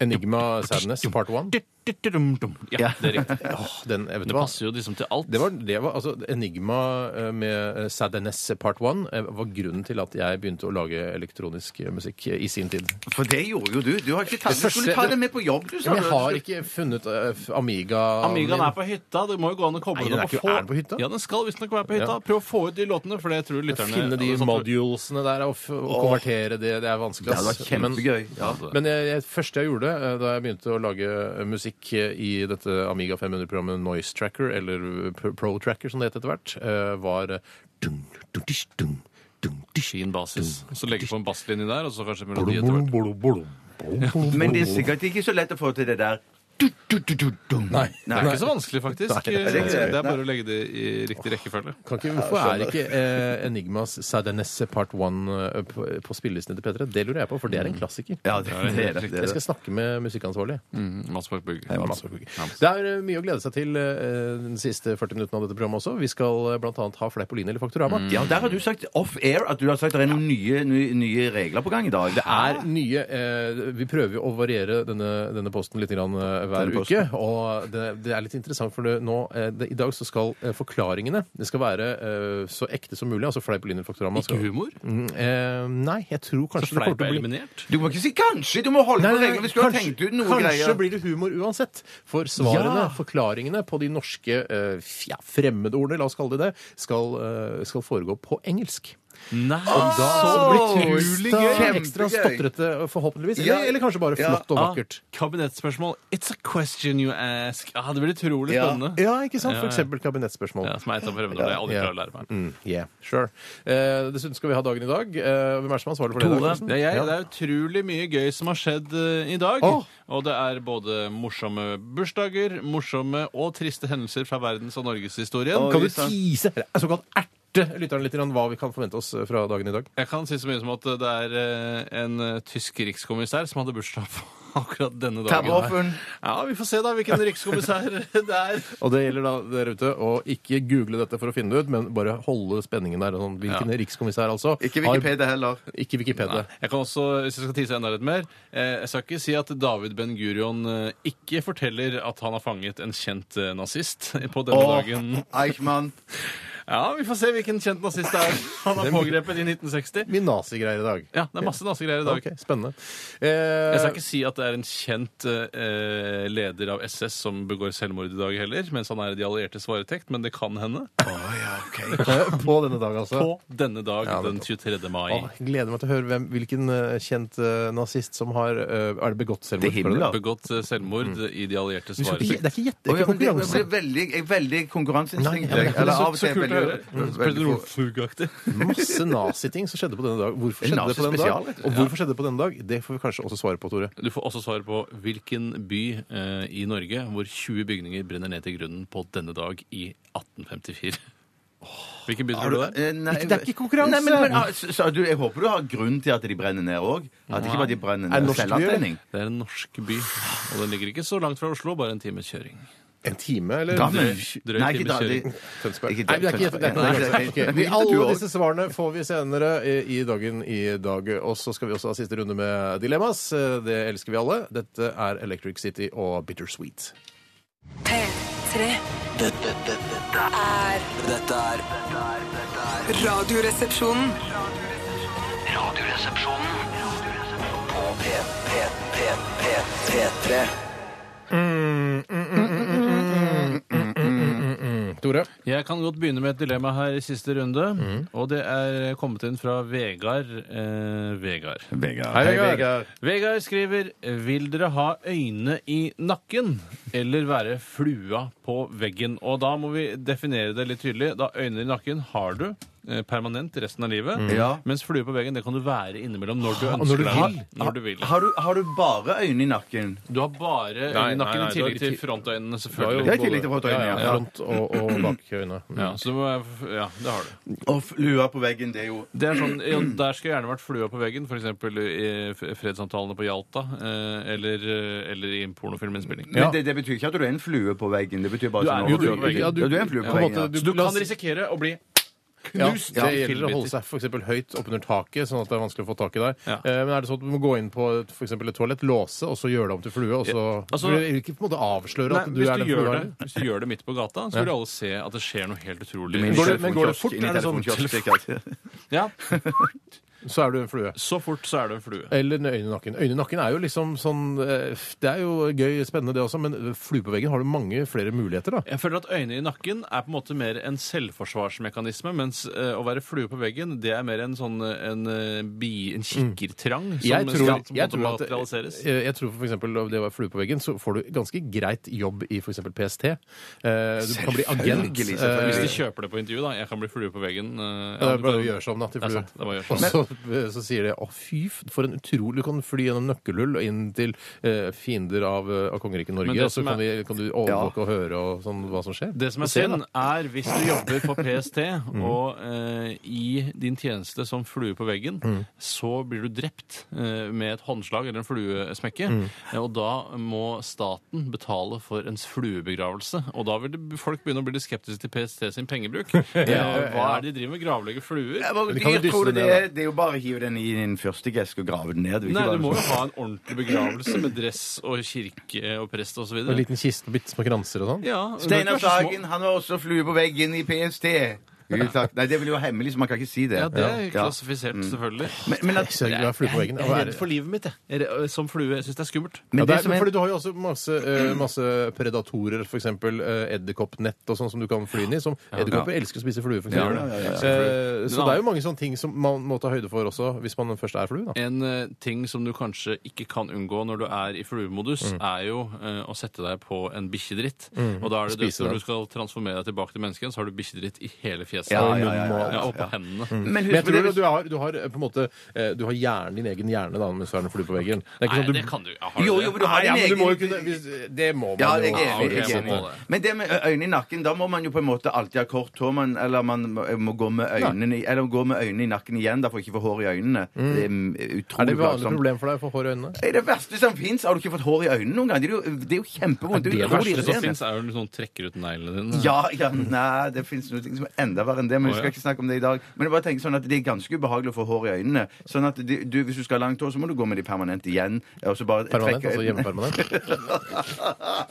[SPEAKER 3] Enigma Sadness Part 1.
[SPEAKER 5] dumt, dumt, dumt. Ja, det er
[SPEAKER 3] [LAUGHS]
[SPEAKER 5] riktig.
[SPEAKER 3] Den, jeg vet
[SPEAKER 5] Det
[SPEAKER 3] du hva.
[SPEAKER 5] passer jo liksom til alt.
[SPEAKER 3] Det var, det var altså Enigma eh, med eh, Sadness Part 1 eh, var grunnen til at jeg begynte å lage elektronisk eh, musikk eh, i sin tid.
[SPEAKER 4] For det gjorde jo du. Du, har ikke tatt,
[SPEAKER 3] Det
[SPEAKER 4] du skulle ta
[SPEAKER 3] første-
[SPEAKER 4] det med på jobb, du sa.
[SPEAKER 3] Men jeg har ikke funnet eh, f- Amiga
[SPEAKER 5] Amigaen er på hytta. Det må jo gå an å
[SPEAKER 3] Nei,
[SPEAKER 5] koble
[SPEAKER 3] den
[SPEAKER 5] den
[SPEAKER 3] er
[SPEAKER 5] opp og
[SPEAKER 3] ikke-
[SPEAKER 5] få
[SPEAKER 3] er den på hytta?
[SPEAKER 5] Ja, den skal visstnok være på hytta.
[SPEAKER 3] Ja.
[SPEAKER 5] Prøv å få ut de låtene, for det tror lytterne
[SPEAKER 3] Finne de
[SPEAKER 5] alle som-
[SPEAKER 3] modulesene der og, f og konvertere det. Det er vanskelig.
[SPEAKER 4] Det hadde vært
[SPEAKER 3] ass. Men-
[SPEAKER 4] kjempegøy. Ja.
[SPEAKER 3] Men jeg, jeg, første jeg gjorde eh, da jeg begynte å lage eh, musikk eh, i dette Amiga 500-programmet Noise Tracker, eller eh, P- Pro Tracker som det het etter hvert, eh, var eh, dun, dun, dish, dun, dun, dish,
[SPEAKER 5] Fin basis. Og så legge på en basslinje der, og så kanskje
[SPEAKER 3] bolo,
[SPEAKER 5] melodi etter hvert.
[SPEAKER 3] bolo, bolo, bolo, bolo, bolo.
[SPEAKER 4] Men det er sikkert ikke så lett å få til det der. Du, du, du, du, dum.
[SPEAKER 3] Nei.
[SPEAKER 5] Det er ikke så vanskelig, faktisk.
[SPEAKER 3] Nei, det
[SPEAKER 5] det,
[SPEAKER 3] er
[SPEAKER 5] er
[SPEAKER 4] ikke det.
[SPEAKER 5] bare å legge det i riktig rekkefølge.
[SPEAKER 3] Kan ikke, hvorfor er ikke eh, Enigmas Sadanesse Part 1 eh, på, på spillelisten til P3? Det lurer jeg på, for det er en klassiker.
[SPEAKER 4] Mm. Ja, det, det er det. det,
[SPEAKER 3] Jeg
[SPEAKER 4] er det.
[SPEAKER 3] skal snakke med musikkansvarlig.
[SPEAKER 5] Mats Borch Bugge.
[SPEAKER 3] Det er eh, mye å glede seg til eh, den siste 40 minuttene av dette programmet også. Vi skal eh, blant annet ha Fleipolini eller Faktorama.
[SPEAKER 4] Ja, der har du sagt off-air at du har sagt det er noen nye, nye, nye regler på gang i dag. Det
[SPEAKER 3] er nye eh, Vi prøver jo å variere denne, denne posten litt grann, eh, hver
[SPEAKER 4] Denne
[SPEAKER 3] uke.
[SPEAKER 4] posten.
[SPEAKER 3] Og det, det er litt interessant, for det, nå, eh, det, i dag så skal eh, forklaringene Det skal være eh, så ekte som mulig. Altså Fleipolini Faktorama.
[SPEAKER 5] Ikke
[SPEAKER 3] Skal,
[SPEAKER 5] humor?
[SPEAKER 3] Mm, eh, nei, jeg tror kanskje det kommer
[SPEAKER 5] Fleip er
[SPEAKER 3] til å bli
[SPEAKER 5] eliminert?
[SPEAKER 4] Du må ikke si kanskje! Du må holde på reglene. Vi skulle ha tenkt ut noe
[SPEAKER 3] kanskje
[SPEAKER 4] greier.
[SPEAKER 3] blir det humor uansett. For svarene,
[SPEAKER 4] Ja.
[SPEAKER 3] forklaringene på de norske eh, f- ja, fremmedordene, la oss kalle det det, skal, eh, skal foregå på engelsk.
[SPEAKER 5] Nei,
[SPEAKER 3] Så
[SPEAKER 5] så
[SPEAKER 3] blir
[SPEAKER 5] utrolig
[SPEAKER 3] det ekstra,
[SPEAKER 4] gøy.
[SPEAKER 3] ekstra
[SPEAKER 4] Kjempegøy.
[SPEAKER 3] stotrete, forhåpentligvis.
[SPEAKER 4] Ja.
[SPEAKER 3] Eller, eller kanskje bare
[SPEAKER 4] Ja.
[SPEAKER 3] flott og vakkert.
[SPEAKER 5] Ah, kabinettspørsmål. It's a question you ask. Ah, det blir utrolig
[SPEAKER 4] Ja.
[SPEAKER 5] spennende.
[SPEAKER 3] Ja, ikke sant? For
[SPEAKER 5] Ja, ja.
[SPEAKER 3] eksempel kabinettsspørsmål.
[SPEAKER 5] Ja, som er et av prøvene. Det har jeg aldri
[SPEAKER 3] Ja.
[SPEAKER 5] klarer å lære meg.
[SPEAKER 3] Mm, yeah, sure. Eh, dessuten skal vi ha dagen i dag. Eh, hvem er det som har ansvarlig for det? i dag,
[SPEAKER 5] Tore,
[SPEAKER 3] forresten?
[SPEAKER 5] det er jeg.
[SPEAKER 3] Ja.
[SPEAKER 5] Det er utrolig mye gøy som har skjedd eh, i dag.
[SPEAKER 3] Åh.
[SPEAKER 5] Og det er både morsomme bursdager, morsomme og triste hendelser fra verdens- og norgeshistorien.
[SPEAKER 4] Oi.
[SPEAKER 3] Kan du
[SPEAKER 4] sant.
[SPEAKER 3] tease, eller såkalt erte lytteren litt grann hva vi kan forvente oss eh, fra dagen i dag?
[SPEAKER 5] Jeg kan si så mye som at eh, det er eh, en eh, tysk rikskommissær som hadde bursdag på [LAUGHS] akkurat denne dagen.
[SPEAKER 4] Tabbeoffen.
[SPEAKER 5] Ja, Vi får se da hvilken rikskommissær [LAUGHS] det er.
[SPEAKER 3] Og det gjelder da dere ute å ikke google dette for å finne det ut, men bare holde spenningen der. Sånn, hvilken rikskommissær, altså?
[SPEAKER 4] Ikke Wikipedia heller.
[SPEAKER 3] Har, ikke Wikipedia.
[SPEAKER 5] Jeg kan også, hvis jeg skal tise enda litt mer eh, Jeg skal ikke si at David Ben-Gurion eh, ikke forteller at han har fanget en kjent eh, nazist [LAUGHS] på denne dagen.
[SPEAKER 4] Eichmann.
[SPEAKER 5] Ja, Vi får se hvilken kjent nazist det er han har pågrepet i 1960.
[SPEAKER 3] Mye nazigreier i dag.
[SPEAKER 5] Ja, Det er masse nazigreier i dag.
[SPEAKER 3] Ok, Spennende. Eh,
[SPEAKER 5] Jeg skal ikke si at det er en kjent eh, leder av SS som begår selvmord i dag heller, mens han er i de alliertes varetekt, men det kan hende.
[SPEAKER 3] På denne dag, altså.
[SPEAKER 5] På denne dag,
[SPEAKER 3] Ja,
[SPEAKER 5] den
[SPEAKER 3] nettopp.
[SPEAKER 5] 23. mai.
[SPEAKER 3] Åh, jeg gleder meg til å høre hvem, hvilken eh, kjent eh, nazist som har eh, Er det begått selvmord?
[SPEAKER 4] Det er Himmler.
[SPEAKER 3] Tror du det?
[SPEAKER 5] Begått eh, selvmord
[SPEAKER 4] Mm.
[SPEAKER 5] i de alliertes
[SPEAKER 3] Vi skal ikke-
[SPEAKER 5] varetekt.
[SPEAKER 3] Det er ikke gjette,
[SPEAKER 4] Å, ja,
[SPEAKER 3] ikke
[SPEAKER 4] men det, det
[SPEAKER 3] konkurranse.
[SPEAKER 4] blir veldig, jeg er veldig
[SPEAKER 3] Nei,
[SPEAKER 4] konkurranseinstinkt.
[SPEAKER 3] ja, men
[SPEAKER 4] jeg.
[SPEAKER 3] det er
[SPEAKER 4] Eller
[SPEAKER 5] Så,
[SPEAKER 4] av og
[SPEAKER 5] så
[SPEAKER 4] til
[SPEAKER 5] kult å
[SPEAKER 4] veldig,
[SPEAKER 5] høre. Mm.
[SPEAKER 4] veldig
[SPEAKER 5] Spiller fugaktig.
[SPEAKER 3] Masse naziting som skjedde på denne dag. Hvorfor
[SPEAKER 4] En
[SPEAKER 3] skjedde det på denne
[SPEAKER 4] nazispesial, rett
[SPEAKER 3] dag?
[SPEAKER 4] og slett.
[SPEAKER 3] Og hvorfor skjedde det på denne dag? Det får vi kanskje også svare på, Tore.
[SPEAKER 5] Du får også svar på hvilken by eh, i Norge hvor 20 bygninger brenner ned til grunnen på denne dag i 1854. Hvilken by tror du det er?
[SPEAKER 4] Eh, nei,
[SPEAKER 3] Ikke- det er ikke konkurranse.
[SPEAKER 4] Nei, men, men, ah, så, så, du, jeg håper du har grunn til at de brenner ned òg. At ikke bare de brenner
[SPEAKER 3] Er det
[SPEAKER 4] ned
[SPEAKER 3] norsk
[SPEAKER 4] selvantenning.
[SPEAKER 5] Det er en norsk by, og den ligger ikke så langt fra Oslo, bare en times kjøring.
[SPEAKER 3] En time, eller?
[SPEAKER 4] Da, men-
[SPEAKER 5] drøy
[SPEAKER 4] Nei, ikke
[SPEAKER 5] times
[SPEAKER 4] da. de-
[SPEAKER 5] kjøring.
[SPEAKER 3] Tønsberg.
[SPEAKER 4] Ikke
[SPEAKER 3] Nei, det er ikke
[SPEAKER 4] Tønsberg.
[SPEAKER 3] gjette.
[SPEAKER 4] Nei, det er ikke-
[SPEAKER 3] Okay.
[SPEAKER 4] Hvilket du
[SPEAKER 3] Alle
[SPEAKER 4] også-
[SPEAKER 3] disse svarene får vi senere i i dagen i dag. Og så skal vi også ha siste runde med Dilemmas. Eh, Det elsker vi alle. Dette er Electric City og Bittersweet.
[SPEAKER 1] P3.
[SPEAKER 2] Dette, dette, dette er Dette er dette er- dette er
[SPEAKER 1] Radioresepsjonen.
[SPEAKER 2] Radioresepsjonen. Radioresepsjonen. På P, P, P, P, P3.
[SPEAKER 3] Tore?
[SPEAKER 5] Jeg kan godt begynne med et dilemma her i siste runde.
[SPEAKER 3] Mhm.
[SPEAKER 5] Og det er kommet inn fra Vegard. Eh, Vegard.
[SPEAKER 4] Vegard.
[SPEAKER 3] Hei, Vegard.
[SPEAKER 5] Vegard skriver Vil dere ha øyne i nakken eller være flua på veggen? Og da må vi definere det litt tydelig. Da øyne i nakken har du eh, permanent resten av livet.
[SPEAKER 4] Ja.
[SPEAKER 5] Mens flue på veggen det kan du være innimellom når du
[SPEAKER 3] Mhm. Ah, når
[SPEAKER 5] ønsker
[SPEAKER 3] du
[SPEAKER 5] deg.
[SPEAKER 3] vil. Ah,
[SPEAKER 5] Når du vil.
[SPEAKER 4] Har, du, har du bare øyne i nakken?
[SPEAKER 5] Du har bare
[SPEAKER 3] Nei,
[SPEAKER 5] øyne i nakken
[SPEAKER 3] nei, nei,
[SPEAKER 5] i tillegg
[SPEAKER 3] du har-
[SPEAKER 5] til frontøynene,
[SPEAKER 3] Du
[SPEAKER 5] selvfølgelig.
[SPEAKER 4] Det er tillit til å få øynene,
[SPEAKER 3] Ja,
[SPEAKER 4] ja.
[SPEAKER 3] Front og, og bakøyne.
[SPEAKER 5] Ja, så du må, være- ja, det har du.
[SPEAKER 4] Og lua på veggen, det er jo
[SPEAKER 5] Det er sånn, ja, Der skulle jeg gjerne vært flua på veggen, f.eks. i f- fredssamtalene på Hjalta. eh, Eller, eller i en pornofilminnspilling.
[SPEAKER 4] Men det, det betyr ikke at du er en flue på veggen. Det betyr bare
[SPEAKER 5] Du er
[SPEAKER 4] sånn
[SPEAKER 5] en
[SPEAKER 4] at
[SPEAKER 5] flue på veggen.
[SPEAKER 4] Ja, du, du er en flue
[SPEAKER 3] på
[SPEAKER 4] på
[SPEAKER 3] en
[SPEAKER 4] veggen.
[SPEAKER 3] måte,
[SPEAKER 4] Ja.
[SPEAKER 3] du,
[SPEAKER 5] Så du
[SPEAKER 3] la
[SPEAKER 5] kan
[SPEAKER 3] oss-
[SPEAKER 5] risikere å bli
[SPEAKER 3] Ja,
[SPEAKER 5] knust.
[SPEAKER 3] det gjelder å
[SPEAKER 5] fillebiter.
[SPEAKER 3] holde seg for eksempel høyt oppunder taket, sånn at det er vanskelig å få tak i deg.
[SPEAKER 5] Ja.
[SPEAKER 3] Eh, Men er det sånn at du må gå inn på et- for eksempel et toalett, låse, og så gjøre det om til flue, og så
[SPEAKER 5] altså-
[SPEAKER 3] Du vil ikke på en måte avsløre
[SPEAKER 5] Nei,
[SPEAKER 3] at du
[SPEAKER 5] hvis,
[SPEAKER 3] er
[SPEAKER 5] du
[SPEAKER 3] den
[SPEAKER 5] gjør
[SPEAKER 3] flua?
[SPEAKER 5] det, hvis du gjør det midt på gata, så vil alle se at det skjer noe helt utrolig.
[SPEAKER 4] Inn i
[SPEAKER 3] Går det- men går det
[SPEAKER 4] telefonkiosk,
[SPEAKER 3] fort,
[SPEAKER 4] inn i
[SPEAKER 3] er det sånn-
[SPEAKER 4] telefonkiosk, sikkert.
[SPEAKER 5] Ja,
[SPEAKER 3] Så er du en flue.
[SPEAKER 5] Så fort så er du en flue.
[SPEAKER 3] Eller en øyne i nakken. Øyne i nakken er jo liksom sånn eh, Det er jo gøy, spennende det også, men flue på veggen har du mange flere muligheter, da.
[SPEAKER 5] Jeg føler at øynene i nakken er på en måte mer en selvforsvarsmekanisme, mens eh, å være flue på veggen, det er mer en sånn eh, en, eh, bi, en kikkertrang som
[SPEAKER 3] Mm. Jeg
[SPEAKER 5] skal-
[SPEAKER 3] tror,
[SPEAKER 5] som på en
[SPEAKER 3] jeg
[SPEAKER 5] måte
[SPEAKER 3] tror at
[SPEAKER 5] materialiseres.
[SPEAKER 3] eh, jeg tror for eksempel av det å være flue på veggen, så får du ganske greit jobb i f.eks. PST. Eh, Du kan bli agent.
[SPEAKER 4] Selvfølgelig,
[SPEAKER 3] eh,
[SPEAKER 5] Hvis de kjøper det på intervju, da. Jeg kan bli flue på veggen.
[SPEAKER 3] Ja,
[SPEAKER 5] eh,
[SPEAKER 3] det er
[SPEAKER 5] du
[SPEAKER 3] bare
[SPEAKER 5] kan-
[SPEAKER 3] å gjøre sånn seg om da, til
[SPEAKER 5] Det er
[SPEAKER 3] flue.
[SPEAKER 5] sant, det er bare å gjøre sånn. seg
[SPEAKER 3] Og så, eh, så sier de 'å, fy, f- for en utrolig Du kan fly gjennom nøkkelhull og inn til eh, fiender av, eh, av kongeriket Norge,
[SPEAKER 5] Men det
[SPEAKER 3] og så
[SPEAKER 5] som
[SPEAKER 3] kan,
[SPEAKER 5] er-
[SPEAKER 3] vi, kan du overvåke og høre og sånn hva som skjer.
[SPEAKER 5] Det som er
[SPEAKER 3] Se, da.
[SPEAKER 5] synd, er hvis du jobber
[SPEAKER 4] [LAUGHS]
[SPEAKER 5] for PST
[SPEAKER 4] Mm.
[SPEAKER 5] og eh, i din tjeneste som flue på veggen,
[SPEAKER 4] Mm.
[SPEAKER 5] så blir du drept eh, med et håndslag eller en fluesmekke.
[SPEAKER 4] Mm.
[SPEAKER 5] Eh, Og da må staten betale for ens fluebegravelse. Og da vil det, folk begynne å bli litt skeptiske til PST sin pengebruk.
[SPEAKER 4] [LAUGHS]
[SPEAKER 5] Eh, Hva er det de driver med? Gravlegge fluer?
[SPEAKER 4] Ja, men
[SPEAKER 3] de kan jo
[SPEAKER 4] jeg tror det,
[SPEAKER 3] dysse ned,
[SPEAKER 4] er, det er jo bare å hive den i din fyrstikkeske og sånn- grave den ned.
[SPEAKER 5] Nei, du må jo ha en ordentlig begravelse med dress og kirke og prest osv.
[SPEAKER 3] En liten kiste med bitte små kranser og sånn.
[SPEAKER 5] Ja,
[SPEAKER 4] Steinar Sagen, han var også flue på veggen i PST. Utakt. Nei, det blir jo hemmelig, så man kan ikke si det.
[SPEAKER 5] Ja, det er
[SPEAKER 4] Ja. Mm.
[SPEAKER 5] klassifisert, selvfølgelig.
[SPEAKER 4] Men, men, at,
[SPEAKER 3] Så jeg er flue på veggen.
[SPEAKER 5] Jeg
[SPEAKER 3] Hva
[SPEAKER 5] er
[SPEAKER 3] er
[SPEAKER 5] redd
[SPEAKER 3] det?
[SPEAKER 5] for livet mitt, jeg. jeg. er- øh, Som flue. Jeg syns det er skummelt.
[SPEAKER 4] men
[SPEAKER 3] Ja, det
[SPEAKER 4] det
[SPEAKER 3] er,
[SPEAKER 4] som er,
[SPEAKER 3] fordi Du har jo også masse, eh, masse predatorer, f.eks. Eh, edderkoppnett og sånn som du kan fly inn i. Som edderkopper elsker å spise fluer. for eksempel.
[SPEAKER 4] Ja, ja, ja, ja.
[SPEAKER 3] Eh, så det er jo mange sånne ting som man må ta høyde for også, hvis man først er flue. da.
[SPEAKER 5] En eh, ting som du kanskje ikke kan unngå når du er i fluemodus, er jo eh, å sette deg på en bikkjedritt. Og da er det
[SPEAKER 3] Spise
[SPEAKER 5] dødt når
[SPEAKER 3] den.
[SPEAKER 5] du skal transformere deg tilbake til mennesket igjen, så har du bikkjedritt i hele fjeset.
[SPEAKER 4] Ja, ja, ja, ja, ja.
[SPEAKER 5] og på hendene.
[SPEAKER 4] Mm. men
[SPEAKER 3] Men jeg
[SPEAKER 4] husk på
[SPEAKER 3] tror
[SPEAKER 4] det
[SPEAKER 3] jo du har, du har eh, på en måte eh, Du har hjernen din egen hjerne da, mens du er en flue på veggen. Det er ikke
[SPEAKER 5] Nei,
[SPEAKER 3] sånn
[SPEAKER 5] det
[SPEAKER 3] du,
[SPEAKER 5] kan du. Ja, har
[SPEAKER 4] Jo,
[SPEAKER 5] du det?
[SPEAKER 4] jo, men du har
[SPEAKER 3] Nei, ja,
[SPEAKER 4] din
[SPEAKER 3] men du
[SPEAKER 4] egen
[SPEAKER 3] må jo kunne hvis, Det må man
[SPEAKER 4] Ja,
[SPEAKER 3] jo.
[SPEAKER 4] jeg er enig.
[SPEAKER 5] ok,
[SPEAKER 4] Jeg er
[SPEAKER 5] sånn var
[SPEAKER 4] enig.
[SPEAKER 5] det.
[SPEAKER 4] Men det med ø- øynene i nakken, da må man jo på en måte alltid ha kort hår, man, eller man må- må gå med øynene, i- eller gå med øynene i nakken igjen da, for ikke å få hår i øynene. Det er mm,
[SPEAKER 3] Er det
[SPEAKER 4] utrolig
[SPEAKER 3] et vanlig
[SPEAKER 4] plagsomt.
[SPEAKER 3] problem for deg å få hår i øynene?
[SPEAKER 4] Det er det verste som fins. Har du ikke fått hår i øynene noen gang? Det er jo, det er jo kjempevondt.
[SPEAKER 3] Er det
[SPEAKER 4] er
[SPEAKER 3] det
[SPEAKER 4] utrolig
[SPEAKER 5] Det som
[SPEAKER 4] irriterende.
[SPEAKER 5] fins, er jo når noen trekker ut neglene dine.
[SPEAKER 4] Ja, ja, nei, det fins noe som er enda verre enn det. Men vi
[SPEAKER 5] Å,
[SPEAKER 4] skal
[SPEAKER 5] ja.
[SPEAKER 4] ikke snakke om det i dag. Men jeg bare tenker sånn at det er ganske ubehagelig å få hår i øynene. Sånn at de- du, Hvis du skal ha langt hår, så må du gå med de permanent igjen. Og så bare
[SPEAKER 3] Permanent,
[SPEAKER 4] trekke
[SPEAKER 3] altså
[SPEAKER 4] øynene. [LAUGHS]
[SPEAKER 3] hjemmepermanent?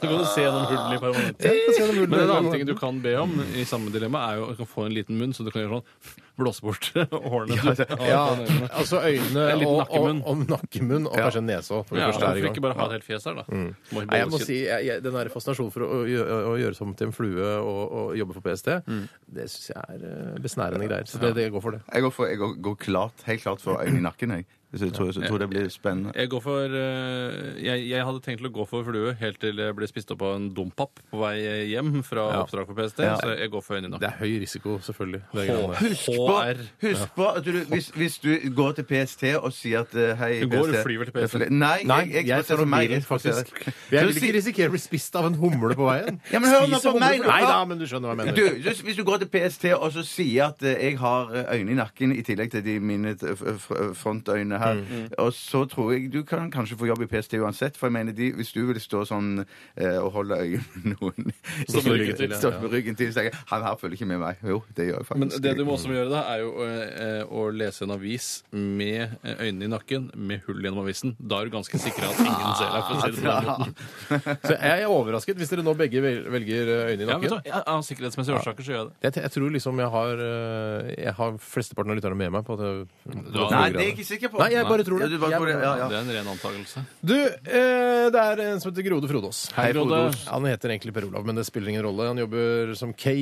[SPEAKER 5] Så kan du se gjennom hullene i permanentet. Men en annen ting du kan be om i samme dilemma, er jo at du kan få en liten munn, så du kan gjøre sånn [LAUGHS] blåse bort [LAUGHS] hårene. du har
[SPEAKER 3] Ja,
[SPEAKER 5] [LAUGHS] foran øynene.
[SPEAKER 3] altså øynene
[SPEAKER 5] En liten
[SPEAKER 3] og, og,
[SPEAKER 5] nakkemunn.
[SPEAKER 3] og nakkemunn, og kanskje en nese òg.
[SPEAKER 5] Ja, hvorfor ikke bare ha et helt fjes der, da? Må ikke
[SPEAKER 3] Mm. Nei, jeg må
[SPEAKER 5] bare-
[SPEAKER 3] si, jeg, jeg, Den der fascinasjonen for å, å, gjøre, å gjøre seg om til en flue og, og jobbe for PST,
[SPEAKER 5] Mm.
[SPEAKER 3] det syns jeg er eh, besnærende greier. Så det, det går for det.
[SPEAKER 4] Jeg går, for, jeg går, går klart, helt klart for øynene i nakken, jeg. Så jeg tror, så jeg tror det blir spennende.
[SPEAKER 5] Jeg, går for, eh, jeg, jeg hadde tenkt til å gå for flue helt til jeg ble spist opp av en dompap på vei hjem fra
[SPEAKER 3] Ja.
[SPEAKER 5] oppdrag for PST,
[SPEAKER 4] Ja.
[SPEAKER 5] så jeg går for øynene i nakken.
[SPEAKER 3] Det er høy risiko, selvfølgelig. Det er greiene.
[SPEAKER 4] Husk på,
[SPEAKER 5] HR.
[SPEAKER 4] husk på at du, hvis, hvis du går til PST og sier at eh, hei
[SPEAKER 5] Du går og flyr vel til PST?
[SPEAKER 4] Nei,
[SPEAKER 3] Nei,
[SPEAKER 4] jeg, jeg,
[SPEAKER 3] jeg tar
[SPEAKER 4] for meg-
[SPEAKER 3] bilen, faktisk.
[SPEAKER 4] Så
[SPEAKER 3] Jeg vil
[SPEAKER 4] si-
[SPEAKER 3] ikke risikere å bli spist av en humle på veien.
[SPEAKER 4] [LAUGHS] Ja, men hør nå
[SPEAKER 3] Spiser
[SPEAKER 4] på meg
[SPEAKER 3] humle-
[SPEAKER 4] nå.
[SPEAKER 3] Nei da, men du skjønner hva jeg
[SPEAKER 4] du,
[SPEAKER 3] mener.
[SPEAKER 4] hvis- hvis du går til PST og så sier at eh, jeg har øynene i nakken i tillegg til de mine t- f- f- frontøyne her, og så tror jeg du kan kanskje få jobb i PST uansett, for jeg mener de, hvis du vil stå sånn eh, og holde øye med noen
[SPEAKER 5] Stå med ryggen til, ja.
[SPEAKER 4] Stå med ryggen til, så jeg, han her følger ikke med meg. Jo, det gjør jeg
[SPEAKER 5] Men
[SPEAKER 4] faktisk.
[SPEAKER 5] det du må også gjøre da, er jo eh, å lese en avis med eh, øynene i nakken, med hull gjennom avisen. Da er du ganske sikker at
[SPEAKER 3] Ah,
[SPEAKER 5] ingen ser deg. for å si [LAUGHS] det på den måten.
[SPEAKER 3] Så jeg er overrasket hvis dere nå begge vel- velger eh, øynene i
[SPEAKER 5] Ja, men
[SPEAKER 3] nakken.
[SPEAKER 5] så, ja, Av sikkerhetsmessige årsaker så gjør jeg det.
[SPEAKER 3] Jeg, t- jeg tror liksom jeg har eh, Jeg har flesteparten av lytterne med meg på det.
[SPEAKER 5] Du har-
[SPEAKER 4] Nei, det er jeg ikke sikker på.
[SPEAKER 3] Nei, jeg bare tror det.
[SPEAKER 4] Ja, du bare tror det. Ja, ja.
[SPEAKER 5] Det er en ren antakelse.
[SPEAKER 3] Du, eh, det er en som heter Grode Frodås.
[SPEAKER 4] Hei, Frode.
[SPEAKER 5] Frode.
[SPEAKER 3] Han heter egentlig Per Olav, men det spiller ingen rolle. Han jobber som K,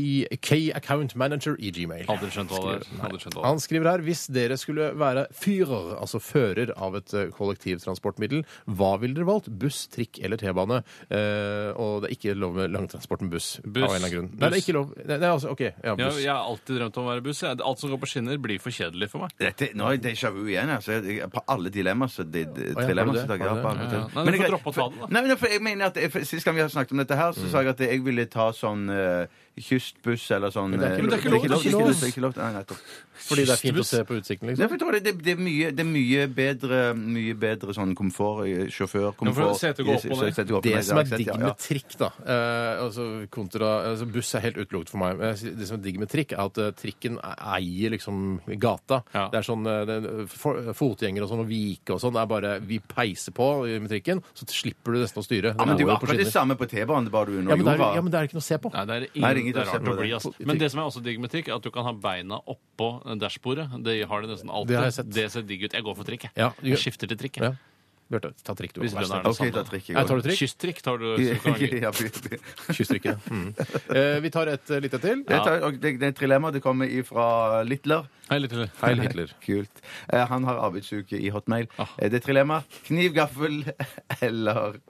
[SPEAKER 3] K Account Manager i Gmail.
[SPEAKER 5] Aldri skjønt hva det er. Aldri skjønt hva det er.
[SPEAKER 3] Han skriver her hvis dere skulle være fyrer, altså fører av et eh, kollektivtransportmiddel, hva ville dere valgt? Buss, trikk eller T-bane? Eh, og det er ikke lov med langtransport med buss.
[SPEAKER 5] Buss.
[SPEAKER 3] Av en eller annen grunn. Nei, det er ikke lov. Nei, nei, altså, OK. Ja,
[SPEAKER 5] Ja,
[SPEAKER 3] buss.
[SPEAKER 5] jeg har alltid drømt om å være buss. jeg. Alt som går på skinner, blir for kjedelig for meg.
[SPEAKER 4] Dette, nå er jeg déjà vu igjen. Altså, Jeg- på alle dilemmaer. Så det, det,
[SPEAKER 3] har du
[SPEAKER 4] dilemmaer
[SPEAKER 3] det?
[SPEAKER 4] så tar jeg
[SPEAKER 3] Har du
[SPEAKER 4] opp
[SPEAKER 3] det?
[SPEAKER 4] alle
[SPEAKER 5] Ja, ja.
[SPEAKER 4] til.
[SPEAKER 5] Nei,
[SPEAKER 4] Men
[SPEAKER 5] du
[SPEAKER 4] jeg-
[SPEAKER 5] får droppe å ta det, da.
[SPEAKER 4] Nei, men for jeg mener at for Sist gang vi har snakket om dette, her så sa jeg at jeg ville ta sånn eh, kystbuss eller sånn
[SPEAKER 3] det
[SPEAKER 4] eh,
[SPEAKER 3] er ikke- men det
[SPEAKER 5] er ikke lov,
[SPEAKER 4] Det er ikke lov. Det er
[SPEAKER 5] det
[SPEAKER 4] ikke lov. Nei, nettopp.
[SPEAKER 3] Fordi det er fint å se på utsikten,
[SPEAKER 4] Nei, for
[SPEAKER 3] liksom.
[SPEAKER 4] jeg tror det, det, det, er mye, det er mye bedre, mye bedre sånn komfort, eh, sjåførkomfort
[SPEAKER 5] setet går opp og ned.
[SPEAKER 4] Setet går opp og
[SPEAKER 3] Det
[SPEAKER 4] ned,
[SPEAKER 3] som
[SPEAKER 4] ja,
[SPEAKER 3] er
[SPEAKER 4] setet,
[SPEAKER 3] digg
[SPEAKER 4] ja, ja.
[SPEAKER 3] med trikk, da eh, altså kontra, altså Buss er helt utelukket for meg. men jeg sier- Det som er digg med trikk, er at eh, trikken eier liksom gata.
[SPEAKER 5] Ja.
[SPEAKER 3] Det er sånn eh, det, for, Fotgjengere og sånn, og vike og sånn. Det er bare Vi peiser på med trikken, så slipper du nesten å styre.
[SPEAKER 4] Ja, men det er jo
[SPEAKER 3] går på
[SPEAKER 4] akkurat det samme
[SPEAKER 3] skinner.
[SPEAKER 4] på T-banen, det er bare du under
[SPEAKER 3] ja, men det er,
[SPEAKER 4] jorda.
[SPEAKER 3] ja, men det er ikke noe å se på.
[SPEAKER 5] Nei, det er, ingen,
[SPEAKER 4] Nei, det er ingen
[SPEAKER 5] det er
[SPEAKER 4] til å se
[SPEAKER 5] rart
[SPEAKER 4] på
[SPEAKER 5] å bli,
[SPEAKER 4] det.
[SPEAKER 5] ass. Men det som er også digg med trikk, er at du kan ha beina oppå dashbordet. Det har det nesten alltid.
[SPEAKER 3] Det har jeg sett.
[SPEAKER 5] ser digg ut. Jeg går for trikk, jeg.
[SPEAKER 3] Ja, du gjør-
[SPEAKER 5] jeg skifter til trikk, jeg.
[SPEAKER 3] Ja. Bjarte, ta trikk, du.
[SPEAKER 5] Hvis
[SPEAKER 3] Vær så
[SPEAKER 5] bønnen
[SPEAKER 3] snill.
[SPEAKER 5] er det
[SPEAKER 4] OK, da
[SPEAKER 5] samme.
[SPEAKER 4] trykker [LAUGHS]
[SPEAKER 3] Nei, tar du trikk?
[SPEAKER 5] Kysstrikk tar du.
[SPEAKER 3] [LAUGHS]
[SPEAKER 5] så kan du-
[SPEAKER 4] Ja, by- by-
[SPEAKER 3] Kysstrikket. [LAUGHS] Mm. Eh, vi tar et eh, lite til.
[SPEAKER 4] Det tar- og det- det er et dilemma. Det kommer ifra Littler.
[SPEAKER 5] Hei, litt til.
[SPEAKER 3] Heil Hitler.
[SPEAKER 4] [LAUGHS] Kult. Eh, Han har arbeidsuke i hotmail.
[SPEAKER 5] Ah.
[SPEAKER 4] Eh, Det er trilemma. Kniv, gaffel [LAUGHS] eller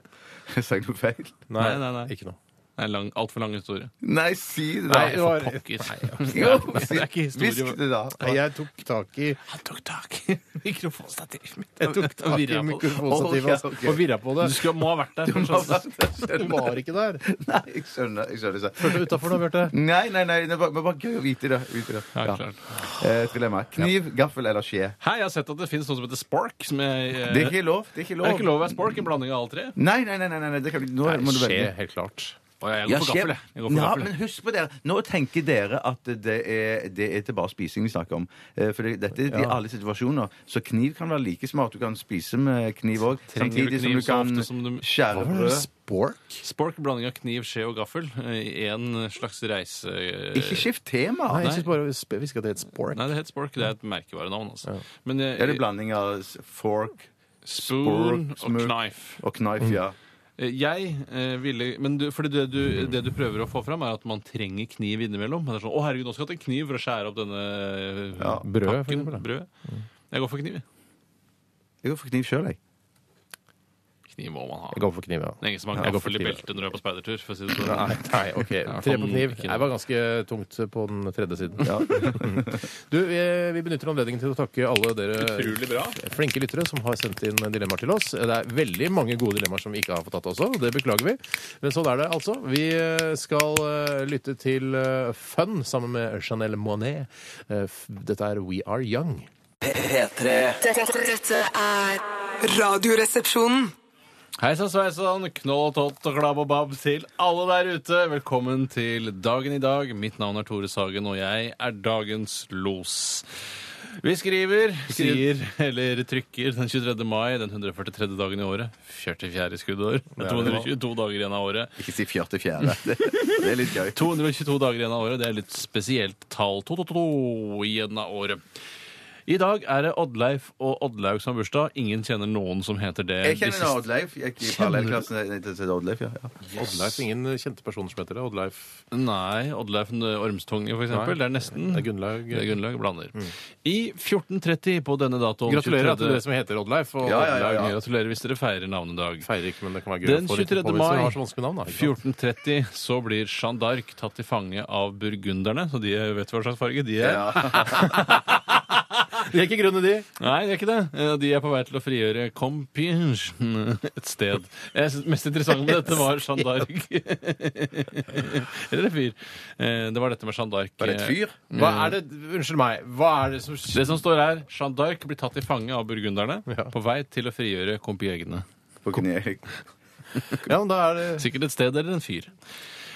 [SPEAKER 4] [LAUGHS] Sa jeg noe feil?
[SPEAKER 3] Nei,
[SPEAKER 5] Nei, nei, nei.
[SPEAKER 3] Ikke noe.
[SPEAKER 5] Det er en lang, altfor lang historie.
[SPEAKER 4] Nei, si det, da. [LAUGHS]
[SPEAKER 3] Nei, det var,
[SPEAKER 5] Pokker. [LAUGHS]
[SPEAKER 4] Jo,
[SPEAKER 5] det er ikke
[SPEAKER 4] si-
[SPEAKER 5] historie.
[SPEAKER 4] Hvisk det, da.
[SPEAKER 3] Nei, jeg tok tak [LAUGHS] i
[SPEAKER 5] Han tok tak i mikrofonstativet mitt.
[SPEAKER 3] [LAUGHS] Jeg tok
[SPEAKER 5] Og
[SPEAKER 3] tak i
[SPEAKER 5] virra på det.
[SPEAKER 3] mikrofonstativet
[SPEAKER 4] Ok, ok.
[SPEAKER 3] og virra på det.
[SPEAKER 5] Du skal, må ha vært der. [LAUGHS] altså. for å skjønne det.
[SPEAKER 3] Du var ikke der.
[SPEAKER 4] [LAUGHS] Nei, jeg skjønner. Jeg skjønner
[SPEAKER 3] Hørte
[SPEAKER 4] så.
[SPEAKER 3] du utafor nå, Bjarte?
[SPEAKER 4] Nei, nei, nei. Det var det var bare gøy å vite det. Vite det.
[SPEAKER 5] Ja,
[SPEAKER 4] Ja.
[SPEAKER 5] klart.
[SPEAKER 4] Eh, Trilemma. Kniv, gaffel eller skje?
[SPEAKER 5] Hei, jeg har sett at det finnes noe som heter spork. Som jeg, eh,
[SPEAKER 4] Det er ikke lov. Det er ikke
[SPEAKER 5] er det ikke
[SPEAKER 4] lov.
[SPEAKER 5] lov å være spork? En blanding av alle tre?
[SPEAKER 4] Nei, nei, nei. nei, nei. Det kan, du- nå må du
[SPEAKER 3] Skje,
[SPEAKER 4] velge.
[SPEAKER 3] helt klart.
[SPEAKER 5] Å, jeg går for
[SPEAKER 4] skje-
[SPEAKER 5] gaffel, jeg. jeg. Går for
[SPEAKER 4] ja,
[SPEAKER 5] gaffel.
[SPEAKER 4] men husk på dere, Nå tenker dere at det er, det er til bare spising vi snakker om. Eh, For det, dette er i alle situasjoner. Så kniv kan være like smart. Du kan spise med kniv òg.
[SPEAKER 5] Trenger du
[SPEAKER 4] Samtidig som
[SPEAKER 5] kniv
[SPEAKER 4] du
[SPEAKER 5] så
[SPEAKER 4] kan
[SPEAKER 5] ofte som du-
[SPEAKER 4] skjære brød.
[SPEAKER 3] Spork?
[SPEAKER 5] Spork, blanding av kniv, skje og gaffel eh, i en slags reise...
[SPEAKER 4] Ikke skift tema!
[SPEAKER 3] Nei, jeg synes bare jeg visste at det het spork.
[SPEAKER 5] Nei, det heter spork. Det er et merkevarenavn, altså. Men eh,
[SPEAKER 4] Er det blanding av s- fork
[SPEAKER 5] spoon
[SPEAKER 4] spork, smør?
[SPEAKER 5] og knife.
[SPEAKER 4] og knife? Ja.
[SPEAKER 5] Eh, Jeg eh, ville Men du, fordi det, du, det du prøver å få fram, er at man trenger kniv innimellom. Det er sånn, 'Å, herregud, nå skal jeg ha en kniv for å skjære opp denne eh,
[SPEAKER 4] Ja,
[SPEAKER 3] brød, for
[SPEAKER 5] pakken
[SPEAKER 3] eksempel, da.
[SPEAKER 5] brød'. Jeg går for kniv. jeg.
[SPEAKER 4] Jeg går for kniv sjøl, jeg.
[SPEAKER 5] Kniv må man ha.
[SPEAKER 3] Jeg går for kniv, ja.
[SPEAKER 5] Det er ingen som har
[SPEAKER 3] Jeg går for
[SPEAKER 5] gaffel i
[SPEAKER 3] kniv, ja.
[SPEAKER 5] beltet når du er på speidertur. for å si det sånn.
[SPEAKER 3] Nei, nei, ok. Tre på kniv. Det var ganske tungt på den tredje siden. [LAUGHS] Du, eh, vi benytter anledningen til å takke alle dere
[SPEAKER 5] Utrolig bra.
[SPEAKER 3] flinke lyttere som har sendt inn dilemmaer til oss. Det er veldig mange gode dilemmaer som vi ikke har fått tatt også, og det beklager vi. Men sånn er det altså. Vi eh, skal eh, lytte til eh, Fun sammen med Chanel Monet. Eh, f- Dette er We Are Young.
[SPEAKER 2] P3
[SPEAKER 1] Dette, dette er Radioresepsjonen.
[SPEAKER 5] Hei sann, sveisann, knoll og tott og klabb og babb til alle der ute. Velkommen til dagen i dag. Mitt navn er Tore Sagen, og jeg er dagens los. Vi skriver, sier eller trykker den 23. mai, den 143. dagen i året. 44. skuddår. Det er 222 dager igjen av året.
[SPEAKER 4] Ikke si fjørte
[SPEAKER 5] [LAUGHS]
[SPEAKER 4] fjerde. Det, det er litt gøy.
[SPEAKER 5] 222 dager igjen av året. Det er litt spesielt tall. 222 igjen av året. I dag er det Oddleif og Oddlaug som har bursdag. Ingen kjenner noen som heter det.
[SPEAKER 4] Jeg
[SPEAKER 5] De
[SPEAKER 4] kjenner
[SPEAKER 5] siste-
[SPEAKER 4] en Oddleif. Jeg gikk i parallellklassen til Oddleif, ja. ja.
[SPEAKER 3] Oddleif. Ingen kjente personer som heter det. Oddleif
[SPEAKER 5] Nei, Oddleif Ormstonge, for
[SPEAKER 3] Nei.
[SPEAKER 5] eksempel. Det er nesten.
[SPEAKER 3] Det er Gunnlaug.
[SPEAKER 5] Det er Gunnlaug blander. I 1430 på denne datoen
[SPEAKER 3] Gratulerer
[SPEAKER 5] 23.
[SPEAKER 3] til dere som heter Oddleif. Og
[SPEAKER 4] Ja, ja, ja, ja.
[SPEAKER 3] Oddlaug
[SPEAKER 5] Gratulerer hvis dere feirer navnedag.
[SPEAKER 3] feirer ikke, men det kan være gøy
[SPEAKER 5] Den
[SPEAKER 3] å få litt
[SPEAKER 5] 23.
[SPEAKER 3] påminnelse.
[SPEAKER 5] mai.
[SPEAKER 3] Hun har så vanskelig navn, da. ikke sant?
[SPEAKER 5] 1430 så blir Jeanne d'Arc tatt til fange av burgunderne. Så de vet hva slags farge de er.
[SPEAKER 3] Det er ikke grunnen, de.
[SPEAKER 5] Nei, det er ikke det. Eh, De er på vei til å frigjøre Compiègne [LAUGHS] et sted. Jeg synes Det mest interessante med dette var Jeanne d'Arc. [LAUGHS] Eller en fyr. Eh, Det var dette med Jeanne d'Arc. eh,
[SPEAKER 4] Var det et fyr?
[SPEAKER 3] Hva er det, Unnskyld meg. Hva er det som
[SPEAKER 5] Det som står her, Jeanne d'Arc blir tatt til fange av burgunderne på vei til å frigjøre Compiègne.
[SPEAKER 4] På
[SPEAKER 5] sånn
[SPEAKER 4] kne.
[SPEAKER 3] Ja, men da er det
[SPEAKER 5] Sikkert et sted eller en fyr.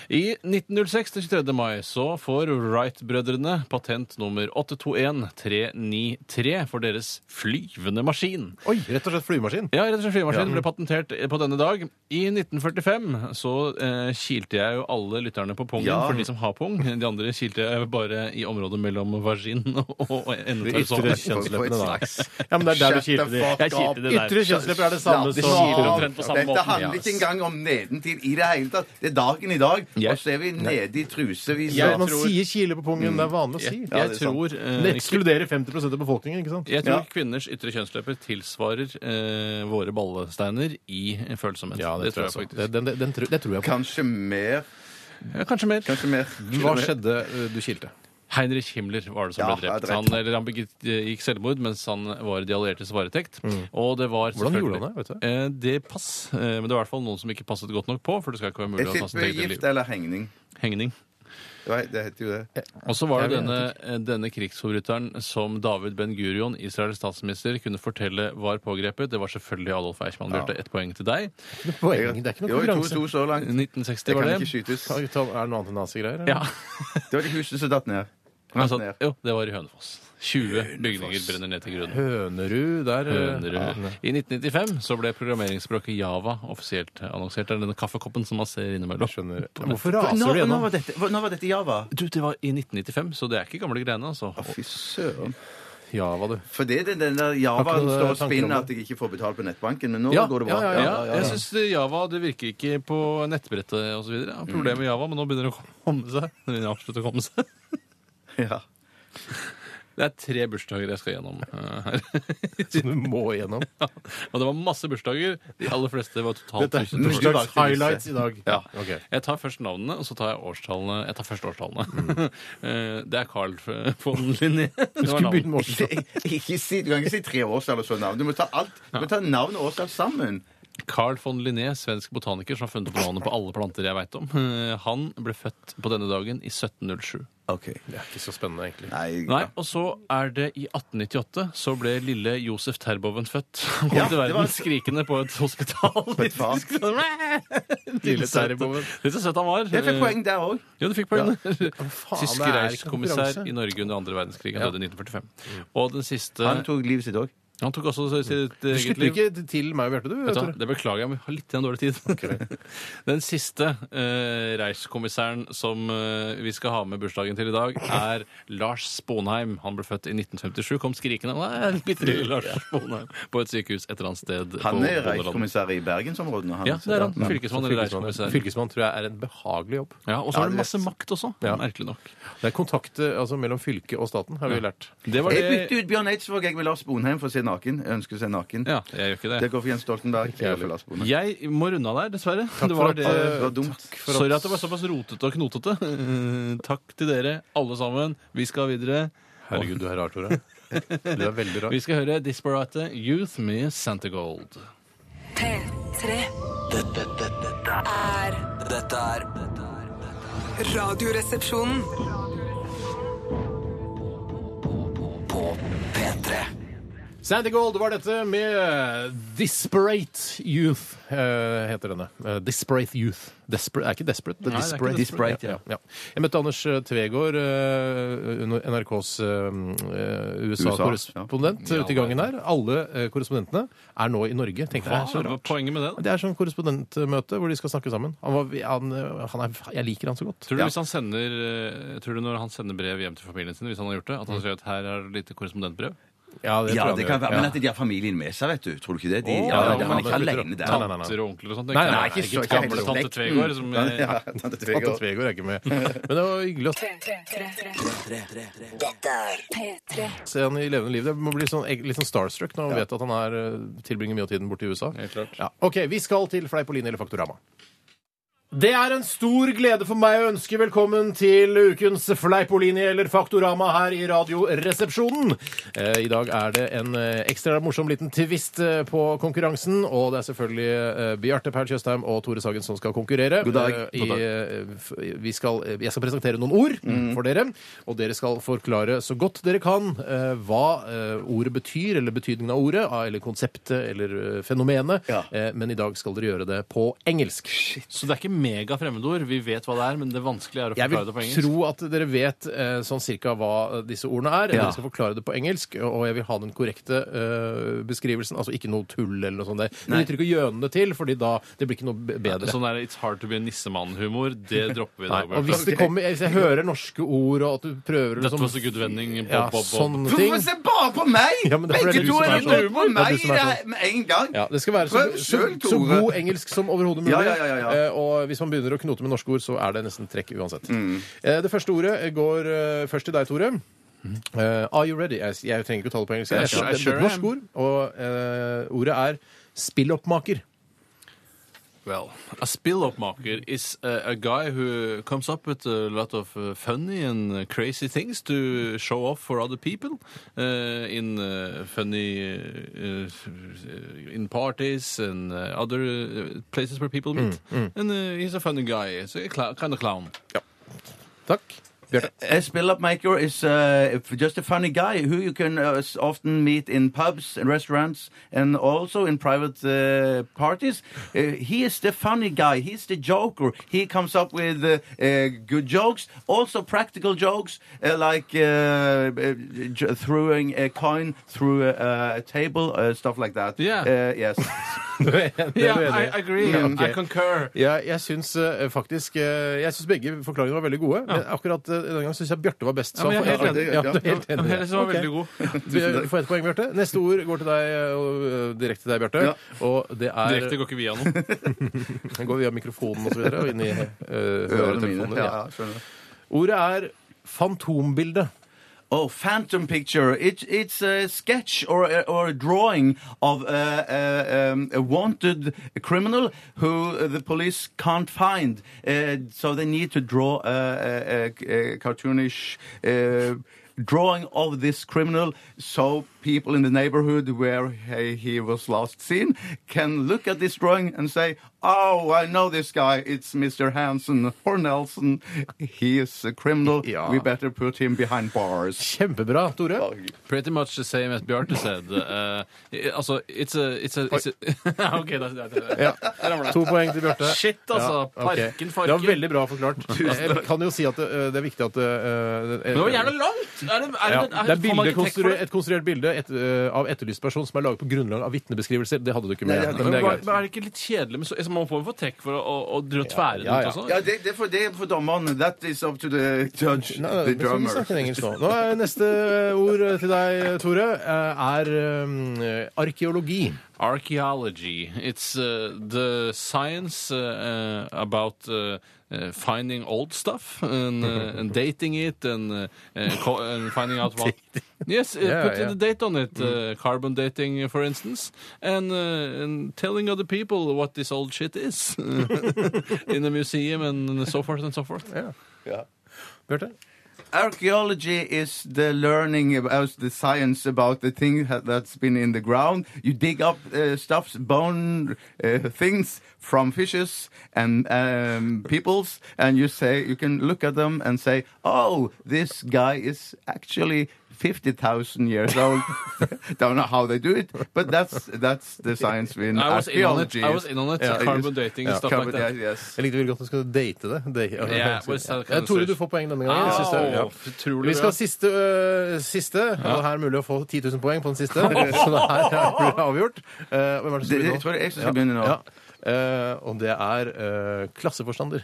[SPEAKER 5] I 1906 til 23. mai så får Wright-brødrene patent nummer 821393 for deres flyvende maskin.
[SPEAKER 3] Oi, rett og slett flymaskin.
[SPEAKER 5] Ja, rett og slett flymaskinen ble patentert på denne dag. I 1945 så eh, kilte jeg jo alle lytterne på pungen,
[SPEAKER 4] Ja.
[SPEAKER 5] for de som har pung. De andre kilte jeg bare i området mellom vagin [LAUGHS] og, og
[SPEAKER 3] Ytre
[SPEAKER 5] endetarmsåpen.
[SPEAKER 3] kjønnsleppene,
[SPEAKER 4] For et
[SPEAKER 3] da.
[SPEAKER 4] slags-
[SPEAKER 3] Ja, men det er der du
[SPEAKER 4] Shut
[SPEAKER 3] kilte
[SPEAKER 4] the
[SPEAKER 3] de.
[SPEAKER 4] fuck
[SPEAKER 5] Jeg kilte
[SPEAKER 4] up.
[SPEAKER 5] det der.
[SPEAKER 3] Ytre kjønnslepper er det samme
[SPEAKER 4] Slapp
[SPEAKER 3] som
[SPEAKER 5] kiler
[SPEAKER 4] av.
[SPEAKER 5] omtrent på samme
[SPEAKER 4] Dette
[SPEAKER 5] måten,
[SPEAKER 4] handler
[SPEAKER 5] ja.
[SPEAKER 4] ikke engang om nedentil i det hele tatt. Det er dagen i dag,
[SPEAKER 5] Ja.
[SPEAKER 4] og så er vi nede i trusevis.
[SPEAKER 3] Ja,
[SPEAKER 4] og-
[SPEAKER 3] Man sier kile på pungen. Det er vanlig å si.
[SPEAKER 5] Jeg,
[SPEAKER 4] det
[SPEAKER 5] jeg
[SPEAKER 4] er sant.
[SPEAKER 5] tror
[SPEAKER 3] Det
[SPEAKER 5] eh,
[SPEAKER 3] ekskluderer 50 av befolkningen, ikke sant?
[SPEAKER 5] Jeg tror
[SPEAKER 4] Ja.
[SPEAKER 5] kvinners ytre kjønnsløper tilsvarer eh, våre ballesteiner i følsomhet.
[SPEAKER 3] også. Det, den, den, den, tro- det tror jeg på.
[SPEAKER 4] Kanskje mer.
[SPEAKER 5] faktisk. Ja, kanskje mer.
[SPEAKER 4] Kanskje mer.
[SPEAKER 3] Hva skjedde eh, du kilte?
[SPEAKER 5] Heinrich Himmler var det som
[SPEAKER 4] Ja,
[SPEAKER 5] ble drept.
[SPEAKER 4] det er
[SPEAKER 5] Han,
[SPEAKER 4] rett.
[SPEAKER 5] eller, han begikk, eh, gikk selvmord mens han var i de alliertes varetekt. Og det var
[SPEAKER 3] Hvordan gjorde
[SPEAKER 5] selvfølgelig-
[SPEAKER 3] han det, vet du?
[SPEAKER 5] Eh, det pass, eh, men det var i hvert fall noen som ikke passet godt nok på. For det skal ikke være mulig
[SPEAKER 4] Jeg
[SPEAKER 5] å ta sitt
[SPEAKER 4] tipper
[SPEAKER 5] eget
[SPEAKER 4] gift
[SPEAKER 5] liv.
[SPEAKER 4] eller hengning.
[SPEAKER 5] Hengning.
[SPEAKER 4] Nei, det heter jo det.
[SPEAKER 5] Og så var det
[SPEAKER 3] Jeg vet
[SPEAKER 5] denne, eh, denne krigsforbryteren som David Ben Gurion, Israels statsminister, kunne fortelle var pågrepet. Det var selvfølgelig Adolf Eichmann. Bjarte, ett poeng til deg.
[SPEAKER 3] Poeng, det er ikke noe
[SPEAKER 4] Jo,
[SPEAKER 3] konkurranse.
[SPEAKER 4] 2-2 så langt.
[SPEAKER 5] 1960
[SPEAKER 4] Det
[SPEAKER 5] var
[SPEAKER 4] kan
[SPEAKER 5] det.
[SPEAKER 4] ikke skytes.
[SPEAKER 3] Kan vi ta- Er det noe annet enn nazigreier? eller?
[SPEAKER 5] Ja.
[SPEAKER 4] Det var de husene som datt ned.
[SPEAKER 5] Altså,
[SPEAKER 4] ned.
[SPEAKER 5] jo, det var i Hønefoss. 20 bygninger brenner ned til grunnen.
[SPEAKER 3] Hønerud der eh,
[SPEAKER 5] Hønerud. I 1995 så ble programmeringsspråket Java offisielt annonsert. Det er denne kaffekoppen som man ser innimellom.
[SPEAKER 3] Jeg skjønner. Hvorfor
[SPEAKER 4] Nå,
[SPEAKER 3] raser du
[SPEAKER 4] nå,
[SPEAKER 3] gjennom?
[SPEAKER 4] var dette, nå var dette Java.
[SPEAKER 5] Du, det var i 1995, så det er ikke gamle greiene, altså.
[SPEAKER 4] Fy søren.
[SPEAKER 3] Ja, hva du.
[SPEAKER 4] For det er den, den der
[SPEAKER 3] Har
[SPEAKER 4] Javaen
[SPEAKER 3] ikke noe
[SPEAKER 4] står og
[SPEAKER 3] tanker om
[SPEAKER 4] spinner
[SPEAKER 3] det?
[SPEAKER 4] at jeg ikke får betalt på nettbanken, men nå
[SPEAKER 5] Ja,
[SPEAKER 4] går det bra.
[SPEAKER 3] ja,
[SPEAKER 5] Ja, jeg syns Java det virker ikke på nettbrettet osv. Problemet med Java, men nå begynner det å komme seg. Det begynner absolutt å komme seg.
[SPEAKER 4] Ja.
[SPEAKER 5] Det er tre bursdager jeg skal gjennom eh, her. [LAUGHS]
[SPEAKER 3] Som du må igjennom.
[SPEAKER 5] Og det var masse bursdager. De aller fleste var totalt
[SPEAKER 3] Dette er
[SPEAKER 5] tusen bursdager.
[SPEAKER 3] bursdags highlights i dag.
[SPEAKER 5] Ja.
[SPEAKER 3] Ok.
[SPEAKER 5] Jeg tar først navnene, og så tar jeg årstallene. Jeg tar først årstallene. [LAUGHS] Eh, det er Carl f- von Linné. Det var
[SPEAKER 3] Skulle
[SPEAKER 5] navnet.
[SPEAKER 3] begynne med årstall.
[SPEAKER 4] Ikke, ikke si, du kan ikke si tre årstall og så navn. Du må ta alt, du må ta navn og årstall sammen.
[SPEAKER 5] Carl von Linné, svensk botaniker som har funnet opp navnet på alle planter jeg veit om, eh, han ble født på denne dagen i 1707.
[SPEAKER 4] OK.
[SPEAKER 3] Det er ikke så spennende, egentlig.
[SPEAKER 4] Nei,
[SPEAKER 5] Nei, og så er det i 1898 så ble lille Josef Terboven født. [LAUGHS] Han kom
[SPEAKER 4] Ja,
[SPEAKER 5] til
[SPEAKER 4] det
[SPEAKER 5] verden
[SPEAKER 4] var-
[SPEAKER 5] skrikende på et hospital.
[SPEAKER 4] et fat.
[SPEAKER 5] [LAUGHS] Lille Terboven. Litt så søt han var.
[SPEAKER 4] Jeg fikk poeng der òg.
[SPEAKER 5] Jo, du fikk poeng. [LAUGHS]
[SPEAKER 3] faen,
[SPEAKER 5] Tyske
[SPEAKER 3] det er
[SPEAKER 5] reichskommissær
[SPEAKER 3] konkurranse.
[SPEAKER 5] i Norge under andre verdenskrig. Han døde i 1945. Og den siste
[SPEAKER 4] Han tok livet sitt òg.
[SPEAKER 5] Han tok også sitt
[SPEAKER 3] Du
[SPEAKER 5] eget
[SPEAKER 3] slutter
[SPEAKER 5] liv.
[SPEAKER 3] ikke til meg og Bjarte, du?
[SPEAKER 5] eh, Vet du, hva,
[SPEAKER 3] Tore.
[SPEAKER 5] det beklager jeg, men vi har litt igjen dårlig tid. [LAUGHS] Den siste eh, reichskommissæren som eh, vi skal ha med bursdagen til i dag, er Lars Sponheim. Han ble født i 1957, kom skrikende Nei, bitte lille Lars Sponheim på et sykehus et eller annet
[SPEAKER 4] Han
[SPEAKER 5] sted. på
[SPEAKER 4] er
[SPEAKER 5] Bondeland.
[SPEAKER 4] reichskommissær i bergensområdet. nå, han.
[SPEAKER 5] Ja, det er han.
[SPEAKER 4] Ja.
[SPEAKER 5] Fylkesmann eller reichskommissær.
[SPEAKER 3] Fylkesmann tror jeg er en behagelig jobb.
[SPEAKER 5] Ja, og så
[SPEAKER 4] Ja,
[SPEAKER 5] har
[SPEAKER 4] det
[SPEAKER 5] han
[SPEAKER 4] er
[SPEAKER 5] masse
[SPEAKER 4] rett.
[SPEAKER 5] makt også,
[SPEAKER 3] Ja.
[SPEAKER 5] merkelig nok.
[SPEAKER 3] Det er kontakt eh, altså, mellom fylket og staten, har vi lært.
[SPEAKER 5] Det var
[SPEAKER 4] Jeg
[SPEAKER 5] det
[SPEAKER 4] bytter ut Bjørn Eidsvåg jeg med Lars Bonheim for å se naken. Jeg ønsker å se naken.
[SPEAKER 5] Ja, jeg gjør ikke det.
[SPEAKER 4] Det går for Jens Stoltenberg. Jeg går for Lars Bonheim.
[SPEAKER 5] Jeg må runde av der, dessverre. det
[SPEAKER 3] for
[SPEAKER 5] var
[SPEAKER 3] at, eh,
[SPEAKER 5] det.
[SPEAKER 4] Ja, Det var dumt.
[SPEAKER 5] Sorry at det var såpass rotete og knotete. Eh, Takk til dere, alle sammen. Vi skal videre.
[SPEAKER 3] Herregud, du er rar, Tore. Du er veldig rar.
[SPEAKER 5] [LAUGHS] Vi skal høre Disparate Youth med Santa Gold.
[SPEAKER 1] P3
[SPEAKER 2] Dette, dette, dette
[SPEAKER 1] er
[SPEAKER 2] er- dette er dette er-
[SPEAKER 1] Radioresepsjonen.
[SPEAKER 2] På P3
[SPEAKER 3] Sandy Gold var dette med eh, Disparate Youth, eh, heter denne. Eh, Disparate Youth. Desper er ikke desperate, det er
[SPEAKER 5] Nei, det er ikke
[SPEAKER 3] disparate.
[SPEAKER 4] desperate.
[SPEAKER 3] ja, ja, ja. Jeg møtte Anders eh, Tvegård, eh, under NRKs eh, USA-korrespondent,
[SPEAKER 5] ja.
[SPEAKER 3] ute i gangen her. Alle eh, korrespondentene er nå i Norge, tenkte jeg. Så
[SPEAKER 5] Hva var poenget med det? da?
[SPEAKER 3] Det er sånn korrespondentmøte hvor de skal snakke sammen. Han var, han, han er, jeg liker han så godt.
[SPEAKER 5] Tror du, hvis han sender, eh, tror du når han sender brev hjem til familien sin, hvis han har gjort det,
[SPEAKER 3] Mm.
[SPEAKER 5] at han sier at her er det lite korrespondentbrev?
[SPEAKER 3] Ja, det,
[SPEAKER 4] Ja,
[SPEAKER 3] tror
[SPEAKER 4] det
[SPEAKER 3] jeg han
[SPEAKER 4] kan
[SPEAKER 3] gjør.
[SPEAKER 4] være, men
[SPEAKER 3] Ja.
[SPEAKER 4] at de har familien med seg, vet du. Tror du ikke det? De,
[SPEAKER 3] Å,
[SPEAKER 4] ja, det er
[SPEAKER 3] ja, ja,
[SPEAKER 4] man ikke
[SPEAKER 3] men slutter
[SPEAKER 4] alene
[SPEAKER 3] å-
[SPEAKER 4] der.
[SPEAKER 3] Nei, nei, nei, nei.
[SPEAKER 5] Tanter og onkler og sånt?
[SPEAKER 3] Nei,
[SPEAKER 5] tenker
[SPEAKER 3] nei,
[SPEAKER 5] jeg.
[SPEAKER 3] ikke Mm. så-
[SPEAKER 5] Ikke gamle
[SPEAKER 4] ikke
[SPEAKER 5] tante
[SPEAKER 4] slekten.
[SPEAKER 5] Tvegård som eh,
[SPEAKER 4] Ja, Tante Tvegård.
[SPEAKER 3] Tante Tvegård er ikke med. Men det var hyggelig å
[SPEAKER 1] P3.
[SPEAKER 3] se han i levende liv. Jeg må bli sånn, litt sånn starstruck når man vet at han er, eh, tilbringer mye av tiden borte i USA.
[SPEAKER 5] Helt klart.
[SPEAKER 3] Ja. OK, vi skal til Fleipolini eller Faktorama. Det er en stor glede for meg å ønske velkommen til ukens Fleipolini eller Faktorama her i Radioresepsjonen. Eh, I dag er det en eh, ekstra morsom liten twist eh, på konkurransen, og det er selvfølgelig eh, Bjarte Paul Tjøstheim og Tore Sagen som skal konkurrere.
[SPEAKER 4] God dag.
[SPEAKER 3] Eh,
[SPEAKER 4] God dag.
[SPEAKER 3] I, eh, f- vi skal, eh, jeg skal presentere noen ord for dere, og dere skal forklare så godt dere kan eh, hva eh, ordet betyr, eller betydningen av ordet, ah, eller konseptet, eller eh, fenomenet.
[SPEAKER 4] Ja.
[SPEAKER 3] Eh, men i dag skal dere gjøre det på engelsk.
[SPEAKER 5] Så det er ikke mega fremmedord. Vi vet hva det er, men det vanskelige er å
[SPEAKER 3] Jeg vil
[SPEAKER 5] forklare det på engelsk.
[SPEAKER 3] tro at dere vet eh, sånn cirka hva disse ordene er. Dere skal forklare det på engelsk, og jeg vil ha den korrekte eh, beskrivelsen. Altså ikke noe tull eller noe sånt der. Men jeg trykker gjøne det til, fordi da det blir ikke noe be- bedre.
[SPEAKER 5] Sånn der It's hard to be a nissemann-humor, det dropper vi i
[SPEAKER 3] Nei,
[SPEAKER 5] dag.
[SPEAKER 3] og hvis,
[SPEAKER 5] Bjarte.
[SPEAKER 3] det kommer, hvis jeg hører norske ord, og at du prøver
[SPEAKER 5] Dette
[SPEAKER 3] liksom-
[SPEAKER 5] var så good vending. Bob,
[SPEAKER 3] ja, sånn-
[SPEAKER 5] bob, bob.
[SPEAKER 3] sånne
[SPEAKER 4] Hvorfor
[SPEAKER 3] ting.
[SPEAKER 4] se bare på meg?!
[SPEAKER 3] Ja, men det er fordi
[SPEAKER 4] Begge
[SPEAKER 3] det er du
[SPEAKER 4] to
[SPEAKER 3] som
[SPEAKER 4] er
[SPEAKER 3] er
[SPEAKER 4] inne
[SPEAKER 3] sånn.
[SPEAKER 4] på
[SPEAKER 3] Det er du
[SPEAKER 4] meg
[SPEAKER 3] som er sånn.
[SPEAKER 4] i- med en gang!
[SPEAKER 3] Ja, det skal være så,
[SPEAKER 4] Prøv
[SPEAKER 3] så,
[SPEAKER 4] selv,
[SPEAKER 3] så
[SPEAKER 4] Tore.
[SPEAKER 3] god engelsk som overhodet mulig.
[SPEAKER 4] Ja, ja, ja, ja.
[SPEAKER 3] Eh, og hvis man begynner å knote med norske ord, så er det nesten trekk uansett.
[SPEAKER 5] Mm.
[SPEAKER 3] Eh, det første ordet går eh, først til deg, Tore. Eh, are you ready? Jeg, jeg trenger ikke å tale på engelsk. Jeg,
[SPEAKER 5] Jeg sure-
[SPEAKER 3] det,
[SPEAKER 5] jeg
[SPEAKER 3] er
[SPEAKER 5] sure
[SPEAKER 3] et norsk
[SPEAKER 5] am.
[SPEAKER 3] ord, og eh, ordet er spilloppmaker.
[SPEAKER 5] Well, a spill-up-maker is uh, a guy who comes up with a lot of uh, funny and uh, crazy things to show off for other people uh, in uh, funny uh, uh, in parties and uh, other uh, places where people meet.
[SPEAKER 3] Mm,
[SPEAKER 5] And uh, he's a funny guy, so a cl- kind of clown.
[SPEAKER 3] Takk. [LAUGHS] Bjarte.
[SPEAKER 4] A spill-up maker is uh, just a funny guy who you can uh, s- often meet in pubs and restaurants and also in private uh, parties. Uh, he is the funny guy. He's the joker. He comes up with uh, uh, good jokes, also practical jokes uh, like uh, uh, j- throwing a coin through a, a table, uh, stuff like that.
[SPEAKER 5] Yeah.
[SPEAKER 4] Uh, yes.
[SPEAKER 3] Du er enig, du er
[SPEAKER 5] Yeah, I
[SPEAKER 3] enig.
[SPEAKER 5] agree.
[SPEAKER 3] Ja, ok.
[SPEAKER 5] I concur.
[SPEAKER 3] Ja, jeg syns eh, faktisk eh, Jeg syns begge forklaringene var veldig gode, men akkurat eh, denne gangen syns jeg Bjarte var best.
[SPEAKER 5] Ja, men jeg er
[SPEAKER 3] han får-
[SPEAKER 5] helt enig.
[SPEAKER 3] Ja, du er helt
[SPEAKER 5] Ja,
[SPEAKER 3] enig.
[SPEAKER 5] men jeg synes det var
[SPEAKER 3] Ok.
[SPEAKER 5] veldig god.
[SPEAKER 3] Du får ett poeng, Bjarte. Neste ord går til deg, og, ø, direkte til deg, Bjarte. Og det er
[SPEAKER 5] Direkte går ikke via noe.
[SPEAKER 3] Den går via mikrofonen og så videre, og inn i eh, ø,
[SPEAKER 4] Ørene mine.
[SPEAKER 3] høretelefonene.
[SPEAKER 4] Ja,
[SPEAKER 3] Ja.
[SPEAKER 4] ja, skjønner.
[SPEAKER 3] Ordet er fantombilde.
[SPEAKER 4] Oh, phantom picture. It, it's a sketch or a, or a drawing of a, a, um, a wanted criminal who uh, the police can't find. Uh, so they need to draw a, a, a, a cartoonish uh, drawing of this criminal so people in the neighborhood where he, he was last seen can look at this drawing and say, Oh, I know this guy. It's Mr. Hansen or Nelson. He is a criminal.
[SPEAKER 3] Ja.
[SPEAKER 4] We better put him behind bars.
[SPEAKER 3] Kjempebra, Tore.
[SPEAKER 5] Pretty much the same as Bjarte said. Uh, i- altså, it's a, it's a, it's a [LAUGHS] OK, da da- da-
[SPEAKER 4] [LAUGHS]
[SPEAKER 3] Ja. To poeng til Bjarte.
[SPEAKER 5] Shit, altså.
[SPEAKER 3] ok.
[SPEAKER 5] Parken,
[SPEAKER 3] Det
[SPEAKER 5] farken.
[SPEAKER 3] var veldig bra
[SPEAKER 4] [LAUGHS]
[SPEAKER 3] forklart. Jeg kan jo si at det, øh, det er viktig at øh,
[SPEAKER 5] Men det var jævla langt! Er det, er
[SPEAKER 3] ja.
[SPEAKER 5] det, er
[SPEAKER 3] Det er
[SPEAKER 5] får man
[SPEAKER 3] bilde,
[SPEAKER 5] ikke tekst for
[SPEAKER 3] konstruert,
[SPEAKER 5] det?
[SPEAKER 3] et konstruert bilde et, øh, av etterlyst person som er laget på grunnlag av vitnebeskrivelser. Det hadde du ikke med.
[SPEAKER 4] Nei, det hadde
[SPEAKER 3] men det er
[SPEAKER 5] Men
[SPEAKER 3] greit.
[SPEAKER 5] er det ikke litt kjedelig med så, så Man får jo få trekk for å, å, å dra- tvære det
[SPEAKER 3] ja,
[SPEAKER 5] ut
[SPEAKER 3] ja.
[SPEAKER 5] også.
[SPEAKER 4] Ja, det, det, er for, det er for dommeren. That is up to the judge,
[SPEAKER 3] Nei,
[SPEAKER 4] the
[SPEAKER 3] vi skal ikke
[SPEAKER 4] drummer.
[SPEAKER 3] snakke engelsk nå. nå er neste ord til deg, Tore, eh, er øh, arkeologi.
[SPEAKER 5] Archaeology. It's uh, the science uh, uh, about uh, uh, finding old stuff and, uh,
[SPEAKER 4] [LAUGHS]
[SPEAKER 5] and dating it and, uh, uh, co- and finding out what. Yes, uh,
[SPEAKER 3] Yeah,
[SPEAKER 5] put
[SPEAKER 3] yeah.
[SPEAKER 5] the date on it. Uh,
[SPEAKER 4] Mm.
[SPEAKER 5] carbon dating, uh, for instance, and, uh, and telling other people what this old shit is [LAUGHS] in the museum and so forth and so forth.
[SPEAKER 3] Bjarte?
[SPEAKER 4] Archaeology is the learning about the science about the thing ha- that's been in the ground. You dig up uh, stuffs, bone uh, things from fishes and um, peoples, and you say you can look at them and say, "Oh, this guy is actually." 50,000 years old. [LAUGHS] Don't know how they do it, but that's that's the science in
[SPEAKER 5] I was in on it.
[SPEAKER 4] archaeology.
[SPEAKER 5] I was in on it.
[SPEAKER 4] Yeah,
[SPEAKER 5] carbon
[SPEAKER 4] yes.
[SPEAKER 5] dating and stuff
[SPEAKER 4] Carbon-
[SPEAKER 5] like that.
[SPEAKER 4] yeah, yes.
[SPEAKER 3] Jeg likte veldig godt at du skulle date det. Date.
[SPEAKER 5] Yeah, well, it's that kind
[SPEAKER 3] Ja,
[SPEAKER 5] of
[SPEAKER 3] Tore,
[SPEAKER 5] search.
[SPEAKER 3] du får poeng denne gangen. Siste,
[SPEAKER 5] Au,
[SPEAKER 3] ja.
[SPEAKER 5] utrolig
[SPEAKER 3] Vi
[SPEAKER 5] bra.
[SPEAKER 3] skal siste, øh, siste og her er det mulig å få 10 000 poeng på den siste. [LAUGHS] Så det her er det avgjort. Eh, hvem er det som
[SPEAKER 4] Det-
[SPEAKER 3] begynner nå?
[SPEAKER 4] jeg tror det er jeg som skal begynne nå.
[SPEAKER 3] Ja. Eh, og det er eh, klasseforstander.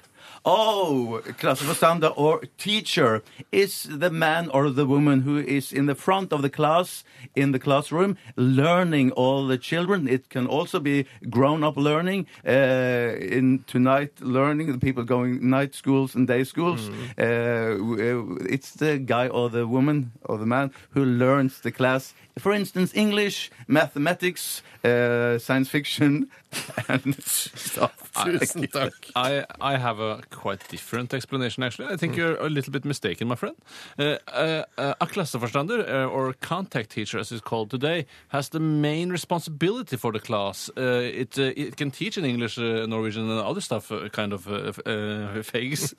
[SPEAKER 4] Oh, klasseforstander or teacher is the man or the woman who is in the front of the class, in the classroom, learning all the children. It can also be grown-up learning, uh, in tonight learning, the people going night schools and day schools. Uh, w- uh, it's the guy or the woman or the man who learns the class. For instance, English, mathematics, uh, science fiction, [LAUGHS] and stuff.
[SPEAKER 3] Tusen takk.
[SPEAKER 5] I, I have a quite different explanation, actually. I think you're a little bit mistaken, my friend. Uh, uh, uh, a klasseforstander, uh, or contact teacher as it's called today, has the main responsibility for the class. Uh, it, uh, it can teach in English, uh, Norwegian, and other stuff, uh, kind of uh, f- uh, [LAUGHS] fakes.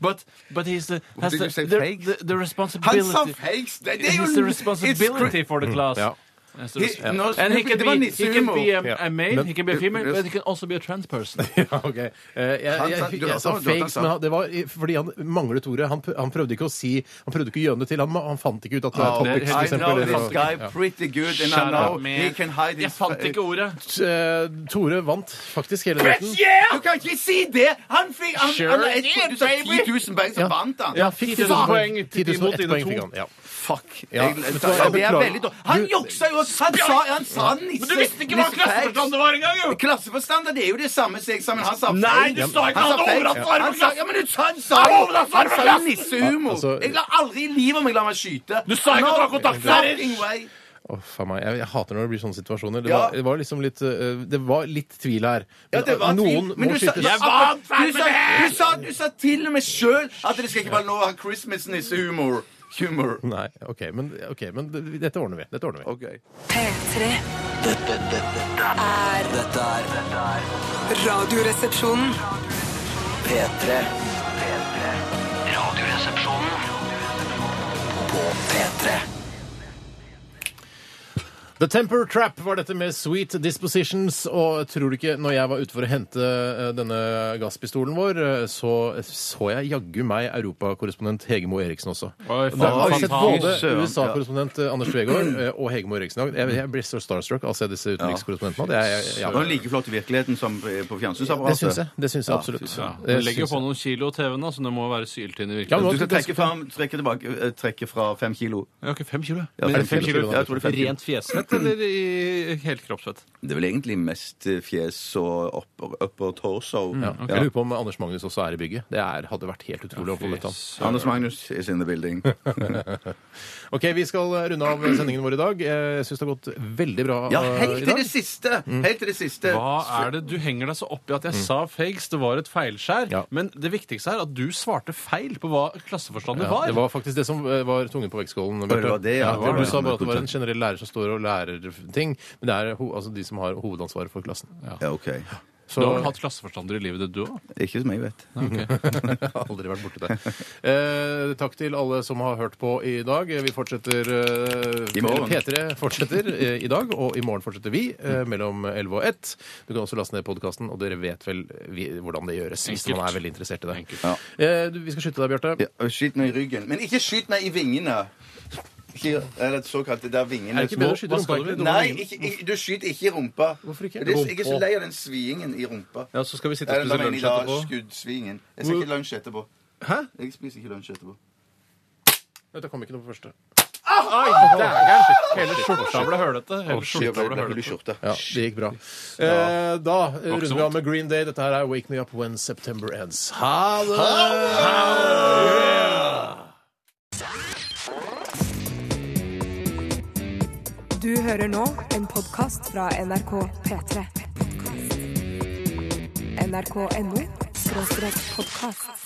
[SPEAKER 5] but but he's the has
[SPEAKER 4] Mm-hmm. did
[SPEAKER 5] the,
[SPEAKER 4] you say,
[SPEAKER 5] the,
[SPEAKER 4] fakes?
[SPEAKER 5] the, the
[SPEAKER 4] Han
[SPEAKER 5] responsibility.
[SPEAKER 4] sa fakes! Det, det er jo
[SPEAKER 5] He's the responsibility for the class.
[SPEAKER 3] Ja.
[SPEAKER 5] Yes, the
[SPEAKER 4] He-
[SPEAKER 5] res-
[SPEAKER 4] no,
[SPEAKER 5] and he
[SPEAKER 4] stupid
[SPEAKER 5] can
[SPEAKER 4] man,
[SPEAKER 5] be,
[SPEAKER 4] it's
[SPEAKER 5] he can
[SPEAKER 4] humor.
[SPEAKER 5] be a,
[SPEAKER 3] Yeah.
[SPEAKER 5] a male,
[SPEAKER 3] Men-
[SPEAKER 5] he can be a female,
[SPEAKER 4] Yes.
[SPEAKER 5] but he can also be a trans person.
[SPEAKER 3] Ja, [LAUGHS] ok. Eh, jeg, jeg,
[SPEAKER 4] sa-
[SPEAKER 3] jeg,
[SPEAKER 4] du-
[SPEAKER 3] jeg sa
[SPEAKER 4] du- du-
[SPEAKER 3] fakes,
[SPEAKER 4] du-
[SPEAKER 3] men han- det var i- fordi han manglet ordet. Han, pr- han prøvde ikke å si Han prøvde ikke å gjøne det til. Han, han fant ikke ut at det er
[SPEAKER 4] Oh,
[SPEAKER 3] topics, for
[SPEAKER 4] I know
[SPEAKER 3] eksempel.
[SPEAKER 4] this
[SPEAKER 3] Eller,
[SPEAKER 4] guy pretty good, and I
[SPEAKER 5] Shut
[SPEAKER 4] know
[SPEAKER 5] up, man.
[SPEAKER 4] he can hide his
[SPEAKER 5] Jeg fant ikke ordet.
[SPEAKER 3] Eh, Tore vant faktisk hele retten.
[SPEAKER 4] Du kan ikke si det! Han fikk han,
[SPEAKER 5] Sure
[SPEAKER 4] han, jeg trodde du sa
[SPEAKER 5] did,
[SPEAKER 4] 10 000 poeng, så vant han.
[SPEAKER 3] Ja, fikk sånn 10 000 poeng. 10 000 og ett poeng fikk han. Ja.
[SPEAKER 4] Fuck.
[SPEAKER 3] Ja.
[SPEAKER 4] Jeg,
[SPEAKER 3] Vet du hva, jeg
[SPEAKER 4] det er
[SPEAKER 3] beklager.
[SPEAKER 4] veldig dårlig. Han
[SPEAKER 3] Du-
[SPEAKER 4] juksa jo! Han sa han sa nisse.
[SPEAKER 5] Du visste ikke hva
[SPEAKER 4] nisse fakes.
[SPEAKER 5] klasseforstand det var engang, jo!
[SPEAKER 4] Klasseforstander det er jo det samme som eksamen. Han sa feil.
[SPEAKER 5] Nei, du sa ikke
[SPEAKER 4] han sa
[SPEAKER 5] han hadde
[SPEAKER 4] feil.
[SPEAKER 5] overrasket armen.
[SPEAKER 4] Han sa ja, men du sa han sa
[SPEAKER 5] Han overrasket
[SPEAKER 4] Han sa jo
[SPEAKER 5] armen.
[SPEAKER 4] nissehumor.
[SPEAKER 3] Altså-
[SPEAKER 4] Jeg lar aldri i livet om jeg lar meg skyte.
[SPEAKER 5] Du sa ikke at du har kontaktlærer.
[SPEAKER 4] fucking way.
[SPEAKER 3] Åh, faen meg. Jeg, jeg hater når det blir sånne situasjoner. Det,
[SPEAKER 4] Ja.
[SPEAKER 3] var, det var liksom litt eh, Det var litt tvil her.
[SPEAKER 4] Ja,
[SPEAKER 3] Men eh,
[SPEAKER 4] det var
[SPEAKER 3] noen
[SPEAKER 4] tvil. Men
[SPEAKER 3] må
[SPEAKER 4] du sa,
[SPEAKER 3] skytes.
[SPEAKER 5] Jeg var
[SPEAKER 4] du, sa, du, sa, du sa til og med sjøl at det skal ikke være lov å ha Christmas-nissehumor. Humor.
[SPEAKER 3] Nei, OK, men, ok, men det, dette ordner vi. Dette ordner vi.
[SPEAKER 4] Ok.
[SPEAKER 1] P3.
[SPEAKER 2] Dette, dette, dette er Dette er dette er
[SPEAKER 1] Radioresepsjonen.
[SPEAKER 2] P3. P3. Radioresepsjonen. På P3.
[SPEAKER 3] The Temper Trap var dette med Sweet Dispositions. Og tror du ikke, når jeg var ute for å hente eh, denne gasspistolen vår, eh, så så jeg jaggu meg europakorrespondent Hege Moe Eriksen også.
[SPEAKER 5] Oi,
[SPEAKER 3] Da har jeg sett
[SPEAKER 5] fantastisk.
[SPEAKER 3] både
[SPEAKER 4] Søren, ja.
[SPEAKER 3] USA-korrespondent eh, Anders Tvegård eh, og Hege Moe Eriksen. Jeg, jeg blir så starstruck av å se disse utenrikskorrespondentene. Det er, jeg,
[SPEAKER 4] Det var
[SPEAKER 3] jeg,
[SPEAKER 4] like flott i virkeligheten som eh, på
[SPEAKER 3] det
[SPEAKER 4] fjernsynsapparatet.
[SPEAKER 3] syns jeg. Det syns jeg
[SPEAKER 4] Ja,
[SPEAKER 3] absolutt.
[SPEAKER 4] fy søren.
[SPEAKER 3] Det
[SPEAKER 5] Du legger jo
[SPEAKER 3] syns
[SPEAKER 5] på
[SPEAKER 3] jeg.
[SPEAKER 5] noen kilo TV-en, da, så det må være syltynn i
[SPEAKER 3] Ja, men
[SPEAKER 5] virkeligheten.
[SPEAKER 4] Du skal trekke, fram, trekke, tilbake, eh, trekke fra fem kilo.
[SPEAKER 5] Jeg har ikke fem kilo.
[SPEAKER 4] Ja,
[SPEAKER 5] Men
[SPEAKER 4] fem
[SPEAKER 5] fem
[SPEAKER 4] kilo.
[SPEAKER 5] kilo,
[SPEAKER 4] Ja, jeg tror det er fem kilo.
[SPEAKER 5] Rent fjesfett eller i helkroppsfett?
[SPEAKER 4] Det er vel egentlig mest eh, fjes og upper, upper torso.
[SPEAKER 3] Jeg lurer på om Anders Magnus også er i bygget. Det er, hadde vært helt utrolig å få møtt ham.
[SPEAKER 4] Anders Magnus is in the [LAUGHS] building.
[SPEAKER 3] Ok, Vi skal runde av sendingen vår i dag. Jeg syns det har gått veldig bra
[SPEAKER 4] Ja,
[SPEAKER 3] eh,
[SPEAKER 4] helt
[SPEAKER 3] i
[SPEAKER 4] til
[SPEAKER 3] dag. Mm.
[SPEAKER 4] det siste! Helt til det siste.
[SPEAKER 5] Hva er det du henger deg så opp i at jeg sa fakes? Det var et feilskjær.
[SPEAKER 3] Ja.
[SPEAKER 5] Men det viktigste er at du svarte feil på hva klasseforstander
[SPEAKER 3] Ja, det
[SPEAKER 5] var.
[SPEAKER 3] var faktisk det som eh, var tungen på vektskålen.
[SPEAKER 4] det var det, ja. Det var
[SPEAKER 3] du
[SPEAKER 4] det.
[SPEAKER 3] sa bare at det var en generell lærer som står og lærer ting, men det er ho altså de som har hovedansvaret for klassen.
[SPEAKER 4] Ja, ok.
[SPEAKER 5] Du har vel hatt klasseforstander i livet ditt, du òg?
[SPEAKER 4] Ikke som jeg vet.
[SPEAKER 3] [LAUGHS] Jeg har Aldri vært borti det. Eh, takk til alle som har hørt på i dag. Eh, Vi fortsetter eh,
[SPEAKER 4] I morgen.
[SPEAKER 3] P3 fortsetter eh, i dag, og i morgen fortsetter vi eh, mellom 11 og 1. Du kan også laste ned podkasten, og dere vet vel vi, hvordan det gjøres hvis
[SPEAKER 5] Enkelt.
[SPEAKER 3] man er veldig interessert i det.
[SPEAKER 4] Ja.
[SPEAKER 3] Eh, du, vi skal skyte deg, Bjarte.
[SPEAKER 4] Ja, og skyt meg i ryggen. Men ikke skyt meg i vingene! Ikke- Eller såkalt det der vingene
[SPEAKER 3] Er det ikke
[SPEAKER 4] som-
[SPEAKER 3] bedre å skyte
[SPEAKER 5] Hva
[SPEAKER 3] rumpa?
[SPEAKER 5] skal du med
[SPEAKER 4] Nei,
[SPEAKER 3] egentlig?
[SPEAKER 4] ikke, ikke, du skyter ikke i rumpa.
[SPEAKER 3] Hvorfor
[SPEAKER 4] Det
[SPEAKER 3] ikke?
[SPEAKER 4] er så- Jeg er så lei av den svingen i rumpa.
[SPEAKER 5] Ja, så skal vi sitte og
[SPEAKER 4] Eller da
[SPEAKER 5] spise
[SPEAKER 4] mener jeg
[SPEAKER 5] lunsj
[SPEAKER 4] da
[SPEAKER 5] etterpå.
[SPEAKER 4] skuddsvingen. Jeg skal ikke lunsj etterpå.
[SPEAKER 3] Hæ?
[SPEAKER 4] Jeg spiser ikke lunsj etterpå.
[SPEAKER 3] Nei, Det kom ikke noe på første. Ah!
[SPEAKER 5] Hele skjorta ble hølete. Hele skjorta ble hølete.
[SPEAKER 3] Ja, det gikk bra. Eh, da eh, runder vi av med Green Day. Dette her er Wake Me Up When September Ends. Ha det!
[SPEAKER 1] Du hører nå en podkast fra NRK P3. NRK.no podkast.